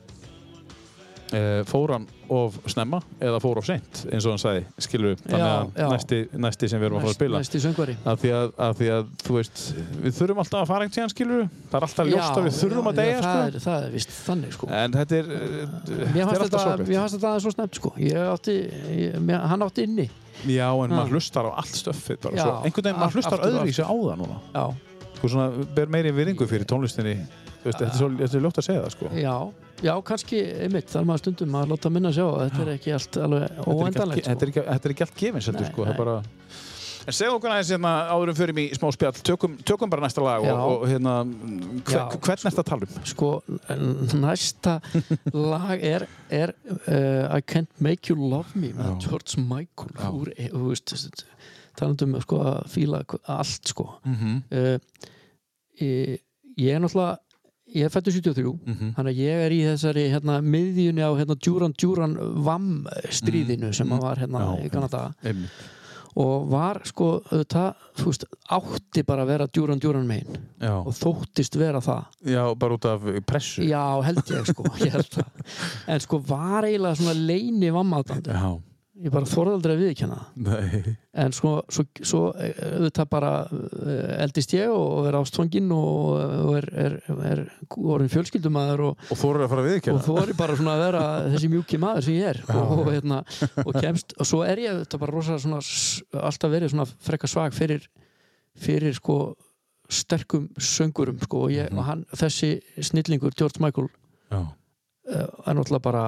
Speaker 2: e, fór hann of snemma eða fór of seint eins og hann sagði skilur þannig
Speaker 3: Já,
Speaker 2: að
Speaker 3: já.
Speaker 2: næsti, næsti sem við erum að fara að
Speaker 3: næst,
Speaker 2: spila
Speaker 3: næsti söngvari
Speaker 2: Af því að, af því að, þú veist, við þurfum alltaf að fara einhvern tíðan, skilur Það er alltaf ljóst að við þurfum að
Speaker 3: já,
Speaker 2: deyja,
Speaker 3: það,
Speaker 2: sko.
Speaker 3: er, það er vist þannig sko
Speaker 2: En þetta er, eh,
Speaker 3: Mér
Speaker 2: þetta er
Speaker 3: fannst
Speaker 2: alltaf
Speaker 3: þetta, mér
Speaker 2: sorglegt.
Speaker 3: fannst þetta aðeins svo snemt sko ég átti, ég, mér, hann átti inni
Speaker 2: Já, en
Speaker 3: Ha.
Speaker 2: maður hlustar á allt stöffið bara.
Speaker 3: Já,
Speaker 2: Svo, einhvern veginn,
Speaker 3: allt-
Speaker 2: maður hlustar
Speaker 3: aftur og
Speaker 2: öðruvísi á það núna.
Speaker 3: já,
Speaker 2: Sko, svona, ber meiri viringu fyrir tónlistinni. Þú veist, þetta er svo, þetta er ljótt að segja það, sko.
Speaker 3: já, já, kannski einmitt, þar maður stundum að láta minna sjá að þetta er ekki allt alveg
Speaker 2: Þetta er ekki allt-
Speaker 3: óendanlegt
Speaker 2: Þetta
Speaker 3: sko.
Speaker 2: er ekki- þetta er ekki allt gefins, heldur,
Speaker 3: Nei,
Speaker 2: sko. Það er
Speaker 3: nei.
Speaker 2: bara... En segðu okkur aðeins hérna áðurum fyrir mig í smá spjall, tökum, tökum bara næsta lag
Speaker 3: Já.
Speaker 2: og, og hérna, hver,
Speaker 3: Já.
Speaker 2: hvern er þetta talum?
Speaker 3: sko, n- næsta lag er, er uh, I Can't Make You Love Me með George Michael
Speaker 2: Já.
Speaker 3: úr, eh, þú veist, þessi- talandum um, sko, að fíla hv- allt sko
Speaker 2: Mm -hmm.
Speaker 3: uh, ég, ég er náttúrulega ég er fættur 73
Speaker 2: Mhm.
Speaker 3: þannig að ég er í þessari hérna, miðjunni á hérna, Duran Duran Vam stríðinu sem að var hérna
Speaker 2: Mhm. Já,
Speaker 3: í Kanada
Speaker 2: Einmitt.
Speaker 3: og var sko það, þú veist, átti bara að vera Duran Duran megin
Speaker 2: Já.
Speaker 3: og þóttist vera það
Speaker 2: Já, bara út af pressu.
Speaker 3: já held ég sko ég held það. en sko var eiginlega svona leini vammaðdandi
Speaker 2: Já,
Speaker 3: ég bara þorði aldrei að viðkjanna það
Speaker 2: nei
Speaker 3: en svo, svo, svo eh, auðvitað bara eh, eldist ég og er ástfanginn og, og er, er, er orðin fjölskyldumæður og,
Speaker 2: Og þú eru að fara við ekki
Speaker 3: og þó er ég bara svona að vera þessi mjúki maður sem ég er og, og, hérna, og kemst og svo er ég þetta bara rosa svona s- alltaf verið svona frekka svag fyrir, fyrir sko sterkum söngurum sko og, ég, og hann, þessi snillingur George Michael
Speaker 2: Já,
Speaker 3: eh, er náttúrulega bara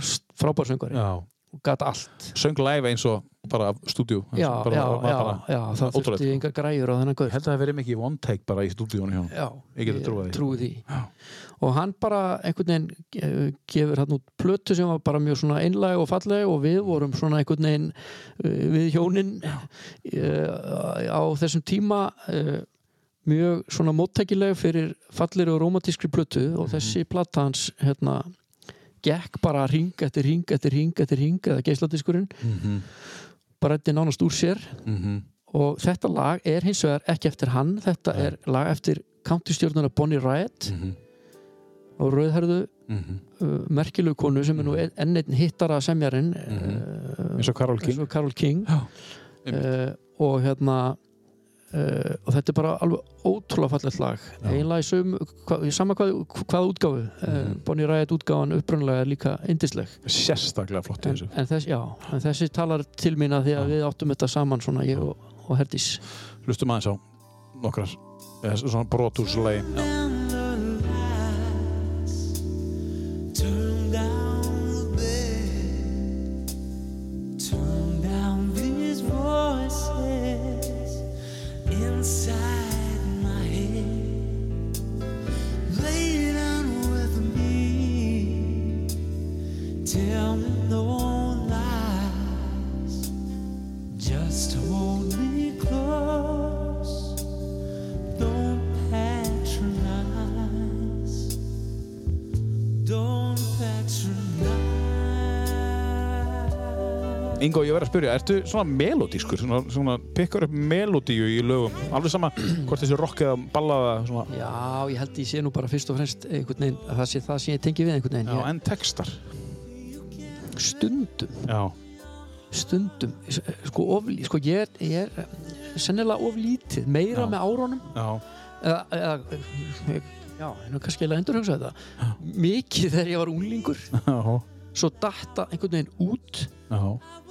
Speaker 3: s- frábær söngari
Speaker 2: já
Speaker 3: og gat allt
Speaker 2: Söng live eins og bara af stúdíu
Speaker 3: já,
Speaker 2: bara,
Speaker 3: já,
Speaker 2: var
Speaker 3: já,
Speaker 2: bara,
Speaker 3: já, það
Speaker 2: ótrúlegt,
Speaker 3: þurfti
Speaker 2: sko.
Speaker 3: enga græjur á þennan gaur
Speaker 2: Ég held að það verið mikið one take bara í stúdíunum hjá honum.
Speaker 3: Já,
Speaker 2: Ég geti trúað því.
Speaker 3: trúi því.
Speaker 2: Já.
Speaker 3: Og hann bara einhvern veginn eh, gefur hann út plötu sem var bara mjög svona einlæg og falleg og við vorum svona einhvern veginn eh, við hjónin eh, á þessum tíma eh, mjög svona móttækileg fyrir fallir og romantískri plötu og
Speaker 2: Mhm.
Speaker 3: þessi platta hans hérna gekk bara ring eftir ring eftir ring eftir ring eða geisladiskurinn
Speaker 2: Mhm,
Speaker 3: bara þetta nánast úr sér
Speaker 2: mhm.
Speaker 3: og þetta lag er hins vegar ekki eftir hann þetta
Speaker 2: Nei.
Speaker 3: er lag eftir countystjórnuna Bonnie Raitt
Speaker 2: Mhm,
Speaker 3: og rauðherðu
Speaker 2: mhm.
Speaker 3: uh, merkilegu konu sem er nú ein- enn einn hittara semjarinn uh,
Speaker 2: Eins og Karol
Speaker 3: Mhm. eins
Speaker 2: King
Speaker 3: og Karol King
Speaker 2: Já,
Speaker 3: uh, og hérna uh, og þetta er bara alveg ótrúlega fallegt lag
Speaker 2: Já.
Speaker 3: eiginlega í sögum, hva, í sama hvað, hvað útgáfu uh,
Speaker 2: Mhm.
Speaker 3: Bonnie Raitt útgáfan upprunlega er líka yndisleg
Speaker 2: Sérstaklega flott í
Speaker 3: en,
Speaker 2: þessu
Speaker 3: en, þess, já, en þessi talar til mín að því
Speaker 2: Já.
Speaker 3: að við áttum þetta saman svona ég og, og Herdís
Speaker 2: Hlustum aðeins á nokkrar eh, Svona brotúslegi
Speaker 4: Down the lights, turn down the bed, turn down these voices inside my head. Lay down with me, tell me no lies, just hold me close. Don't patronize. Don't patronize.
Speaker 2: Ingo, ég verð að spyrja, ertu svona melodískur? Svona, svona pikkar upp melodíu í lögum Alveg sama hvort þessi rock eða ballaða svona.
Speaker 3: Já, ég held ég sé nú bara fyrst og fremst einhvern veginn að það sé það sem ég tengi við einhvern veginn
Speaker 2: Já, en textar
Speaker 3: ég, stundum,
Speaker 2: Já,
Speaker 3: stundum s- sko, of, sko ég, er, ég er sennilega oflítið, meira
Speaker 2: Já.
Speaker 3: með árunum
Speaker 2: já, <laughs>
Speaker 3: eða, eða ég- já, nú kannski eiginlega endur hugsa þetta mikið þegar ég var unglingur
Speaker 2: já,
Speaker 3: svo datta einhvern veginn út
Speaker 2: já.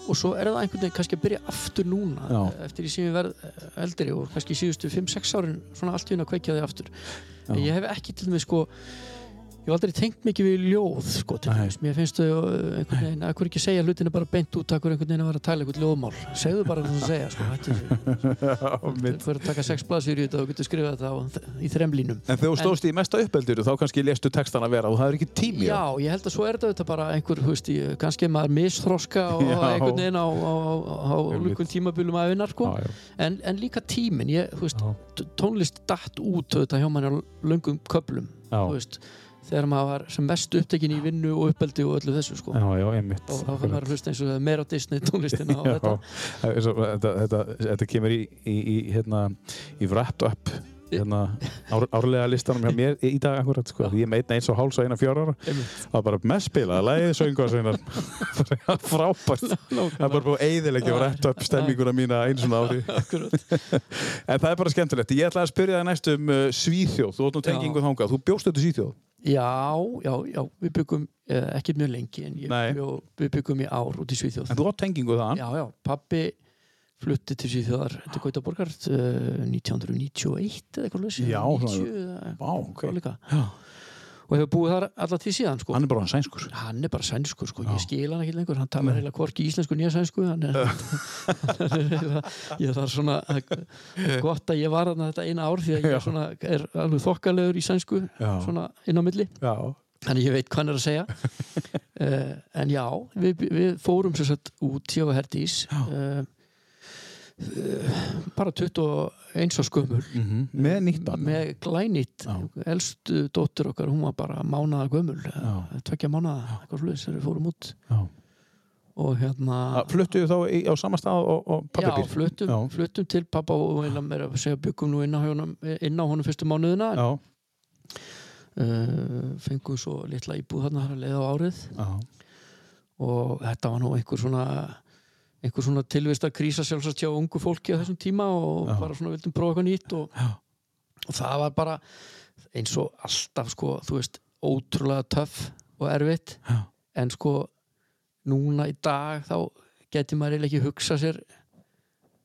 Speaker 3: og svo er það einhvern veginn kannski að byrja aftur núna
Speaker 2: Já.
Speaker 3: eftir því sem ég verð eh, eldri og kannski síðustu 5-6 árin svona allt í hún að kveikja því aftur
Speaker 2: Já.
Speaker 3: en ég hef ekki til mig sko ég hef aldrei tengt mikið við ljóð sko, til
Speaker 2: Nei.
Speaker 3: þess, mér finnst þau uh, einhvern veginn, að hver ekki segja hlutinu bara beint út að hver einhvern veginn að vera að tala eitthvað ljóðmál segðu bara það sem segja sko, hættu þessu.
Speaker 2: mitt.
Speaker 3: hver að taka sex blaðsýr í þetta og getur skrifað þetta á, í þremlínum
Speaker 2: En þegar þú stóðst í mesta uppeldur þá kannski lestu textana vera og það er ekki tími í
Speaker 3: Já,
Speaker 2: það.
Speaker 3: ég held að svo er þetta auðvitað bara einhver, þú veist, ég, kannski er maður misþroska og
Speaker 2: Já.
Speaker 3: einhvern veginn á, á, á, á
Speaker 2: Einmitt.
Speaker 3: lukkum tímabilum að vinna, sko.
Speaker 2: Já, já.
Speaker 3: En, en líka tíminn, ég, þú veist,
Speaker 2: Já.
Speaker 3: t- tónlist datt út auðvitað hjá manni á löngum köplum,
Speaker 2: Já.
Speaker 3: þú veist, þegar maður var sem mest upptekinn í vinnu og uppeldi og öllu þessu, sko.
Speaker 2: Já, já, einmitt
Speaker 3: Og þá fyrir maður að hlusta eins og það er meira á Disney tónlistina
Speaker 2: <laughs>
Speaker 3: og
Speaker 2: Já,
Speaker 3: þetta.
Speaker 2: það er svo- þetta, þetta, þetta kemur í, í, í, hérna, í wrapped up hérna, ár, árlega listanum hjá mér í í dag akkurat sko. ég meit eins og háls og eina fjóra ára
Speaker 3: Einmitt.
Speaker 2: það var bara mest spilað, lagið söngasveinar <laughs> frábært það er bara búið eiðilegja wrapped up stemminguna mína einu svona <laughs> ári
Speaker 3: Akkurat.
Speaker 2: en það er bara skemmtilegt, ég ætla að spyrja það næst um uh, Svíþjóð, þú óttum
Speaker 3: Já.
Speaker 2: tengingu þangað þú bjóst þetta Svíþjóð
Speaker 3: Já, já, já, við byggum, eh, ekki mjög lengi, en ég,
Speaker 2: Nei.
Speaker 3: bjó, við byggum í ár út í Svíþjóð.
Speaker 2: en þú átt tengingu þaðan
Speaker 3: Já, já, pappi flutti til Svíþjóðar til Gautaborgar uh, 1991 eða eitthvað laus
Speaker 2: Já, svona-
Speaker 3: 90 eða
Speaker 2: Vá, ok.
Speaker 3: eitthvað líka
Speaker 2: Já.
Speaker 3: og hefur búið þar alla tíð síðan sko.
Speaker 2: hann er bara sænskur
Speaker 3: hann er bara sænskur, sko,
Speaker 2: Já.
Speaker 3: ég skil hann ekki lengur hann talar heila hvorki íslensku nýja sænsku hann er, hann er
Speaker 2: <laughs>
Speaker 3: heila, ég þarf svona gott að ég var þarna þetta eina ár því að
Speaker 2: Já.
Speaker 3: ég svona, er alveg þokkalegur í sænsku
Speaker 2: Já.
Speaker 3: svona inn á milli
Speaker 2: já,
Speaker 3: þannig ég veit hvað hann er að
Speaker 2: <laughs>
Speaker 3: segja uh, en já, við, við fórum sér satt út hjá Herdís uh, bara 21 árs gömul
Speaker 2: Mhm. með nýtt barn.
Speaker 3: með glænýtt elstu dóttir okkar, hún var bara mánaða gömul eh,
Speaker 2: Já.
Speaker 3: tvekja mánaða, eitthvað sluðis þegar við fórum út
Speaker 2: Já.
Speaker 3: og hérna
Speaker 2: Að Fluttuðu Ah, þá í, á sama stað og, og
Speaker 3: Já,
Speaker 2: pappabíl?
Speaker 3: fluttum,
Speaker 2: Já.
Speaker 3: fluttum til pappa og innan meira að segja byggum nú inn á honum, inn á honum fyrstu mánuðina
Speaker 2: Já,
Speaker 3: uh, fengum svo litla íbúð þarna að leiða á árið
Speaker 2: já,
Speaker 3: og þetta var nú einhver svona einhver svona tilvist að krísa sjálfsagt hjá ungu fólki á þessum tíma og
Speaker 2: Já.
Speaker 3: bara svona vildum prófa eitthvað nýtt og,
Speaker 2: Já.
Speaker 3: og það var bara eins og alltaf sko, þú veist, ótrúlega töff og erfitt
Speaker 2: Já.
Speaker 3: en sko, núna í dag þá geti maður eiginlega ekki hugsa sér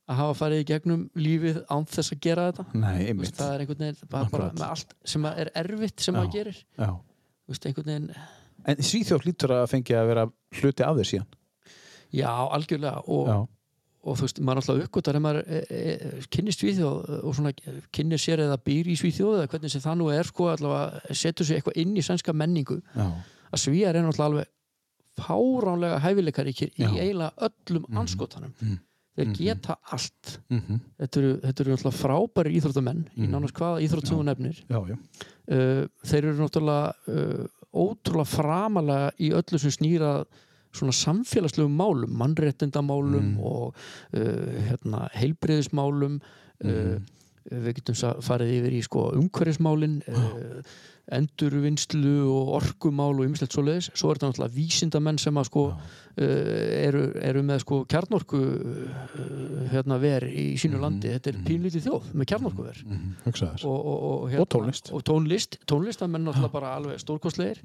Speaker 3: að hafa farið í gegnum lífið án þess að gera þetta
Speaker 2: nei,
Speaker 3: Þú veist,
Speaker 2: einmitt
Speaker 3: það er einhvern veginn bara, bara
Speaker 2: Akkurat.
Speaker 3: með allt sem að er erfitt sem
Speaker 2: Já.
Speaker 3: maður gerir
Speaker 2: já.
Speaker 3: Þú veist, einhvern veginn
Speaker 2: En Svíþjóð hlýtur að fengi að vera hluti af þér síðan
Speaker 3: já, algjörlega og,
Speaker 2: Já,
Speaker 3: og þú veist, maður náttúrulega uppgötar ef maður e, e, kynnist Svíþjóð eh, og svona kynnir sér eða býr í Svíþjóð eða hvernig sem það nú er sko allavega setur sér eitthvað inn í sænska menningu
Speaker 2: já,
Speaker 3: að Svíjar er náttúrulega alveg fáránlega hæfileikaríkir í
Speaker 2: Já.
Speaker 3: eiginlega öllum anskotanum
Speaker 2: mhm.
Speaker 3: þeir
Speaker 2: Mhm.
Speaker 3: geta allt
Speaker 2: mm
Speaker 3: þetta eru, þetta eru náttúrulega frábæri íþróttamenn í
Speaker 2: Mhm.
Speaker 3: nánast hvaða íþrótt sem þú nefnir
Speaker 2: já, já,
Speaker 3: uh, þeir eru náttúrulega uh, ótrúlega framalega í öllu sem snýra svona samfélagslegum málum, mannréttindamálum
Speaker 2: Mm.
Speaker 3: og uh, hérna, heilbreyðismálum
Speaker 2: Mm.
Speaker 3: uh, við getum sa- farið yfir í sko umhverfismálin uh, endurvinnslu og orkumál og ymmislegt svoleiðis, svo er þetta náttúrulega vísindamenn sem að sko uh, eru, eru með sko kjarnorku uh, hérna ver í sínu landi þetta er pínlítið þjóð með kjarnorku ver
Speaker 2: mm, hugsaður
Speaker 3: og, og, og, hérna,
Speaker 2: tónlist.
Speaker 3: og tónlist, tónlist það menn náttúrulega bara alveg stórkostlegir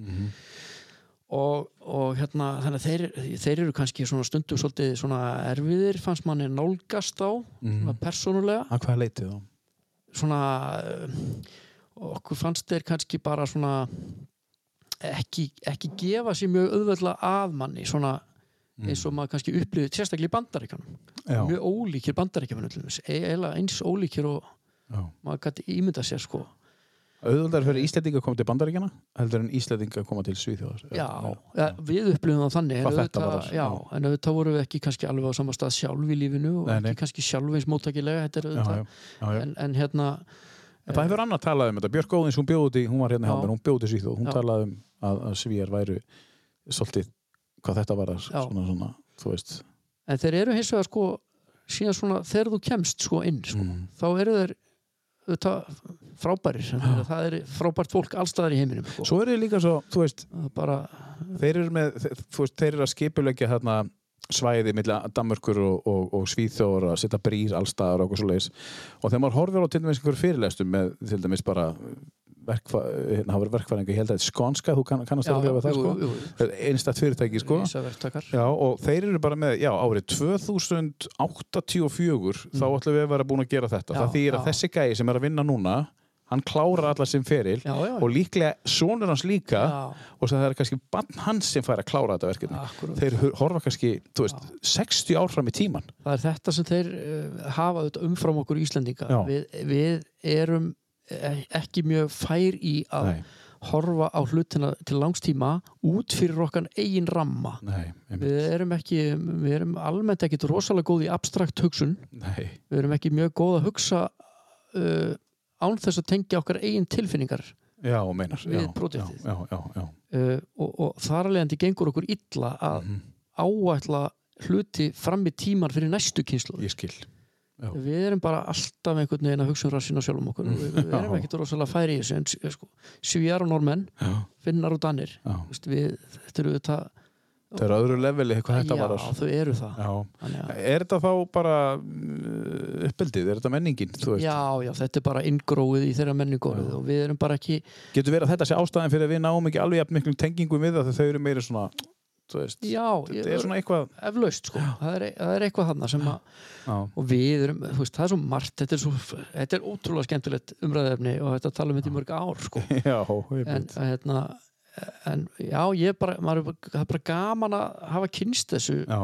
Speaker 3: og, og hérna þannig að þeir, þeir eru kannski svona stundum svolítið svona erfiðir fannst manni nálgast á
Speaker 2: Mhm.
Speaker 3: svona persónulega
Speaker 2: Að hvað leitið þá?
Speaker 3: svona eh, okkur fannst þeir kannski bara svona ekki, ekki gefa sér mjög auðveldlega að manni svona eins og maður kannski upplýði sérstaklega í bandaríkanum
Speaker 2: Já,
Speaker 3: mjög ólíkir bandaríkjaman eiginlega eins ólíkir og
Speaker 2: já
Speaker 3: maður gæti ímynda sér sko
Speaker 2: Auðvöldar
Speaker 3: Eh.
Speaker 2: fyrir Íslendinga að koma til Bandaríkjana heldur en Íslendinga að koma til Svíþjóðar
Speaker 3: Já, ja, við upplifum það þannig en
Speaker 2: Hvað þetta
Speaker 3: auðvitað-
Speaker 2: varðar,
Speaker 3: já,
Speaker 2: já.
Speaker 3: en auðvitað vorum við ekki kannski alveg á sama stað sjálf í lífinu og
Speaker 2: Nei, nei.
Speaker 3: ekki kannski sjálf eins móttakilega þetta er
Speaker 2: já, já,
Speaker 3: auðvitað
Speaker 2: já, já.
Speaker 3: En, en hérna,
Speaker 2: En það hefur annar talað um þetta Björk Óðins, hún bjóði, hún var hérna hjá
Speaker 3: Já.
Speaker 2: mér, hún bjóði Svíþjóð hún
Speaker 3: Já.
Speaker 2: talaði um að, að Svíjar væru svolítið hvað þetta var
Speaker 3: Já.
Speaker 2: svona, svona, þú veist
Speaker 3: en þeir eru hins vegar sko síðan svona, þegar þú kemst sko inn sko,
Speaker 2: mm.
Speaker 3: þá eru þeir auðvitað frábærir en það er frábært fólk allstaðar í heiminum sko.
Speaker 2: Svo eru þeir líka svo, þú veist
Speaker 3: Það er bara,
Speaker 2: þeir eru með, þe- þú veist, þeir eru að skipulegja þarna svæði milli Danmörkur og, og, og Svíþjóður að setja brýr allstaðar og okkur svo leiðis og þegar maður horfir á til dæmis einhver fyrirlestum með til dæmis bara verkfa, hérna, hafa verið verkfæringa, ég held að þetta er Skonska, þú kann, kannast alveg við það sko,
Speaker 3: jú,
Speaker 2: einstætt fyrirtæki sko,
Speaker 3: Ísaverktakar
Speaker 2: já og þeir eru bara með já árið 2084 þá ætlum við að vera búin að gera þetta,
Speaker 3: Já,
Speaker 2: það þýr að
Speaker 3: Mm. já.
Speaker 2: þessi gæi sem er að vinna núna hann klárar allar sem feril
Speaker 3: Já, já.
Speaker 2: og líklega sonur hans líka
Speaker 3: Já.
Speaker 2: og sem það er kannski bann hans sem fær að klára þetta verkefni
Speaker 3: Akkúrat.
Speaker 2: þeir hu- horfa kannski, þú veist, 60 ár fram í tíman
Speaker 3: það er þetta sem þeir uh, hafa auðvitað umfram okkur Íslendinga
Speaker 2: Já.
Speaker 3: við, við erum eh, ekki mjög fær í að
Speaker 2: Nei.
Speaker 3: horfa á hlutina til langstíma út fyrir okkar eigin ramma
Speaker 2: Nei, einmitt.
Speaker 3: við erum ekki, við erum almennt ekkit rosalega góð í abstrakt hugsun
Speaker 2: Nei.
Speaker 3: við erum ekki mjög góð að hugsa uh, án þess að tengja okkar eigin tilfinningar
Speaker 2: Já, meinar
Speaker 3: Við
Speaker 2: já,
Speaker 3: produktið.
Speaker 2: já, já, já, já.
Speaker 3: uh, og, og þar alvegandi gengur okkur illa að
Speaker 2: Mhm.
Speaker 3: áætla hluti fram í tíman fyrir næstu kynslu
Speaker 2: Ég skil
Speaker 3: við erum bara alltaf einhvern veginn að hugsa um rassina sjálfum okkur
Speaker 2: Mm.
Speaker 3: við, við erum ekkert rosalega færi í þessu en s- sko, svíjar og normenn,
Speaker 2: Já.
Speaker 3: finnar og danir
Speaker 2: Já.
Speaker 3: Þú veist, við, þetta eru þetta
Speaker 2: Það er öðru leveli hvað þetta var
Speaker 3: já, þau eru það
Speaker 2: Já.
Speaker 3: Þannig að,
Speaker 2: Er þetta þá bara mm, uppbyldið, er þetta menningin þú veist?
Speaker 3: já, já, þetta er bara inngróið í þeirra menningorðið og við erum bara ekki
Speaker 2: Getur verið að þetta sé ástæðan fyrir að við náum ekki alveg jafn miklum tengingum við það þegar þau eru meiri svona þú veist,
Speaker 3: já,
Speaker 2: þetta er svona eitthvað
Speaker 3: eflaust sko, það er, það er eitthvað þarna sem að
Speaker 2: Já,
Speaker 3: og við erum, þú veist, það er svo margt þetta er, svo, þetta er ótrúlega skemmtilegt umræðefni og þetta tala um þetta í mörg ár sko.
Speaker 2: <laughs> já
Speaker 3: en, að hérna, en já, ég er bara, maður, er bara- það er bara gaman að hafa kynst þessu
Speaker 2: já,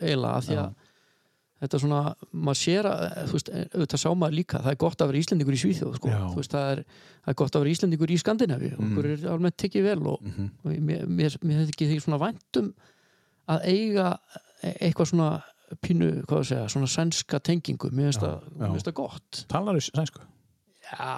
Speaker 3: eiginlega af því að þetta er svona, maður sér að eh, þú veist, auðvitað sá maður líka, það er gott að vera Íslendingur í Svíþjóð, sko,
Speaker 2: Já. Mhm.
Speaker 3: þú veist, það er, það er gott að vera Íslendingur í Skandinavi og okkur er almennt tekið vel og, og mér, mér, mér hefði ekki þykir svona væntum að eiga e- eitthvað svona pínu, hvað að segja, svona sænska tengingu, mér finnst það,
Speaker 2: já.
Speaker 3: mér finnst það gott
Speaker 2: talar þú sænsku?
Speaker 3: Já,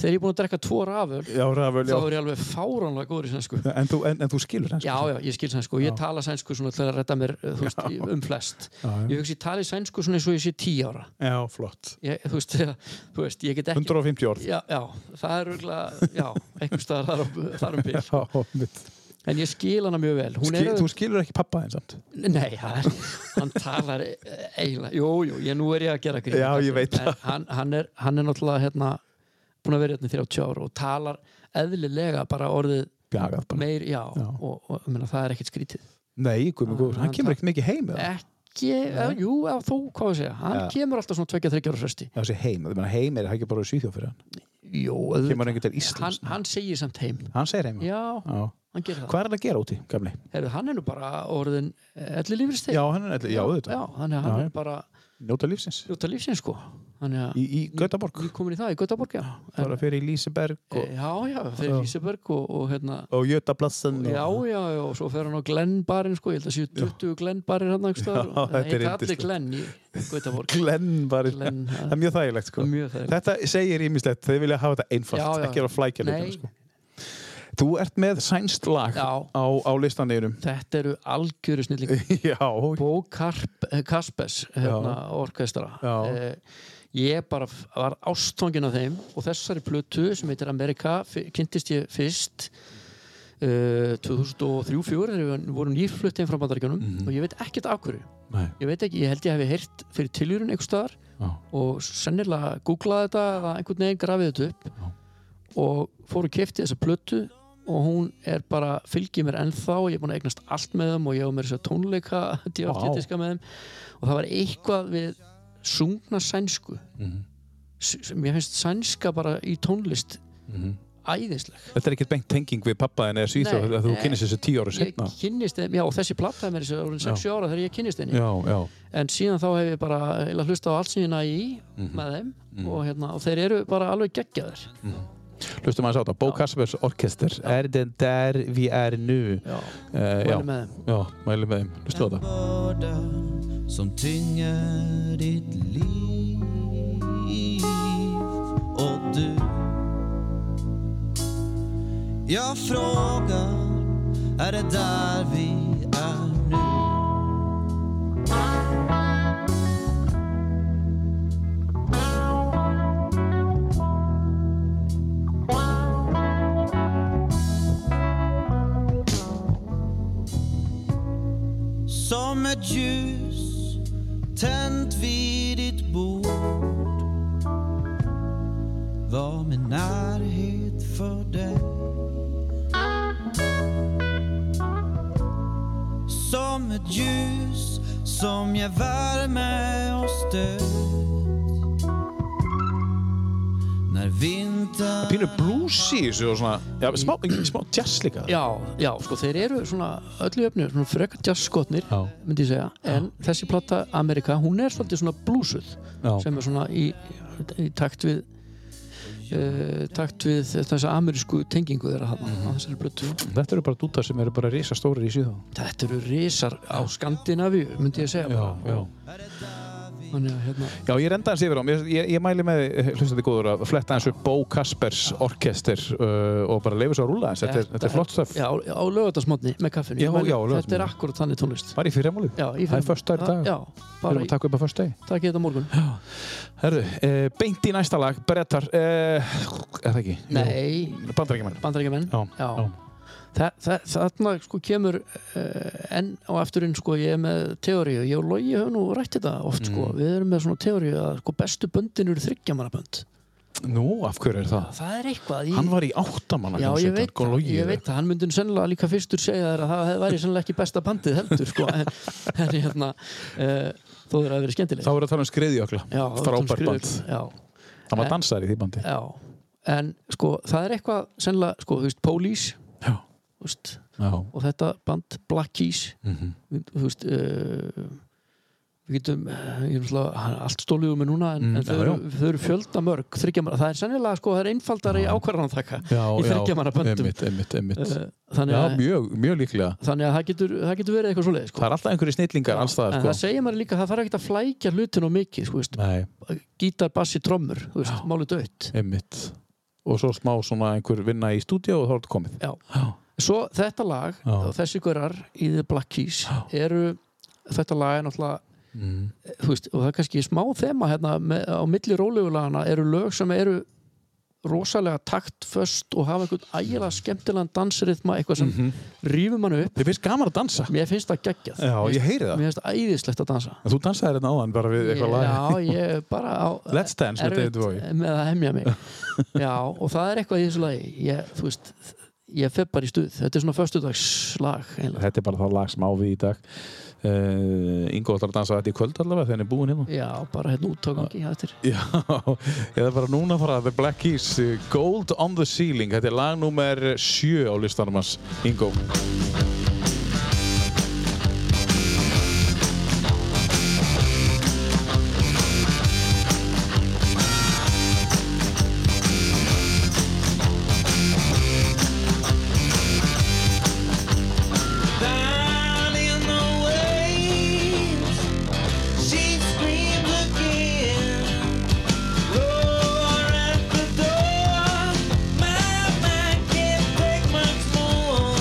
Speaker 3: þegar ég er búin að drekka tvo rafur
Speaker 2: Já, raföl,
Speaker 3: þá er ég alveg fáránlega góður í sænsku
Speaker 2: En þú, en, en þú skilur sænsku?
Speaker 3: Já, já, ég skil sænsku og ég tala sænsku svona til að redda mér uh, þú veist, um flest
Speaker 2: já.
Speaker 3: Ég hugsi, ég tali sænsku svona eins og ég sé 10 ára
Speaker 2: já, flott
Speaker 3: ég, þú, veist, <laughs> þegar- þú veist, ég get ekki
Speaker 2: 150 orð
Speaker 3: Já, já, það er röglega, já, einhvers staðar þar, á- þar um byrj
Speaker 2: <laughs> Já, mitt.
Speaker 3: En ég skil hana mjög vel Hún
Speaker 2: Skil,
Speaker 3: er,
Speaker 2: Þú skilur ekki pappa þeim samt
Speaker 3: Nei, hann, hann talar e- eiginlega Jú, jú, ég, nú er ég að gera grín
Speaker 2: Já, ég veit
Speaker 3: En hann, hann, er, hann er náttúrulega hérna, búin að vera hérna í 30 ára og talar eðlilega bara orðið
Speaker 2: Bjagað bara
Speaker 3: meir, já, og, og menna, það er ekkert skrítið
Speaker 2: Nei, guðmur, guðmur, hann
Speaker 3: Ah, Hann
Speaker 2: kemur ekkert mikið heim eða?
Speaker 3: ekki, ja. jú, eða þú, hvað að segja hann
Speaker 2: Ja.
Speaker 3: kemur alltaf svona 2-3 ára fresti
Speaker 2: Já, þessi heim, það meina heim er það ekki bara í Svíþjóð fyrir hann
Speaker 3: jú, auðvitað.
Speaker 2: Kemur hann ekki til
Speaker 3: hann,
Speaker 2: Íslands
Speaker 3: hann segir samt heim
Speaker 2: Hann segir heim
Speaker 3: já, hann gerir það
Speaker 2: sko. Hvað er hann að gera úti, gamli?
Speaker 3: Heru, hann er nú bara orðin elli lífristeg
Speaker 2: Já, hann er, já, auðvitað,
Speaker 3: þannig að hann
Speaker 2: Já.
Speaker 3: er bara
Speaker 2: njóta lífsins
Speaker 3: njóta lífsins sko þannig að
Speaker 2: Í, í Götaborg,
Speaker 3: við komin í það í Götaborg já,
Speaker 2: það er að fyrir í Líseberg og,
Speaker 3: en, já, já fyrir Íseberg og, og hérna
Speaker 2: sko. og Jötablassan og-
Speaker 3: Já, já, já, og svo fer hann á Glenn barinn sko, ég held að séu 20 Glenn barinn hann
Speaker 2: Já, þetta er
Speaker 3: þetta allir
Speaker 2: yndislegt.
Speaker 3: Glenn í Götaborg
Speaker 2: Glenn var <laughs>
Speaker 3: Glenn, ja.
Speaker 2: það er mjög þægilegt sko.
Speaker 3: Það er mjög þægilegt.
Speaker 2: þetta segir ímislegt, þeir vilja hafa þetta einfalt
Speaker 3: Já, já.
Speaker 2: ekki vera að flækja
Speaker 3: Nei.
Speaker 2: hlutina, sko. þú ert með sænst lag
Speaker 3: Já.
Speaker 2: á, á listanýrum
Speaker 3: Þetta eru algjöru snillingar
Speaker 2: <laughs> já,
Speaker 3: Bó Karp, eh, Kaspers hérna, orkestra
Speaker 2: Já.
Speaker 3: Eh, ég bara f- var ástfangin af þeim og þessari plötu sem heitir Amerika fi- kynntist ég fyrst uh, 2003-04 þegar við vorum nýflutt heim frá bandaríkjunum og ég veit ekkert af hverju
Speaker 2: Nei.
Speaker 3: ég veit ekki, ég held ég hefði heyrt fyrir tiljurinn einhvers staðar
Speaker 2: Já.
Speaker 3: og sennilega googlaði þetta eða einhvern veginn grafið þetta upp
Speaker 2: Já.
Speaker 3: og fór og kefti þessa plötu og hún er bara, fylgir mér ennþá og ég er búin að eignast allt með þeim og ég á mér þess að tónleika <laughs> djáttjétiska með þeim og það var eitthvað við sungna sænsku
Speaker 2: Mhm.
Speaker 3: S- sem ég finnst sænska bara í tónlist
Speaker 2: Mhm.
Speaker 3: æðisleg
Speaker 2: þetta er ekkert beint tenging við pappaðin eða Svíþjóð
Speaker 3: Nei,
Speaker 2: þegar þú
Speaker 3: nei.
Speaker 2: kynist þessu tíu ára
Speaker 3: ég
Speaker 2: setna
Speaker 3: kynnist þeim, já og þessi platta er mér þessi orðin 60 ára þegar ég kynnist henni
Speaker 2: já, já,
Speaker 3: en síðan þá hef ég bara eiginlega hlustað á allt sem ég næ í
Speaker 2: Mhm.
Speaker 3: með þeim og, hérna, og þeir eru bara alveg geggjaðir
Speaker 2: hlustum aðeins á þetta Bó Kaspers Orkester, er den der vi er nu
Speaker 3: já,
Speaker 2: Eh, já,
Speaker 3: mælum með þeim
Speaker 2: já, mælum með þeim hlustum á þetta
Speaker 4: börda som tynger ditt liv och du Jag frågar, är det där vi är nu? Som ett ljus tänt vid ditt bord var min närhet för dig Som ett ljus som ger värme och stöd när Vinda
Speaker 2: Pínu blúsi í þessu og svona já, smá, <clears throat> smá jazz líka
Speaker 3: Já, já, sko þeir eru svona öllu öfnu, svona frekar jazzskotnir
Speaker 2: Já.
Speaker 3: myndi ég segja, en þessi plata Amerika, hún er svolítið svona blúsuð
Speaker 2: Já.
Speaker 3: sem er svona í, í takt við uh, takt við þessa amerísku tengingu þeirra hafna,
Speaker 2: Mhm.
Speaker 3: mm þessari blötu
Speaker 2: Þetta eru bara dútar sem eru bara risa stórir í síðan
Speaker 3: Þetta eru risar á Skandinavíu myndi ég segja bara. Þannig að hérna,
Speaker 2: Já, ég renda hans yfir á Ég, ég, ég mæli með, eh, hlustandi góður, að fletta hans upp Bó Kaspers orkester uh, og bara leifa svo að rúla hans Þetta er, þetta er flott stöf
Speaker 3: Já, á lögatarsmotni með kaffinu
Speaker 2: Já,
Speaker 3: Ég mæli-
Speaker 2: já, á
Speaker 3: Þetta er
Speaker 2: laugardagsmorgni.
Speaker 3: akkurat þannig tónlist
Speaker 2: Var í fyrramálið?
Speaker 3: Já, í
Speaker 2: Það er
Speaker 3: fyrramálið.
Speaker 2: föstudagur í dag.
Speaker 3: Já,
Speaker 2: Við
Speaker 3: bara
Speaker 2: erum að
Speaker 3: í,
Speaker 2: taka upp á föstudegi
Speaker 3: takk ég þetta á morgun
Speaker 2: Herðu, uh, beint í næsta lag, Bretar uh, Er það ekki?
Speaker 3: Nei,
Speaker 2: Bandarækjumenn
Speaker 3: bandarækjumenn
Speaker 2: Já, já.
Speaker 3: Þa, það, þarna sko kemur uh, enn á afturinn sko ég er með teóriu, ég og Logi höfum nú rætt þetta oft sko,
Speaker 2: Mm.
Speaker 3: við erum með svona teóriu að sko bestu böndin eru þryggjamanabönd
Speaker 2: Nú, af hverju er það?
Speaker 3: það er eitthvað í,
Speaker 2: Hann var sko, í áttamanna
Speaker 3: já ég veit, það, ég veit það, hann myndi nú sennilega líka fyrstur segja þér að það hef- væri sennilega ekki besta bandið heldur sko en, <laughs> en hérna uh, þó þeir að vera skemmtileg
Speaker 2: Þá er að tala um skriðjökla
Speaker 3: já,
Speaker 2: Frábær band
Speaker 3: já,
Speaker 2: Hann var
Speaker 3: En-
Speaker 2: dansari í því bandi
Speaker 3: já, en sko það er eitthvað sennilega sko, þú veist, Police
Speaker 2: Já,
Speaker 3: þú veist,
Speaker 2: já, mhm.
Speaker 3: og þetta band Black Keys við, þú veist uh, við getum eh, ég er náttúrulega hann- allt stóliðu með núna en,
Speaker 2: Mm,
Speaker 3: en þau,
Speaker 2: já,
Speaker 3: eru, þau eru fjölda mörg þriggjamanna, það er sennilega sko, það er einfaldari ákvarðanataka
Speaker 2: já
Speaker 3: í þriggjamanna böndum
Speaker 2: Einmitt, einmitt, einmitt
Speaker 3: uh, þannig,
Speaker 2: Já,
Speaker 3: að,
Speaker 2: mjög, mjög líklega
Speaker 3: þannig að það getur, það getur verið eitthvað svoleið
Speaker 2: Það
Speaker 3: sko.
Speaker 2: er alltaf einhverju snillingar alls það
Speaker 3: en
Speaker 2: sko.
Speaker 3: það segir maður líka, það þarf ekki að flækja hlutin og mikið, sko, veist,
Speaker 2: Nei,
Speaker 3: gítar, bassi, trommur þú veist, máli dött
Speaker 2: einmitt Og svo smá svona einhver vinna í stúdíu og þá er þetta komið
Speaker 3: Já.
Speaker 2: já,
Speaker 3: Svo þetta lag,
Speaker 2: Já.
Speaker 3: og þessi görar í The Black Keys eru þetta lag er náttúrulega
Speaker 2: Mm.
Speaker 3: þú veist, og það er kannski smá þema hérna, með, á milli rólegu-lagana eru lög sem eru rosalega taktföst og hafa einhvern ægilega skemmtilegan dansrithma, eitthvað sem
Speaker 2: Mhm.
Speaker 3: rýfur mann upp
Speaker 2: Þið finnst gaman að dansa
Speaker 3: mér finnst það geggjað
Speaker 2: Já,
Speaker 3: Mér finnst-
Speaker 2: ég heyri það.
Speaker 3: mér finnst æðislegt að dansa
Speaker 2: En Þú dansaði hérna áðan bara við eitthvað lag
Speaker 3: já, ég er bara á,
Speaker 2: Let's Dance með
Speaker 3: erfitt
Speaker 2: David Bowie.
Speaker 3: með að hemja
Speaker 2: <laughs>
Speaker 3: mig já, og það er eitthvað í þessu lagi ég, þú veist, ég fer bara í stuð þetta er svona föstudagslag eiginlega.
Speaker 2: Þetta er bara það lag sem á við í dag uh, Ingo ætlar að dansa þetta í kvöld allavega þegar hann er búin hérna
Speaker 3: já, bara hérna út á gangi hjá þér
Speaker 2: Já, <laughs> eða bara núna fara The Black Keys, uh, Gold on the Ceiling Þetta er lag nummer 7 á listanum hans Ingo
Speaker 4: down in the waves. She screams again. Roar at the door. My mind can't take much more.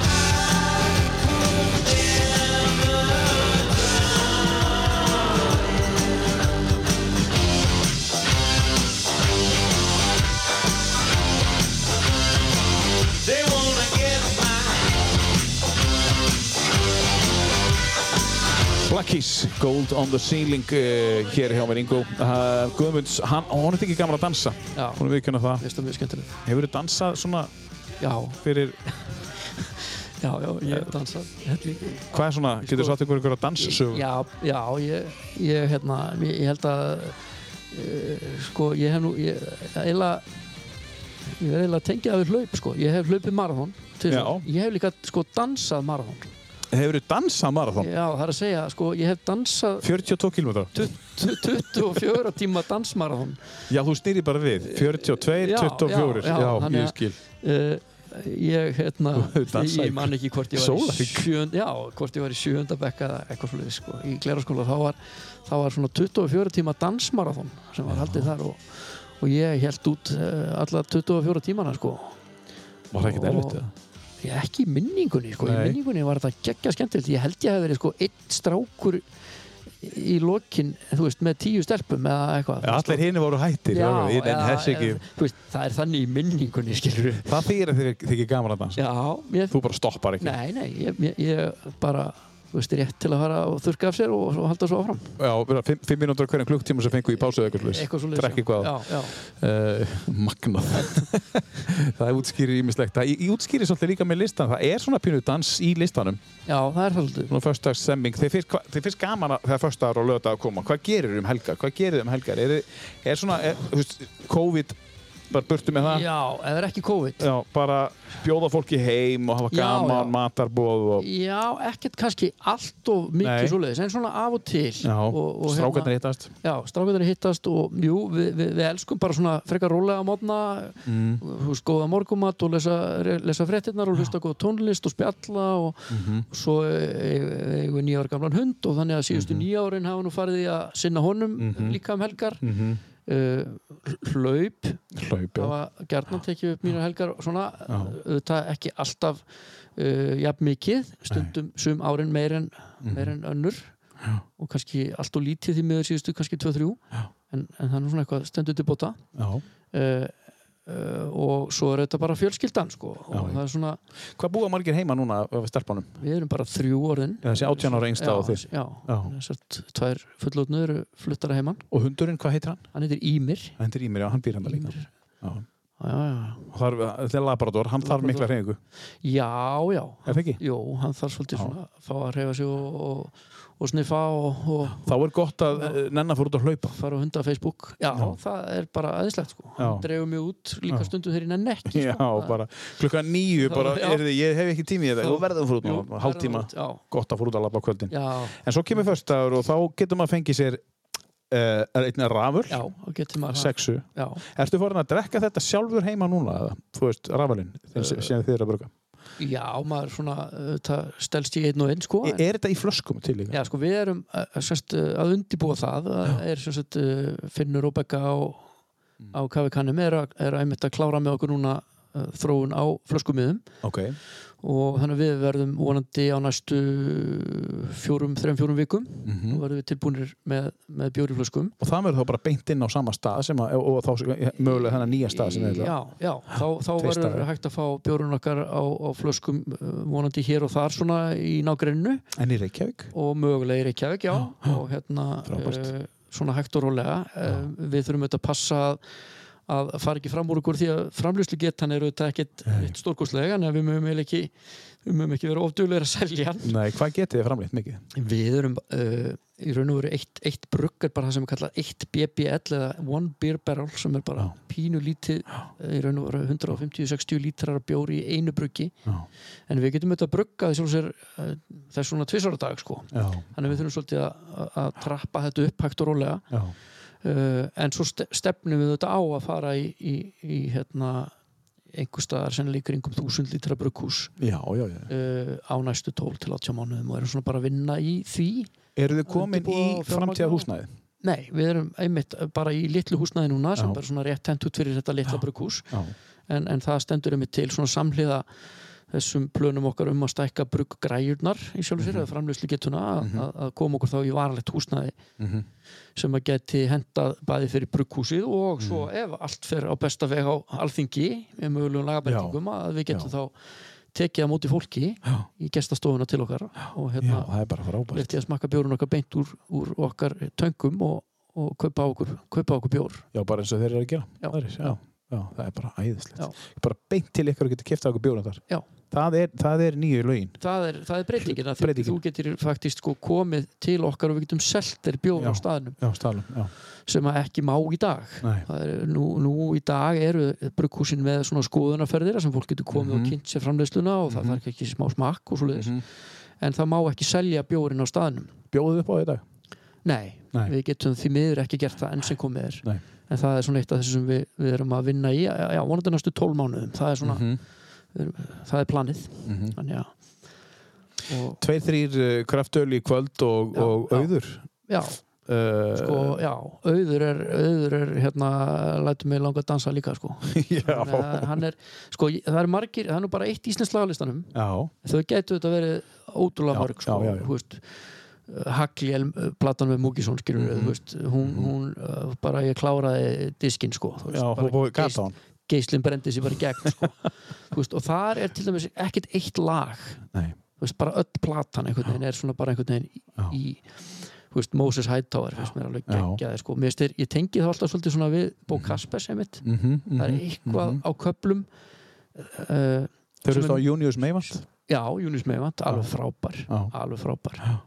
Speaker 4: I could never drown. They wanna get my
Speaker 2: Black Keys, Gold on the Ceiling uh, hér hjá mér Ingo uh, Guðmunds, hann, hann er ekki gaman að dansa
Speaker 3: já,
Speaker 2: hún er viðkjönda það
Speaker 3: mér finnst það mjög skemmtilegt
Speaker 2: Hefur þú dansað svona
Speaker 3: já,
Speaker 2: fyrir
Speaker 3: já, já, ég dansa helling
Speaker 2: hvað er svona, getur þú satt ykkur ykkur að dansa sögum?
Speaker 3: já, já, ég, ég hérna, ég, ég held að uh, sko, ég hef nú ég, eiginlega ég verði eiginlega tengið að við hlaup, sko ég hef hlaupið marathon tvisvar.
Speaker 2: Já.
Speaker 3: ég hef líka, sko, dansað marathon
Speaker 2: Hefur þú dansað marathon?
Speaker 3: já, það er að segja, sko, ég hef dansað
Speaker 2: 42 km?
Speaker 3: tu- tu- 24 tíma dansmarathon
Speaker 2: Já, þú snýri bara við 42,
Speaker 3: Já,
Speaker 2: 24
Speaker 3: já,
Speaker 2: Já,
Speaker 3: já, þannig
Speaker 2: ég
Speaker 3: að-
Speaker 2: skil
Speaker 3: uh, ég, hérna
Speaker 2: hefur dansað
Speaker 3: ég
Speaker 2: í-
Speaker 3: man ekki hvort ég var í
Speaker 2: Sólarhring.
Speaker 3: sjönd, já, hvort ég var í sjöunda bekka eða eitthvað svolítið, sko, í gleraskóla þá var, þá var svona 24 tíma dansmarathon sem var haldið þar og, og ég held út uh, alla 24 tímana, sko
Speaker 2: Var það ekkert
Speaker 3: Og-
Speaker 2: erfitt eða?
Speaker 3: ég ekki í minningunni, sko,
Speaker 2: Nei.
Speaker 3: í minningunni var þetta geggja skemmtilegt, ég held ég hef verið, sko, einn strákur í lokin, þú veist, með tíu stelpum eða eitthvað
Speaker 2: Allir hinn voru hættir já, já, en
Speaker 3: eða-
Speaker 2: þessi ekki
Speaker 3: eða- þú veist, það er þannig í minningunni, skilur
Speaker 2: Það þýr að þið þið ekki gaman að dansa
Speaker 3: já, mér,
Speaker 2: Þú bara stoppar ekki
Speaker 3: Nei, nei, ég, ég, ég bara þú veist, rétt til að fara og þurrka af sér og, og halda svo áfram
Speaker 2: Já, bara fimm, fimm mínútur á hverjum klukktíma sem fengu í pásu eða eitthvað slags.
Speaker 3: eitthvað svo
Speaker 2: Trekk eitthvað á.
Speaker 3: já, já.
Speaker 2: Uh, magnað. <laughs> það útskýrir ímislegt. Það ég- ég útskýrir svolítið líka með listan. Það er svona pínu dans í listanum.
Speaker 3: já, það er það svolítið
Speaker 2: Svona förstags semming. Þeir finnst, hva- þeir finnst gaman að þegar förstaðar og lögdagar koma. Hvað gerir um helgar? Hvað gerir um helgar? Er, er svona, er, þú veist, COVID bara burtu með það?
Speaker 3: já, eða er ekki COVID
Speaker 2: Já, bara bjóða fólki heim og hafa
Speaker 3: Já,
Speaker 2: gaman,
Speaker 3: já.
Speaker 2: matarboð og
Speaker 3: já, ekkert kannski allt og
Speaker 2: Nei.
Speaker 3: mikið svoleiðis, en svona af og til
Speaker 2: já,
Speaker 3: og, hérna- og
Speaker 2: strákarnir hittast.
Speaker 3: Já, strákarnir hittast og jú, við, við, við elskum bara svona frekar rólega mótna,
Speaker 2: Mm.
Speaker 3: þú veist, góða morgumat og lesa, re- lesa fréttinnar og hlusta góða tónlist og spjalla og,
Speaker 2: Mhm.
Speaker 3: og svo eh, eigum við nýja ára gamlan hund og þannig að síðustu
Speaker 2: Mhm.
Speaker 3: nýja árin hafa nú farið í að sinna honum líka um helgar mm
Speaker 2: Mhm.
Speaker 3: hlaup
Speaker 2: Hlaup, já.
Speaker 3: hafa gjarnan tekið upp mínar helgar svona, auðvitað ekki alltaf uh, jafn mikið, stundum sum árin meir en,
Speaker 2: Mhm.
Speaker 3: meir en önnur og kannski allt og lítið því miður síðustu kannski 2-3 en, en það er nú svona eitthvað stendur til bóta
Speaker 2: já.
Speaker 3: uh, uh, og svo er þetta bara fjölskyldan sko, og
Speaker 2: Já, já.
Speaker 3: það er svona,
Speaker 2: Hvað búa margir heima núna af stelpunum?
Speaker 3: við erum bara þrjú orðin
Speaker 2: Já, þessi 18 ára yngsta og þið.
Speaker 3: já,
Speaker 2: Já.
Speaker 3: þessar t- tvær fullotnu eru fluttara heimann,
Speaker 2: Og hundurinn, hvað heitir hann?
Speaker 3: hann heitir Ímir
Speaker 2: Hann heitir Ímir, já, hann býr hann líka.
Speaker 3: Ímir.
Speaker 2: Já.
Speaker 3: Já, já,
Speaker 2: Og Það er, þetta er laborator, hann þarf mikla hreyfingu.
Speaker 3: já, já, já
Speaker 2: Er það ekki?
Speaker 3: Jó, hann þarf svolítið
Speaker 2: Já.
Speaker 3: svona að fá að reyfa sig og, og, og sniffa og, og
Speaker 2: Þá er gott að eh, nenna fór út að hlaupa.
Speaker 3: fara á hunda á Facebook. Já,
Speaker 2: Já.
Speaker 3: það er bara aðeinslegt sko. Hann
Speaker 2: Já.
Speaker 3: dreifur mjög út líka
Speaker 2: Já.
Speaker 3: stundum þegar hann ekki. sko.
Speaker 2: Já, bara klukkan nýju,
Speaker 3: Þá-
Speaker 2: bara,
Speaker 3: já.
Speaker 2: erði, ég hef ekki tími í þetta.
Speaker 3: Þá-
Speaker 2: Þú verður að fór út
Speaker 3: Jú,
Speaker 2: núna, hálftíma.
Speaker 3: Já,
Speaker 2: Gott að fór út að labba á kvöldin.
Speaker 3: já,
Speaker 2: En svo kemur föstaður og þá getur maður fengið sér uh, einna rafur,
Speaker 3: já, þá getur maður það.
Speaker 2: sexu.
Speaker 3: Já,
Speaker 2: Ertu farin að drekka þetta sjálfur heima núna? eða? Þú veist, rafalinn, uh, sem þið eru að bruka.
Speaker 3: já, maður svona, uh, það stelst í einn og einn sko.
Speaker 2: Er,
Speaker 3: En,
Speaker 2: er þetta í flöskum til líka?
Speaker 3: já, sko, við erum uh, sérst, uh, að undibúa það. Það er sérst uh, Finnur og Begga á,
Speaker 2: Mm.
Speaker 3: á kafikanum er, að- er að einmitt að klára með okkur núna uh, þróun á flöskumiðum.
Speaker 2: Ok.
Speaker 3: og þannig að við verðum vonandi á næstu fjórum, þrejum, fjórum vikum og verðum við tilbúinir með, með bjóriflöskum
Speaker 2: Og það verður þá bara beint inn á sama stað sem að, og, og þá mögulega þennan nýja stað sem þið
Speaker 3: Já,
Speaker 2: ætla.
Speaker 3: já, þá, þá
Speaker 2: Tveir
Speaker 3: verður
Speaker 2: staðir.
Speaker 3: hægt að fá bjórun okkar á, á flöskum eh, vonandi hér og þar svona í nágrennu
Speaker 2: En í Reykjavík?
Speaker 3: og mögulega í Reykjavík, já og hérna
Speaker 2: Frábært.
Speaker 3: eh, svona hægt og rólega uh, við þurfum auðvitað að passa að að fara ekki fram úr okkur því að framlýslu getan er auðvitað ekkit stórkostlega en við mögum eiginlega ekki, við mögum ekki vera ofduglega að selja hann
Speaker 2: Nei, hvað getið þið framleitt mikið?
Speaker 3: Við erum uh, í raun og veru eitt, eitt brugg er bara það sem er kallað eitt BBL eða One Beer Barrel sem er bara
Speaker 2: Já.
Speaker 3: pínu lítið eh, í raun og veru 150-60 lítrar af bjóri í einu bruggi
Speaker 2: Já.
Speaker 3: en við getum auðvitað bruggað þess að uh, það er svona tvisvara dag sko
Speaker 2: Já.
Speaker 3: þannig að við þurfum svolítið að, að- að trappa þetta upp hægt og rólega
Speaker 2: Já.
Speaker 3: uh, en svo ste stefnum við þetta á að fara í, í, í hérna einhver staðar sennilega í kringum 1000 lítra brugghús
Speaker 2: Já, já, já.
Speaker 3: uh, á næstu 12 til 18 mánuðum og erum svona bara að vinna í því
Speaker 2: Eru þið komin í
Speaker 3: Undirbúa og fjármagna
Speaker 2: framtíða
Speaker 3: og-
Speaker 2: húsnæði?
Speaker 3: Nei, við erum einmitt bara í litlu húsnaði núna sem
Speaker 2: Já.
Speaker 3: bara svona rétt hent út fyrir þetta litla brugghús
Speaker 2: Já.
Speaker 3: en, en það stendur einmitt til svona samhliða þessum plönum okkar um að stækka brugggræjurnar í sjálfu sér eða framlöslu getuna að, að koma okkur þá í varalegt húsnaði
Speaker 2: Mhm.
Speaker 3: sem að geti hentað bæði fyrir brugghúsið og svo
Speaker 2: Mhm.
Speaker 3: ef allt fer á besta veg á alþingi með mögulegum lagabendingum að við getum
Speaker 2: Já.
Speaker 3: þá tekið á móti fólki
Speaker 2: Já.
Speaker 3: í gestastofuna til okkar og
Speaker 2: Já,
Speaker 3: hérna
Speaker 2: það er bara frábært.
Speaker 3: lefti að smakka bjórun okkar beint úr, úr okkar töngum og, og kaupa, á okkur, kaupa á okkur bjór
Speaker 2: Já, bara eins og þeir eru að gera.
Speaker 3: Já.
Speaker 2: Aðrir, já. Já, það er bara æðislegt.
Speaker 3: Já.
Speaker 2: Bara beint til ykkur og getur kiftað okkur bjóðan þar.
Speaker 3: Já.
Speaker 2: Það er, það er nýju lögin.
Speaker 3: það er, það er breytingin að
Speaker 2: Breytingin.
Speaker 3: þú getur faktist sko komið til okkar og við getum selt þér bjór á
Speaker 2: Já.
Speaker 3: staðnum
Speaker 2: Já, stálum. Já.
Speaker 3: sem að ekki má í dag
Speaker 2: Nei.
Speaker 3: Það er, nú, nú í dag eru brugghúsin með svona skoðunarferðir þar sem fólk getur komið
Speaker 2: Mhm.
Speaker 3: og kynnt sér framleiðsluna og það þarf ekki smá smakk og svoleiðis en það má ekki selja bjórin á staðnum
Speaker 2: Bjóðuð upp á því í dag?
Speaker 3: Nei,
Speaker 2: Nei.
Speaker 3: við getum því miður ekki gert það enn sem komið er
Speaker 2: Nei.
Speaker 3: en það er svona eitt af þessu sem við, við erum að vinna í já, já, vonandi næstu 12 mánuðum það er svona,
Speaker 2: Mhm.
Speaker 3: það er planið
Speaker 2: Mhm.
Speaker 3: þannig að og,
Speaker 2: Tveir, þrýr uh, kraftöl í kvöld og,
Speaker 3: Já,
Speaker 2: og
Speaker 3: já.
Speaker 2: auður.
Speaker 3: já,
Speaker 2: Uh, <laughs>
Speaker 3: sko, já, auður er, auður er hérna, lætur mig langa að dansa líka sko.
Speaker 2: já.
Speaker 3: Þannig að hann er, sko, ég- það er margir það er nú bara eitt íslensk lagalistanum
Speaker 2: Já,
Speaker 3: þau getur þetta verið ótrúlega
Speaker 2: Já,
Speaker 3: mörg sko,
Speaker 2: já, já, já.
Speaker 3: þú veist Hagliel, platan með Múkisson skilur,
Speaker 2: Mhm.
Speaker 3: mm veist, hún, hún uh, bara ég kláraði diskinn sko, þú veist,
Speaker 2: já,
Speaker 3: bara
Speaker 2: hún búið
Speaker 3: geist-
Speaker 2: gata hann. <laughs>
Speaker 3: geislinn brendi sér bara í gegn sko. Þú veist, og þar er til dæmis ekkert eitt lag
Speaker 2: Nei.
Speaker 3: Þú þú veist, bara öll platan einhvern veginn er svona bara einhvern
Speaker 2: Já.
Speaker 3: veginn í þú veist, Moses Hightower finnst mér alveg
Speaker 2: Já. Mhm.
Speaker 3: geggjaði sko. Mér styr, ég tengi það alltaf svolítið svona við Bó Kaspers einmitt það er eitthvað á köplum uh,
Speaker 2: Þeir
Speaker 3: sem
Speaker 2: eru á
Speaker 3: er-
Speaker 2: Junius Meivand
Speaker 3: já, Júnis Meivand, alveg frábær
Speaker 2: Já.
Speaker 3: alveg frábær
Speaker 2: Já.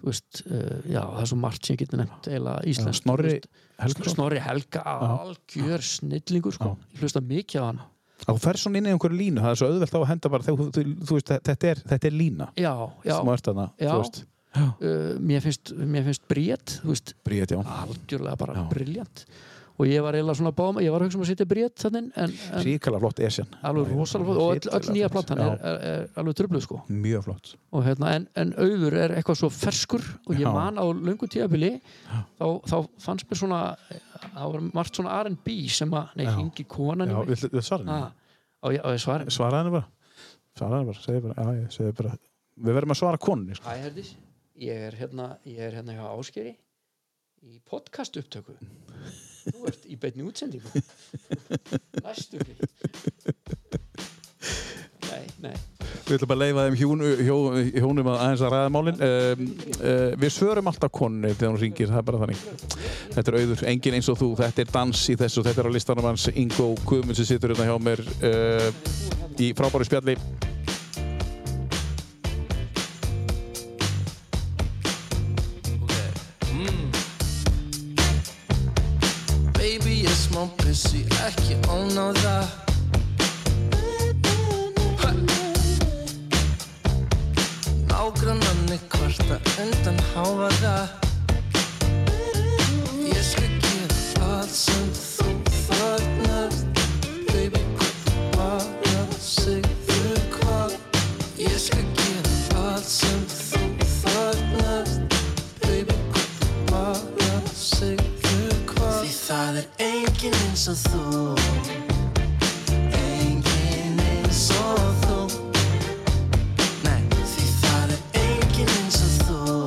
Speaker 3: Þú veist, uh, já, það er svo margt sem ég geti nefnt eiginlega Ísland
Speaker 2: Snorri Helgason.
Speaker 3: Snorri Helga, algjör snillingur sko. ég hlusta mikið á hann
Speaker 2: Þú ferð svona inn í einhverju línu, það er svo auðvelt á að henda bara þegar þú, þú, þú veist, þetta er, þetta er lína
Speaker 3: já, já,
Speaker 2: sem þú ert þarna,
Speaker 3: Já.
Speaker 2: þú veist
Speaker 3: uh, mér finnst, mér finnst brét, þú veist
Speaker 2: Bríet, já
Speaker 3: algjörlega bara
Speaker 2: Já.
Speaker 3: já. briljant og ég var eiginlega svona báðum, ég var að hugsa um að setja brét þannig, en, en
Speaker 2: Ríkala flott esjan
Speaker 3: alveg rosalega flott og öll, öll
Speaker 2: Hrikalega
Speaker 3: nýja
Speaker 2: flott.
Speaker 3: platan er, er, er alveg tröfluð sko
Speaker 2: Mjög flott
Speaker 3: og, hérna, en, en auður er eitthvað svo ferskur og ég
Speaker 2: Já.
Speaker 3: man á löngu tíðabili þá, þá fannst mér svona þá var margt svona R&B sem að nei,
Speaker 2: Já.
Speaker 3: hingi konan
Speaker 2: Já,
Speaker 3: í mig
Speaker 2: við, við svara henni
Speaker 3: Ah, á, ég, á ég svara
Speaker 2: Svara henni bara Svara henni bara, segðu bara, já, ég segðu bara Við verðum að svara konunni, sko
Speaker 3: Æ, Herdís, ég er hérna ég er hérna hjá Áskeri í podcast upptöku þú ert í beinni útsendingu næstu því nei, nei
Speaker 2: Við ætlum bara að leifa þeim hjón, hjó, hjónum að aðeins að ræða málin um, uh, Við svörum alltaf konunni þegar hún ringir, það er bara þannig Þetta er auður, engin eins og þú, þetta er dans í þessu Þetta er á listanum hans Ingo Guðmund sem situr hérna hjá mér uh, í frábæru spjalli
Speaker 6: Baby, ég er smá pissi, ekki ónáð það Ha. Nágrannarnir kvarta undan hávaða Ég skal gera allt sem þú þarnar Baby, hvað bara segðu hvað Ég skal gera allt sem þú þarnar Baby, hvað bara segðu hvað Því það er enginn eins og þú Enginn eins og þú Nei, því það er enginn eins og þú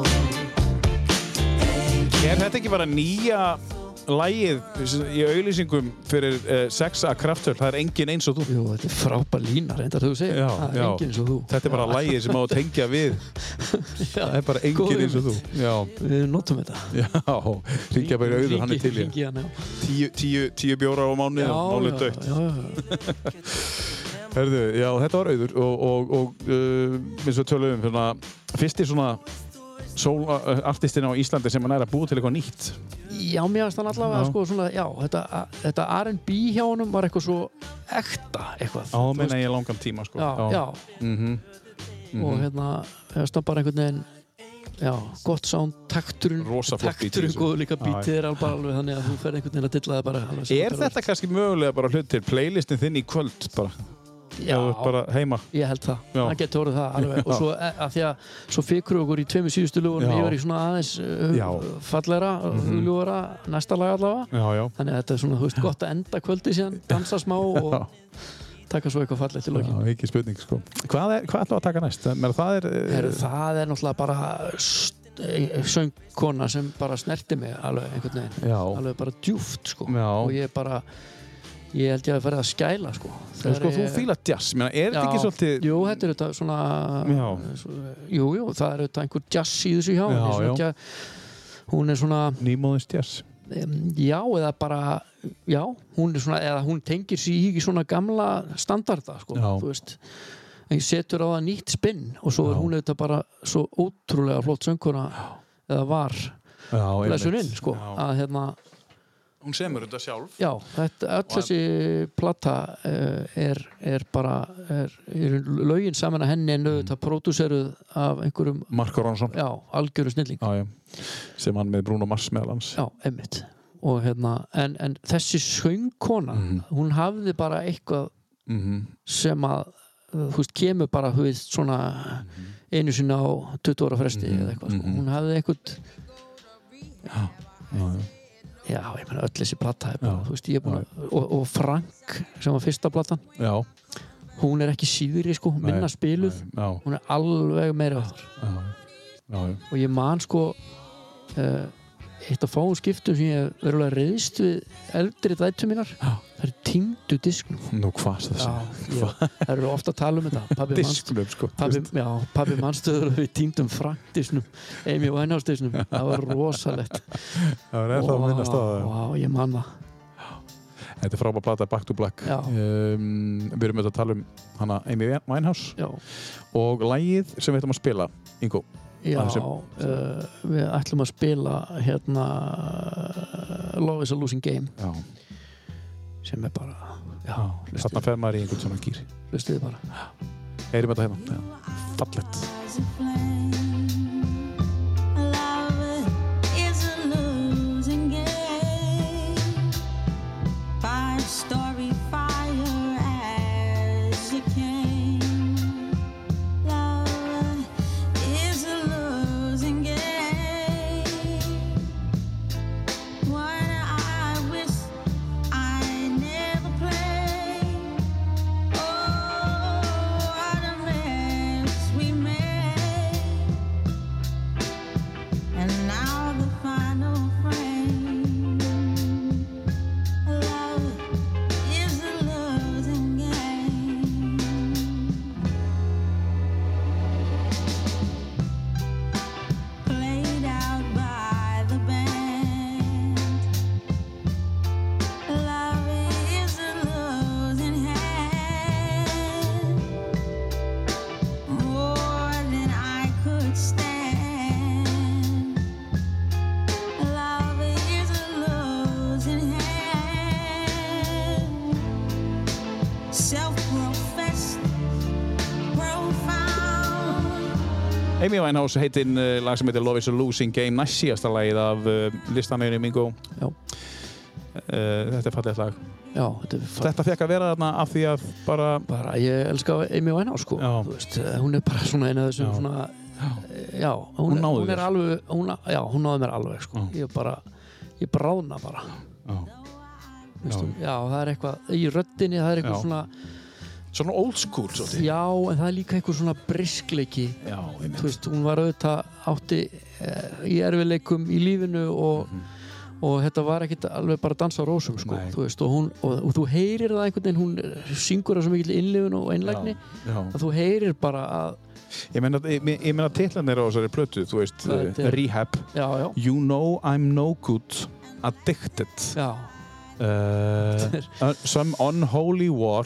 Speaker 2: Er þetta ekki bara nýja lægið í auðlýsingum fyrir uh, sexa kraftöld, það er engin eins og þú
Speaker 3: Jú, þetta er frábær lína, reyndar þú segir það er enginn eins og þú
Speaker 2: Þetta er bara lægið sem á að tengja við Það er bara
Speaker 3: Góð
Speaker 2: engin eins og þú Já,
Speaker 3: við notum þetta
Speaker 2: já, ringja bara í auður, hann er til ég
Speaker 3: Hringi hann, já.
Speaker 2: tíu, tíu, tíu bjóra á mánu
Speaker 3: Já,
Speaker 2: mánu
Speaker 3: já,
Speaker 2: dögt
Speaker 3: já, já.
Speaker 2: Herðu, já, þetta var auður og, og, og uh, eins og tölum um, svona, fyrsti svona soul uh, artistinn á Íslandi sem hann er að búa til eitthvað nýtt
Speaker 3: já, mér finnst hann allavega
Speaker 2: Já.
Speaker 3: sko, svona, já, þetta, þetta R&B hjá honum var eitthvað svo ekta eitthvað
Speaker 2: á meina ég langan tíma sko.
Speaker 3: já, já.
Speaker 2: Mhm.
Speaker 3: og hérna, hérna stað bara einhvern veginn já, gott sound, takturinn
Speaker 2: Rosa flott beat í
Speaker 3: takturinn
Speaker 2: þessu.
Speaker 3: góður líka
Speaker 2: sko. Já,
Speaker 3: bítið er alveg alveg þannig að þú ferð einhvern veginn að dilla það bara alveg
Speaker 2: Er þetta kannski mögulega bara hlut til playlistin þinn í kvöld bara,
Speaker 3: já,
Speaker 2: Ef þú ert bara heima
Speaker 3: ég held það,
Speaker 2: Já.
Speaker 3: það getur orðið það
Speaker 2: <laughs>
Speaker 3: alveg og
Speaker 2: Já.
Speaker 3: svo e- að því að svo fikru okkur í tveimur síðustu lögunum
Speaker 2: Já.
Speaker 3: yfir í svona aðeins
Speaker 2: Já. Mhm.
Speaker 3: uh, fallera, mm -hmm. ljúara næsta lag allavega
Speaker 2: Já, já
Speaker 3: þannig að þetta er svona, þú veist, gott að enda kvöldi síðan dansa
Speaker 2: <laughs>
Speaker 3: smá og taka svo eitthvað fallegt í lokin
Speaker 2: Já, ekki spurning sko. Hvað, er, hvað ætlum við að taka næst? Menn, það er, eh,
Speaker 3: Heru, það er náttúrulega bara st- eh, söngkona sem bara snerti mig alveg einhvern veginn
Speaker 2: Já.
Speaker 3: alveg bara djúft sko
Speaker 2: Já.
Speaker 3: og ég bara ég held ég að fara að skæla sko
Speaker 2: en
Speaker 3: Þegar
Speaker 2: sko, þú
Speaker 3: ég-
Speaker 2: fílar jazz menn, er þetta
Speaker 3: Já.
Speaker 2: ekki svolítið
Speaker 3: Jú, þetta er auðvitað svona
Speaker 2: Já.
Speaker 3: svo- Jú, jú, það er auðvitað einhver jazz í þessu hjá
Speaker 2: Já,
Speaker 3: henni, svona
Speaker 2: já.
Speaker 3: jazz- Hún er svona,
Speaker 2: nýmóðins jazz?
Speaker 3: em, já, eða bara já, hún er svona, eða hún tengir sig í svona gamla standarda sko,
Speaker 2: Já.
Speaker 3: þú veist en setur á það nýtt spinn og svo er
Speaker 2: Já.
Speaker 3: hún auðvitað bara svo ótrúlega flott sönguna eða var
Speaker 2: Já,
Speaker 3: blessuninn
Speaker 2: einmitt.
Speaker 3: sko,
Speaker 2: Já.
Speaker 3: að hérna
Speaker 2: Hún semur þetta sjálf
Speaker 3: Já, þetta, öll þessi plata uh, er, er bara er, er lögin saman að
Speaker 2: Mm.
Speaker 3: henni en auðvitað pródúseruð af einhverjum
Speaker 2: Marko Ránsson
Speaker 3: já, algjöru snilling
Speaker 2: já, já. sem hann með Bruno Mars meðal hans
Speaker 3: Já, emmitt og hérna, en, en þessi söngkona
Speaker 2: Mhm.
Speaker 3: hún hafði bara eitthvað sem að uh, þú veist, kemur bara, þú veist, svona
Speaker 2: Mhm.
Speaker 3: einu sinni á 20 ára fresti eða eitthvað, sko. hún hafði eitthvað
Speaker 2: já,
Speaker 3: já, ég meina, öll þessi plata er bara, þú veist, ég er búin að, og, og Frank sem var fyrsta platan,
Speaker 2: já,
Speaker 3: hún er ekki síðri, sko, minna spiluð
Speaker 2: já,
Speaker 3: hún er alveg meiri áttur
Speaker 2: já, já, já.
Speaker 3: og ég man sko uh, eitt af fáum skiptum sem ég hef verulega reyðst við eldri dætu mínar
Speaker 2: Já.
Speaker 3: það er týndu disknum
Speaker 2: Nú hvað er það?
Speaker 3: ég, það eru ofta að tala um þetta pabbi manstu
Speaker 2: Disknum sko
Speaker 3: Pabbi, já, pabbi mannstöður við týndum franktisnum, Amy Winehouse-disnum það var rosalegt
Speaker 2: Það er <laughs> ennþá að minnast á það
Speaker 3: Vá, vá, ég manna
Speaker 2: Þetta er frábæð plata Back to Black
Speaker 3: Já.
Speaker 2: um, Við erum auðvitað að tala um hana Amy Winehouse
Speaker 3: já,
Speaker 2: og lægið sem við ætlum að spila Ingo
Speaker 3: já
Speaker 2: Það sem-
Speaker 3: uh, við ætlum að spila hérna uh, Love is a Losing Game
Speaker 2: Já,
Speaker 3: sem er bara, já,
Speaker 2: þarna
Speaker 3: hlustuðu
Speaker 2: fer maður í einhvern svona gýr
Speaker 3: hlustu bara
Speaker 2: Heyrim þetta hérna Já. Fallett
Speaker 7: Story fire as you came. Love is a losing game. One I wish I never played. And now the final frame. Love is a losing game. Played out by the band. Love is a losing hand, more than I could stand. Love is a losing hand, self-professed, profound.
Speaker 2: Amy Winehouse heitinn uh, lag sem heitir Love is a Losing Game næst síðasta lagið af uh, listanauðinu Mingo
Speaker 3: Já.
Speaker 2: Eh, Þetta er fallegt lag
Speaker 3: já, þetta er fallegt
Speaker 2: Þetta fekk að vera þarna af því að bara
Speaker 3: bara, ég elska Amy Winehouse sko,
Speaker 2: Já.
Speaker 3: þú veist, eh, hún er bara svona eina þessum
Speaker 2: Já.
Speaker 3: svona, eh, já,
Speaker 2: Hún
Speaker 3: hún,
Speaker 2: náði
Speaker 3: hún er
Speaker 2: þér.
Speaker 3: alveg, hún, já, hún náði mér alveg sko,
Speaker 2: Já.
Speaker 3: ég bara, ég bráðna bara,
Speaker 2: Já.
Speaker 3: veistu, já. það er eitthvað, í röddinni það er eitthvað
Speaker 2: Já.
Speaker 3: svona,
Speaker 2: Svona old school svolítið
Speaker 3: já, en það er líka eitthvað svona briskleiki,
Speaker 2: Já,
Speaker 3: þú
Speaker 2: einmitt
Speaker 3: veist, hún var auðvitað átti eh, í erfileikum í lífinu og, og þetta var ekkit alveg bara að dansa á rósum sko,
Speaker 2: Mhm. Nei.
Speaker 3: þú veist, og hún, og, og þú heyrir það einhvern veginn, hún eh, syngur það svo mikil innlifun og einlægni,
Speaker 2: Já.
Speaker 3: að þú heyrir bara að,
Speaker 2: Ég meina, ég, ég meina titlanir á þessari plötu, þú veist,
Speaker 3: Það
Speaker 2: uh,
Speaker 3: er-
Speaker 2: Rehab,
Speaker 3: já, já,
Speaker 2: You Know I'm No Good, Addicted,
Speaker 3: já,
Speaker 2: uh, uh, Some Unholy War,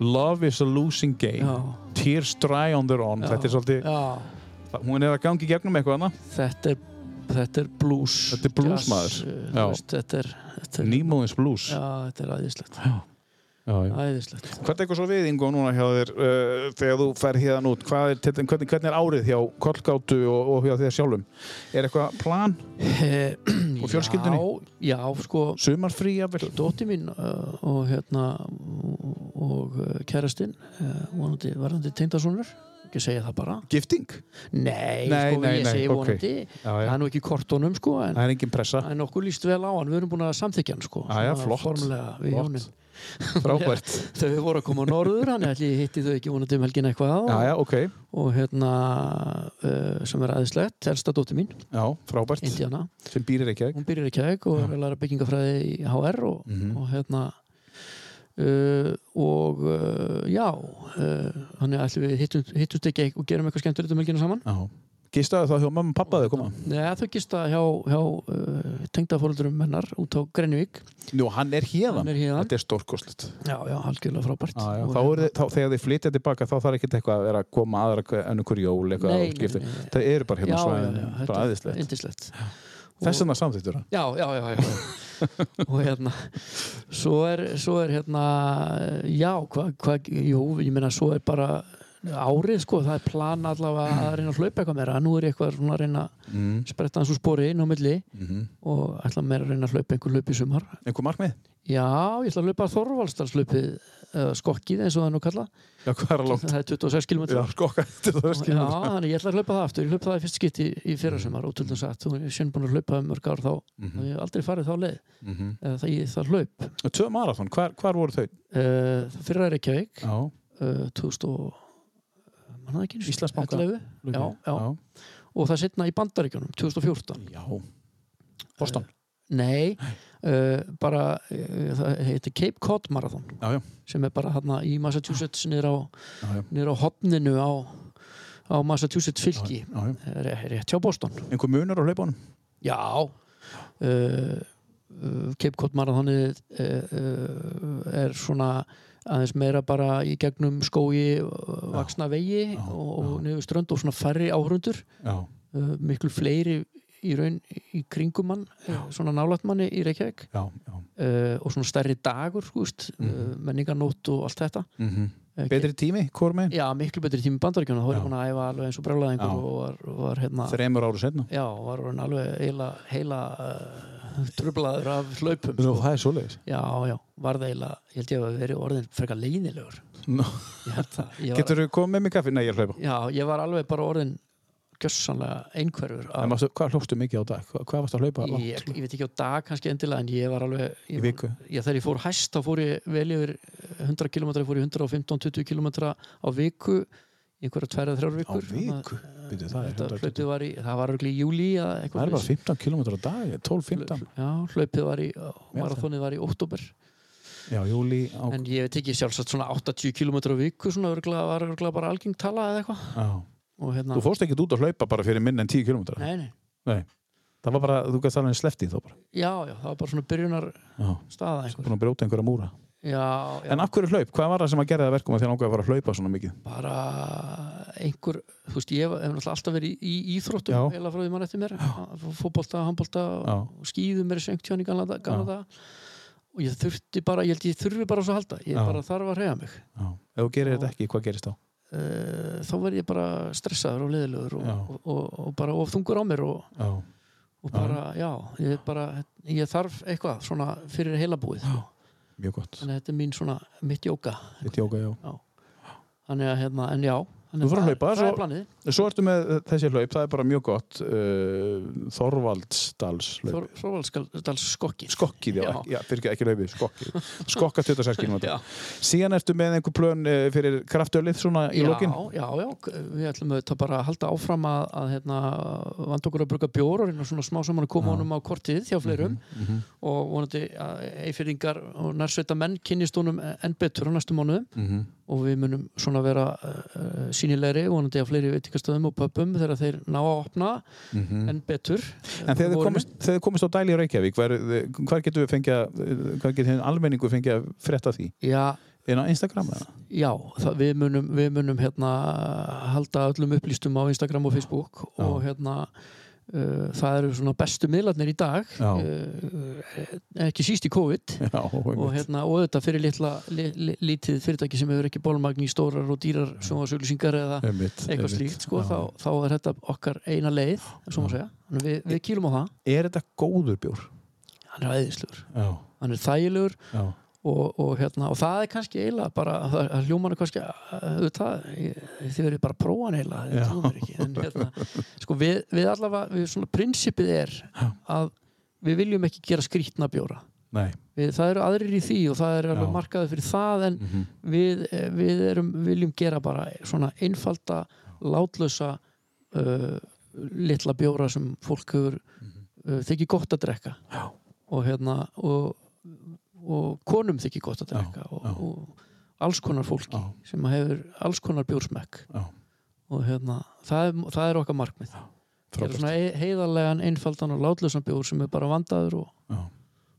Speaker 2: Love is a Losing Game,
Speaker 3: já,
Speaker 2: Tears Dry on Their Own,
Speaker 3: já,
Speaker 2: þetta er svolítið,
Speaker 3: já,
Speaker 2: hún er að gangi gegnum eitthvað hana,
Speaker 3: þetta er þetta er blues
Speaker 2: Þetta er blues, maður.
Speaker 3: uh,
Speaker 2: Já.
Speaker 3: þú veist, þetta er, þetta er
Speaker 2: Nýmóðins Blues.
Speaker 3: já, þetta er æðislegt
Speaker 2: Já, já.
Speaker 3: æðislegt
Speaker 2: Hvað tekur svo við, Ingo, núna hjá þér, uh, þegar þú fer hérna út, Hvað er, titlinn- hvernig, hvernig er árið hjá Kollgátu og, og hjá þér sjálfum? Er eitthvað plan,
Speaker 3: <clears throat> og
Speaker 2: fjölskyldunni?
Speaker 3: Eh, já, já, sko
Speaker 2: sumarfrí, jafnvel?
Speaker 3: dótti mín uh, og hérna og uh, kærastinn uh, vonandi verðandi tengdasonur ekki segja það bara
Speaker 2: Gifting?
Speaker 3: nei,
Speaker 2: Nei,
Speaker 3: sko,
Speaker 2: nei,
Speaker 3: ég
Speaker 2: nei,
Speaker 3: segi
Speaker 2: ok.
Speaker 3: vonandi
Speaker 2: Já,
Speaker 3: það er nú ekki í kortunum sko en,
Speaker 2: Það er engin pressa.
Speaker 3: en okkur líst vel á hann, við erum búin að samþykja hann sko
Speaker 2: Já, já,
Speaker 3: svona
Speaker 2: flott.
Speaker 3: formulega við
Speaker 2: Flott.
Speaker 3: hjónin
Speaker 2: <laughs> Frábært.
Speaker 3: þau voru að koma á norður hann ætli ég hitti þau ekki vonandi um helgin eitthvað og,
Speaker 2: Já, já, ok.
Speaker 3: og hérna uh, sem er aðeinslegt, elsta dóttir mín
Speaker 2: Já, frábært.
Speaker 3: Indiana,
Speaker 2: Sem býrir ekki, ekki?
Speaker 3: hún byrjar í kæk og er að læra byggingafræði í HR og,
Speaker 2: Mhm.
Speaker 3: og hérna uh, og uh, já uh, hann er allir við hittum, hittust ekki og gerum eitthvað skemmtilegt um helgina saman
Speaker 2: Já. Gistaðu þá hjá mamma og pappa þau koma?
Speaker 3: Nei, þau gista hjá, hjá uh, tengdafóreldrum hennar út á Grenjavík
Speaker 2: Nú, hann er
Speaker 3: hann
Speaker 2: hérðan.
Speaker 3: er hérna,
Speaker 2: Þetta er stórkostlegt.
Speaker 3: já, já, algjörlega frábært Og hérna-
Speaker 2: Þá er þið, þá, þegar þið flytja tilbaka, þá þarf ekkert eitthvað að vera að koma aðra hver- önnur hver jól, eitthvað
Speaker 3: Nei,
Speaker 2: og skipta.
Speaker 3: nei, nei, nei.
Speaker 2: Það eru bara
Speaker 3: já,
Speaker 2: hérna
Speaker 3: já, já,
Speaker 2: svæðin,
Speaker 3: þetta
Speaker 2: bara
Speaker 3: er
Speaker 2: aðeinslegt.
Speaker 3: yndislegt
Speaker 2: Þess vegna samþýttur það.
Speaker 3: Já, já, já, já. og hérna svo er, svo er hérna já, hvað, hva, jú, ég meina svo er bara árið sko, það er plan allavega að reyna að hlaupa eitthvað meira nú er ég eitthvað svona að reyna að spretta hans úr spori inn á milli og ætla meira að reyna að hlaupa einhver hlaup í sumar
Speaker 2: Einhver markmið?
Speaker 3: já, ég ætla að hlaupa Þorvalstarslaupið eða skokkið eins og það er nú kalla
Speaker 2: Já, hvað er að langt?
Speaker 3: það er 26 km
Speaker 2: Já, skokka. Þetta er það
Speaker 3: Já,
Speaker 2: skilur.
Speaker 3: þannig ég ætla að hlaupa það aftur, ég hlaupa það í fyrst skipti í, í fyrra sem var útöldum sagt, þú er sjönn búin að hlaupa um mörg ár þá, mm -hmm. ég hef aldrei farið þá leið
Speaker 2: Mhm.
Speaker 3: eða það, ég, það hlaup
Speaker 2: Tvö marathón, hvar, hvar voru þau?
Speaker 3: uh, fyrra er ekki veik
Speaker 2: Já,
Speaker 3: uh, 2000 og mann það ekki einu sinni,
Speaker 2: Íslandsbanka.
Speaker 3: 11, já, já. og það setna í bandaríkjunum 2014
Speaker 2: Já. Boston
Speaker 3: Nei, uh, bara uh, það heitir Cape Cod Marathon
Speaker 2: Já, já,
Speaker 3: sem er bara hérna í Massachusetts niður á,
Speaker 2: já, já,
Speaker 3: niður á hopninu á, á Massachusetts fylki
Speaker 2: já, já.
Speaker 3: Ré- rétt hjá Boston
Speaker 2: Einhver munur á hlaupunum?
Speaker 3: Já uh, uh, Cape Cod Marathonið uh, uh, er svona aðeins meira bara í gegnum skói uh, vaksna vegi og, og niður strönd og svona færri áhrundur
Speaker 2: Já,
Speaker 3: uh, miklu fleiri í raun í kringum mann, uh, svona nálægt manni í Reykjavík
Speaker 2: já, já
Speaker 3: uh, og svona stærri dagur, skúst uh, menningarnót og allt þetta Eh,
Speaker 2: Mhm. Betri tími, hvort megin?
Speaker 3: Já, miklu betri tími bandaríkjana, þá er ég
Speaker 2: Já.
Speaker 3: búin að æfa alveg eins og brjálæðingur
Speaker 2: Já.
Speaker 3: og var, var hérna
Speaker 2: Þremur áru setna
Speaker 3: Já, var hann alveg heila, heila uh, trublaður af hlaupum
Speaker 2: Nú,
Speaker 3: sko.
Speaker 2: það er svoleiðis
Speaker 3: Já, já, varð heila, ég held ég að verið orðin frekar leiðilegur
Speaker 2: Nú,
Speaker 3: Ég held það. Ég var,
Speaker 2: Getur þú komið með mig kaffi? Nei, ég er að hlaupa
Speaker 3: Já, ég var alveg bara orðin gjössanlega einhverfur
Speaker 2: En
Speaker 3: af,
Speaker 2: varstu, Hvað hlóstu mikið á dag? Hvað, hvað varstu að hlaupa?
Speaker 3: ég,
Speaker 2: langt?
Speaker 3: ég veit ekki á dag kannski endilega en ég var alveg ég,
Speaker 2: Í viku?
Speaker 3: Já, þegar ég fór hæst þá fór ég vel yfir 100 km, ég fór í 115-20 km á viku í einhverja tverja
Speaker 2: Á
Speaker 3: þrjár vikur
Speaker 2: viku? Býtu, það, er
Speaker 3: Þetta
Speaker 2: 100
Speaker 3: hlaupið var í, það var örgli í júli
Speaker 2: það er bara 15 km á dag 12-15
Speaker 3: Já, hlaupið var í,
Speaker 2: Já,
Speaker 3: marathónið var í óttúber
Speaker 2: Já, júli á,
Speaker 3: En ég veit ekki sjálfsagt svona 80 km á viku svona örgla, var örgla bara algeng tala eða eitthvað
Speaker 2: á.
Speaker 3: og hérna,
Speaker 2: Þú fórst ekki út að hlaupa bara fyrir minn en 10 km
Speaker 3: nei, nei,
Speaker 2: Það var bara, þú gæst alveg slefti þá bara
Speaker 3: já, já, það var bara svona byrjunar
Speaker 2: Já, svo
Speaker 3: staða einhver
Speaker 2: Sko. búin að brjóta einhverja múra
Speaker 3: Já, já,
Speaker 2: En af hverju hlaup? Hvað var það sem að gera það verkum að þér langaði að fara að hlaupa svona mikið?
Speaker 3: bara einhver, þú veist, ég hef hef náttúrulega alltaf verið í, í íþróttum,
Speaker 2: Já.
Speaker 3: eiginlega frá því mann eftir mér fótbolta, handbolta
Speaker 2: Já.
Speaker 3: og skýðum mér sengt hjá hann í gamla gamla daga og ég þurfti bara, ég held ég þurfi bara á svo að halda, ég
Speaker 2: Já.
Speaker 3: bara þarf að reyða mig
Speaker 2: Já. Ef þú gerir þetta ekki, hvað gerist þá?
Speaker 3: uh, þá verð ég bara stressaður og leðilegur og,
Speaker 2: Já.
Speaker 3: og, og, og bara ofþungur á mér og,
Speaker 2: Já,
Speaker 3: og bara, já, ég, er bara, ég þarf eitthvað svona fyrir heilabúið sko.
Speaker 2: mjög gott
Speaker 3: þannig að þetta er mín svona, mitt jóka
Speaker 2: Þetta jóka, já
Speaker 3: þannig að hérna, en já þannig
Speaker 2: Þú fyrir að
Speaker 3: það-
Speaker 2: hlaupa,
Speaker 3: það,
Speaker 2: svo-
Speaker 3: er planið,
Speaker 2: Svo ertu með eh, þessi hlaup, það er bara mjög gott uh, Þorvaldsdals hlaup
Speaker 3: Þor- Þorvaldskaldals skokki
Speaker 2: Skokkið, já,
Speaker 3: Já.
Speaker 2: ekki, já, fyrir ekki hlaupið,
Speaker 3: <laughs>
Speaker 2: skokkið Skokka 26
Speaker 3: Já.
Speaker 2: km Síðan ertu með einhver plön eh, fyrir kraftölið svona í
Speaker 3: já,
Speaker 2: lokin
Speaker 3: já, já, k- við ætlum auðvitað bara að halda áfram að, að hérna, vand okkur að bruka bjór og reyna svona smá saman að koma honum á kortið hjá fleirum
Speaker 2: Mhm,
Speaker 3: og vonandi að eifyrringar og nærsveita menn kynnist honum e, enn betur á næstu mánuðum
Speaker 2: Mhm.
Speaker 3: og við munum svona vera uh, sínilegri, vonandi á fleiri veitingastöðum og pöpum þegar þeir ná að opna en betur
Speaker 2: Mhm. En þegar þið komist, þegar þið komist á dæli í Reykjavík hver, hvar getum við fengja hvar getum við almenningu fengja að frétta því
Speaker 3: Já,
Speaker 2: inn á Instagram eða?
Speaker 3: já það, við munum, við munum hérna, halda öllum upplýstum á Instagram og Facebook og hérna uh, það eru svona bestu miðlarnir í dag
Speaker 2: Já.
Speaker 3: uh, ekki síst í COVID
Speaker 2: Já,
Speaker 3: og,
Speaker 2: einmitt.
Speaker 3: hérna, og þetta fyrir litla, li, li, lítið fyrirtæki sem hefur ekki bólmagn í stórar og dýrar sjónvarsauglýsingar eða
Speaker 2: Einmitt,
Speaker 3: eitthvað
Speaker 2: einmitt.
Speaker 3: slíkt sko,
Speaker 2: Já.
Speaker 3: þá, þá er þetta okkar eina leið svo má segja, Þannig við, við kýlum á það
Speaker 2: Er þetta góður bjór?
Speaker 3: hann er æðislegur,
Speaker 2: Já,
Speaker 3: hann er þægilegur
Speaker 2: já,
Speaker 3: og, og, hérna, og það er kannski eiginlega bara, það, það hljómanu kannski uh, auðvitað, ég- þið verið bara að prófa hann eiginlega,
Speaker 2: Já.
Speaker 3: þið trúum ekki en hérna, sko við, við allavega, við svona prinsipið er að við viljum ekki gera skrýtna bjóra
Speaker 2: nei
Speaker 3: við, það eru aðrir í því og það er alveg
Speaker 2: Já.
Speaker 3: markaði fyrir það en
Speaker 2: Mhm.
Speaker 3: við, eh, við erum, viljum gera bara svona einfalda, látlösa uh, litla bjóra sem fólk hefur uh, þykir gott að drekka
Speaker 2: Mhm. Já.
Speaker 3: og hérna og, og konum þykir gott að drekka og,
Speaker 2: já.
Speaker 3: og alls konar fólki
Speaker 2: Já.
Speaker 3: sem hefur alls konar bjórsmekk
Speaker 2: Já.
Speaker 3: og hérna, það er, það er okkar markmið
Speaker 2: frábært.
Speaker 3: Frábært. svona hei- heiðarlegan, einfaldan og látlösan bjór sem er bara vandaður og
Speaker 2: Já.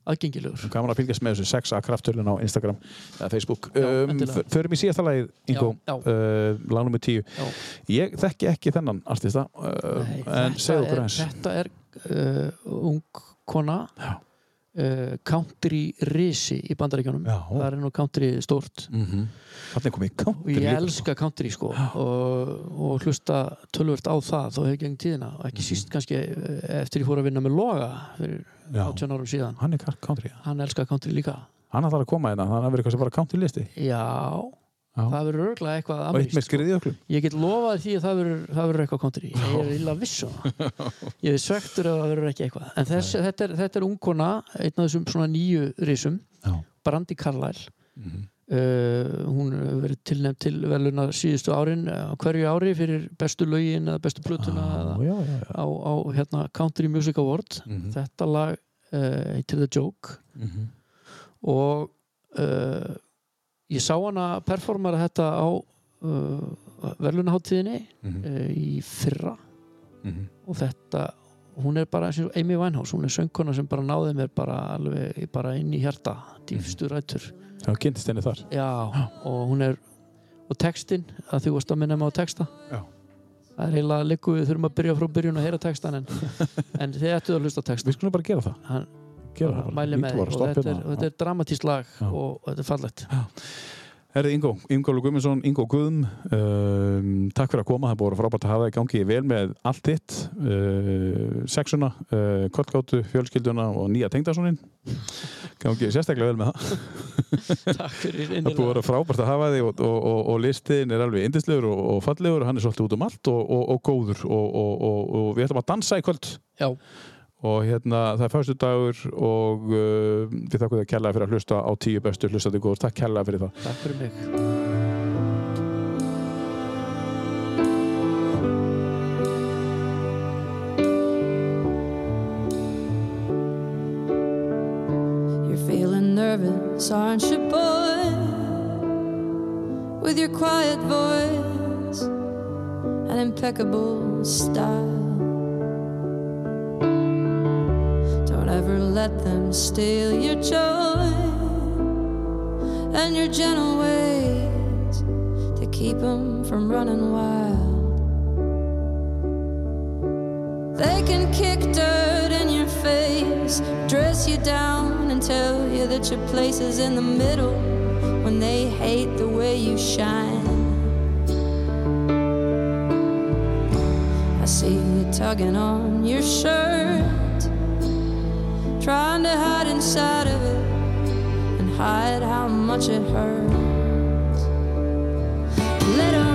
Speaker 3: aðgengilegur
Speaker 2: Gaman að fylgjast með þessu 6A krafttölin á Instagram eða Facebook. Um,
Speaker 3: endilega.
Speaker 2: f- Förum í síðasta lagið, Ingo,
Speaker 3: Já, já.
Speaker 2: uh, lag nummer 10.
Speaker 3: Já.
Speaker 2: Ég þekki ekki þennan artista, uh,
Speaker 3: Nei,
Speaker 2: en
Speaker 3: þetta
Speaker 2: segðu
Speaker 3: er-
Speaker 2: okkur eins.
Speaker 3: Þetta er uh, ung kona
Speaker 2: Já.
Speaker 3: uh, country risi í bandaríkjunum
Speaker 2: Já.
Speaker 3: það er nú country stórt
Speaker 2: Mm -hmm. Þannig komið í
Speaker 3: og
Speaker 2: country
Speaker 3: ég
Speaker 2: líka,
Speaker 3: elska country sko og, og hlusta tölvöld á það þó hefur gegn tíðina og
Speaker 2: Mhm.
Speaker 3: ekki síst kannski eh, eftir ég fór að vinna með Loga
Speaker 2: sko.
Speaker 3: fyrir
Speaker 2: Já.
Speaker 3: 18 árum síðan
Speaker 2: Hann er ka- country, já.
Speaker 3: hann elska country líka
Speaker 2: hann ætlar að koma hérna, þannig að verður kannski bara country listi
Speaker 3: já,
Speaker 2: Já.
Speaker 3: það verður örglega eitthvað
Speaker 2: og eitt
Speaker 3: amerískt,
Speaker 2: með skriði öklum.
Speaker 3: ég get lofað því að það verður, það verður eitthvað country ég er illa viss um það
Speaker 2: <laughs>
Speaker 3: ég er svektur að það verður ekki eitthvað en þess, þetta, er, þetta er ungkona, einn af þessum svona nýju risum
Speaker 2: Já. Mhm.
Speaker 3: Brandi Carlyle Uh, hún hefur verið tilnefnd til veluna síðustu árin uh, á hverju ári fyrir bestu lögin eða bestu
Speaker 2: Ah,
Speaker 3: plötuna eða
Speaker 2: já, já, já.
Speaker 3: á, á hérna, Country Music Award
Speaker 2: Mhm.
Speaker 3: þetta lag uh, heitir The Joke
Speaker 2: Mhm.
Speaker 3: og uh, ég sá hana performara þetta á uh, verðlunaháttíðinni
Speaker 2: Mhm.
Speaker 3: uh, í fyrra
Speaker 2: Mhm.
Speaker 3: og þetta hún er bara eins og Amy Winehouse hún er söngkona sem bara náði mér bara, alveg, bara inn í hjarta, dýfstu
Speaker 2: Mhm.
Speaker 3: rætur
Speaker 2: Já, kynntist henni þar
Speaker 3: Já, og hún er og textin, að þú varst að minna mig á texta
Speaker 2: Já.
Speaker 3: það er heila líku við þurfum að byrja frá byrjun að heyra
Speaker 2: <laughs>
Speaker 3: textan en, en þið ættu að hlusta á textan
Speaker 2: Við skulum bara gera það
Speaker 3: Hann-
Speaker 2: Gera það bara.
Speaker 3: mæli
Speaker 2: Vídeó
Speaker 3: með því
Speaker 2: var að
Speaker 3: og
Speaker 2: stoppa
Speaker 3: þetta er,
Speaker 2: hérna.
Speaker 3: þetta er dramatískt lag
Speaker 2: Já.
Speaker 3: og þetta
Speaker 2: <laughs>
Speaker 3: er fallegt
Speaker 2: Herði Ingo, Ingo Lú Guðmundsson, Ingo Guðum um, Takk fyrir að koma, það er búið að vera frábært að hafa það í gangi vel með allt þitt uh, sexuna, uh, kollgáttu, fjölskylduna og nýja tengdasónin gangi sérstaklega vel með það
Speaker 3: Takk fyrir
Speaker 2: Það er búið að vera frábært að hafa þig og, og, og, og listin er alveg yndislegur og, og fallegur hann er svolítið út um allt og, og, og góður og, og, og, og við ætlum að dansa í kvöld
Speaker 3: Já,
Speaker 2: og hérna það er fyrstu dagur og uh, við þakkum þér kærlega fyrir að hlusta á tíu bestu hlustandi góður, takk kærlega fyrir það
Speaker 3: takk fyrir mig
Speaker 8: You're feeling nervous, aren't you, boy? With your quiet voice and impeccable style. Don't ever let them steal your joy and your gentle ways to keep them from running wild. They can kick dirt in your face, dress you down, and tell you that your place is in the middle when they hate the way you shine. I see you tugging on your shirt, trying to hide inside of it and hide how much it hurts. Let 'em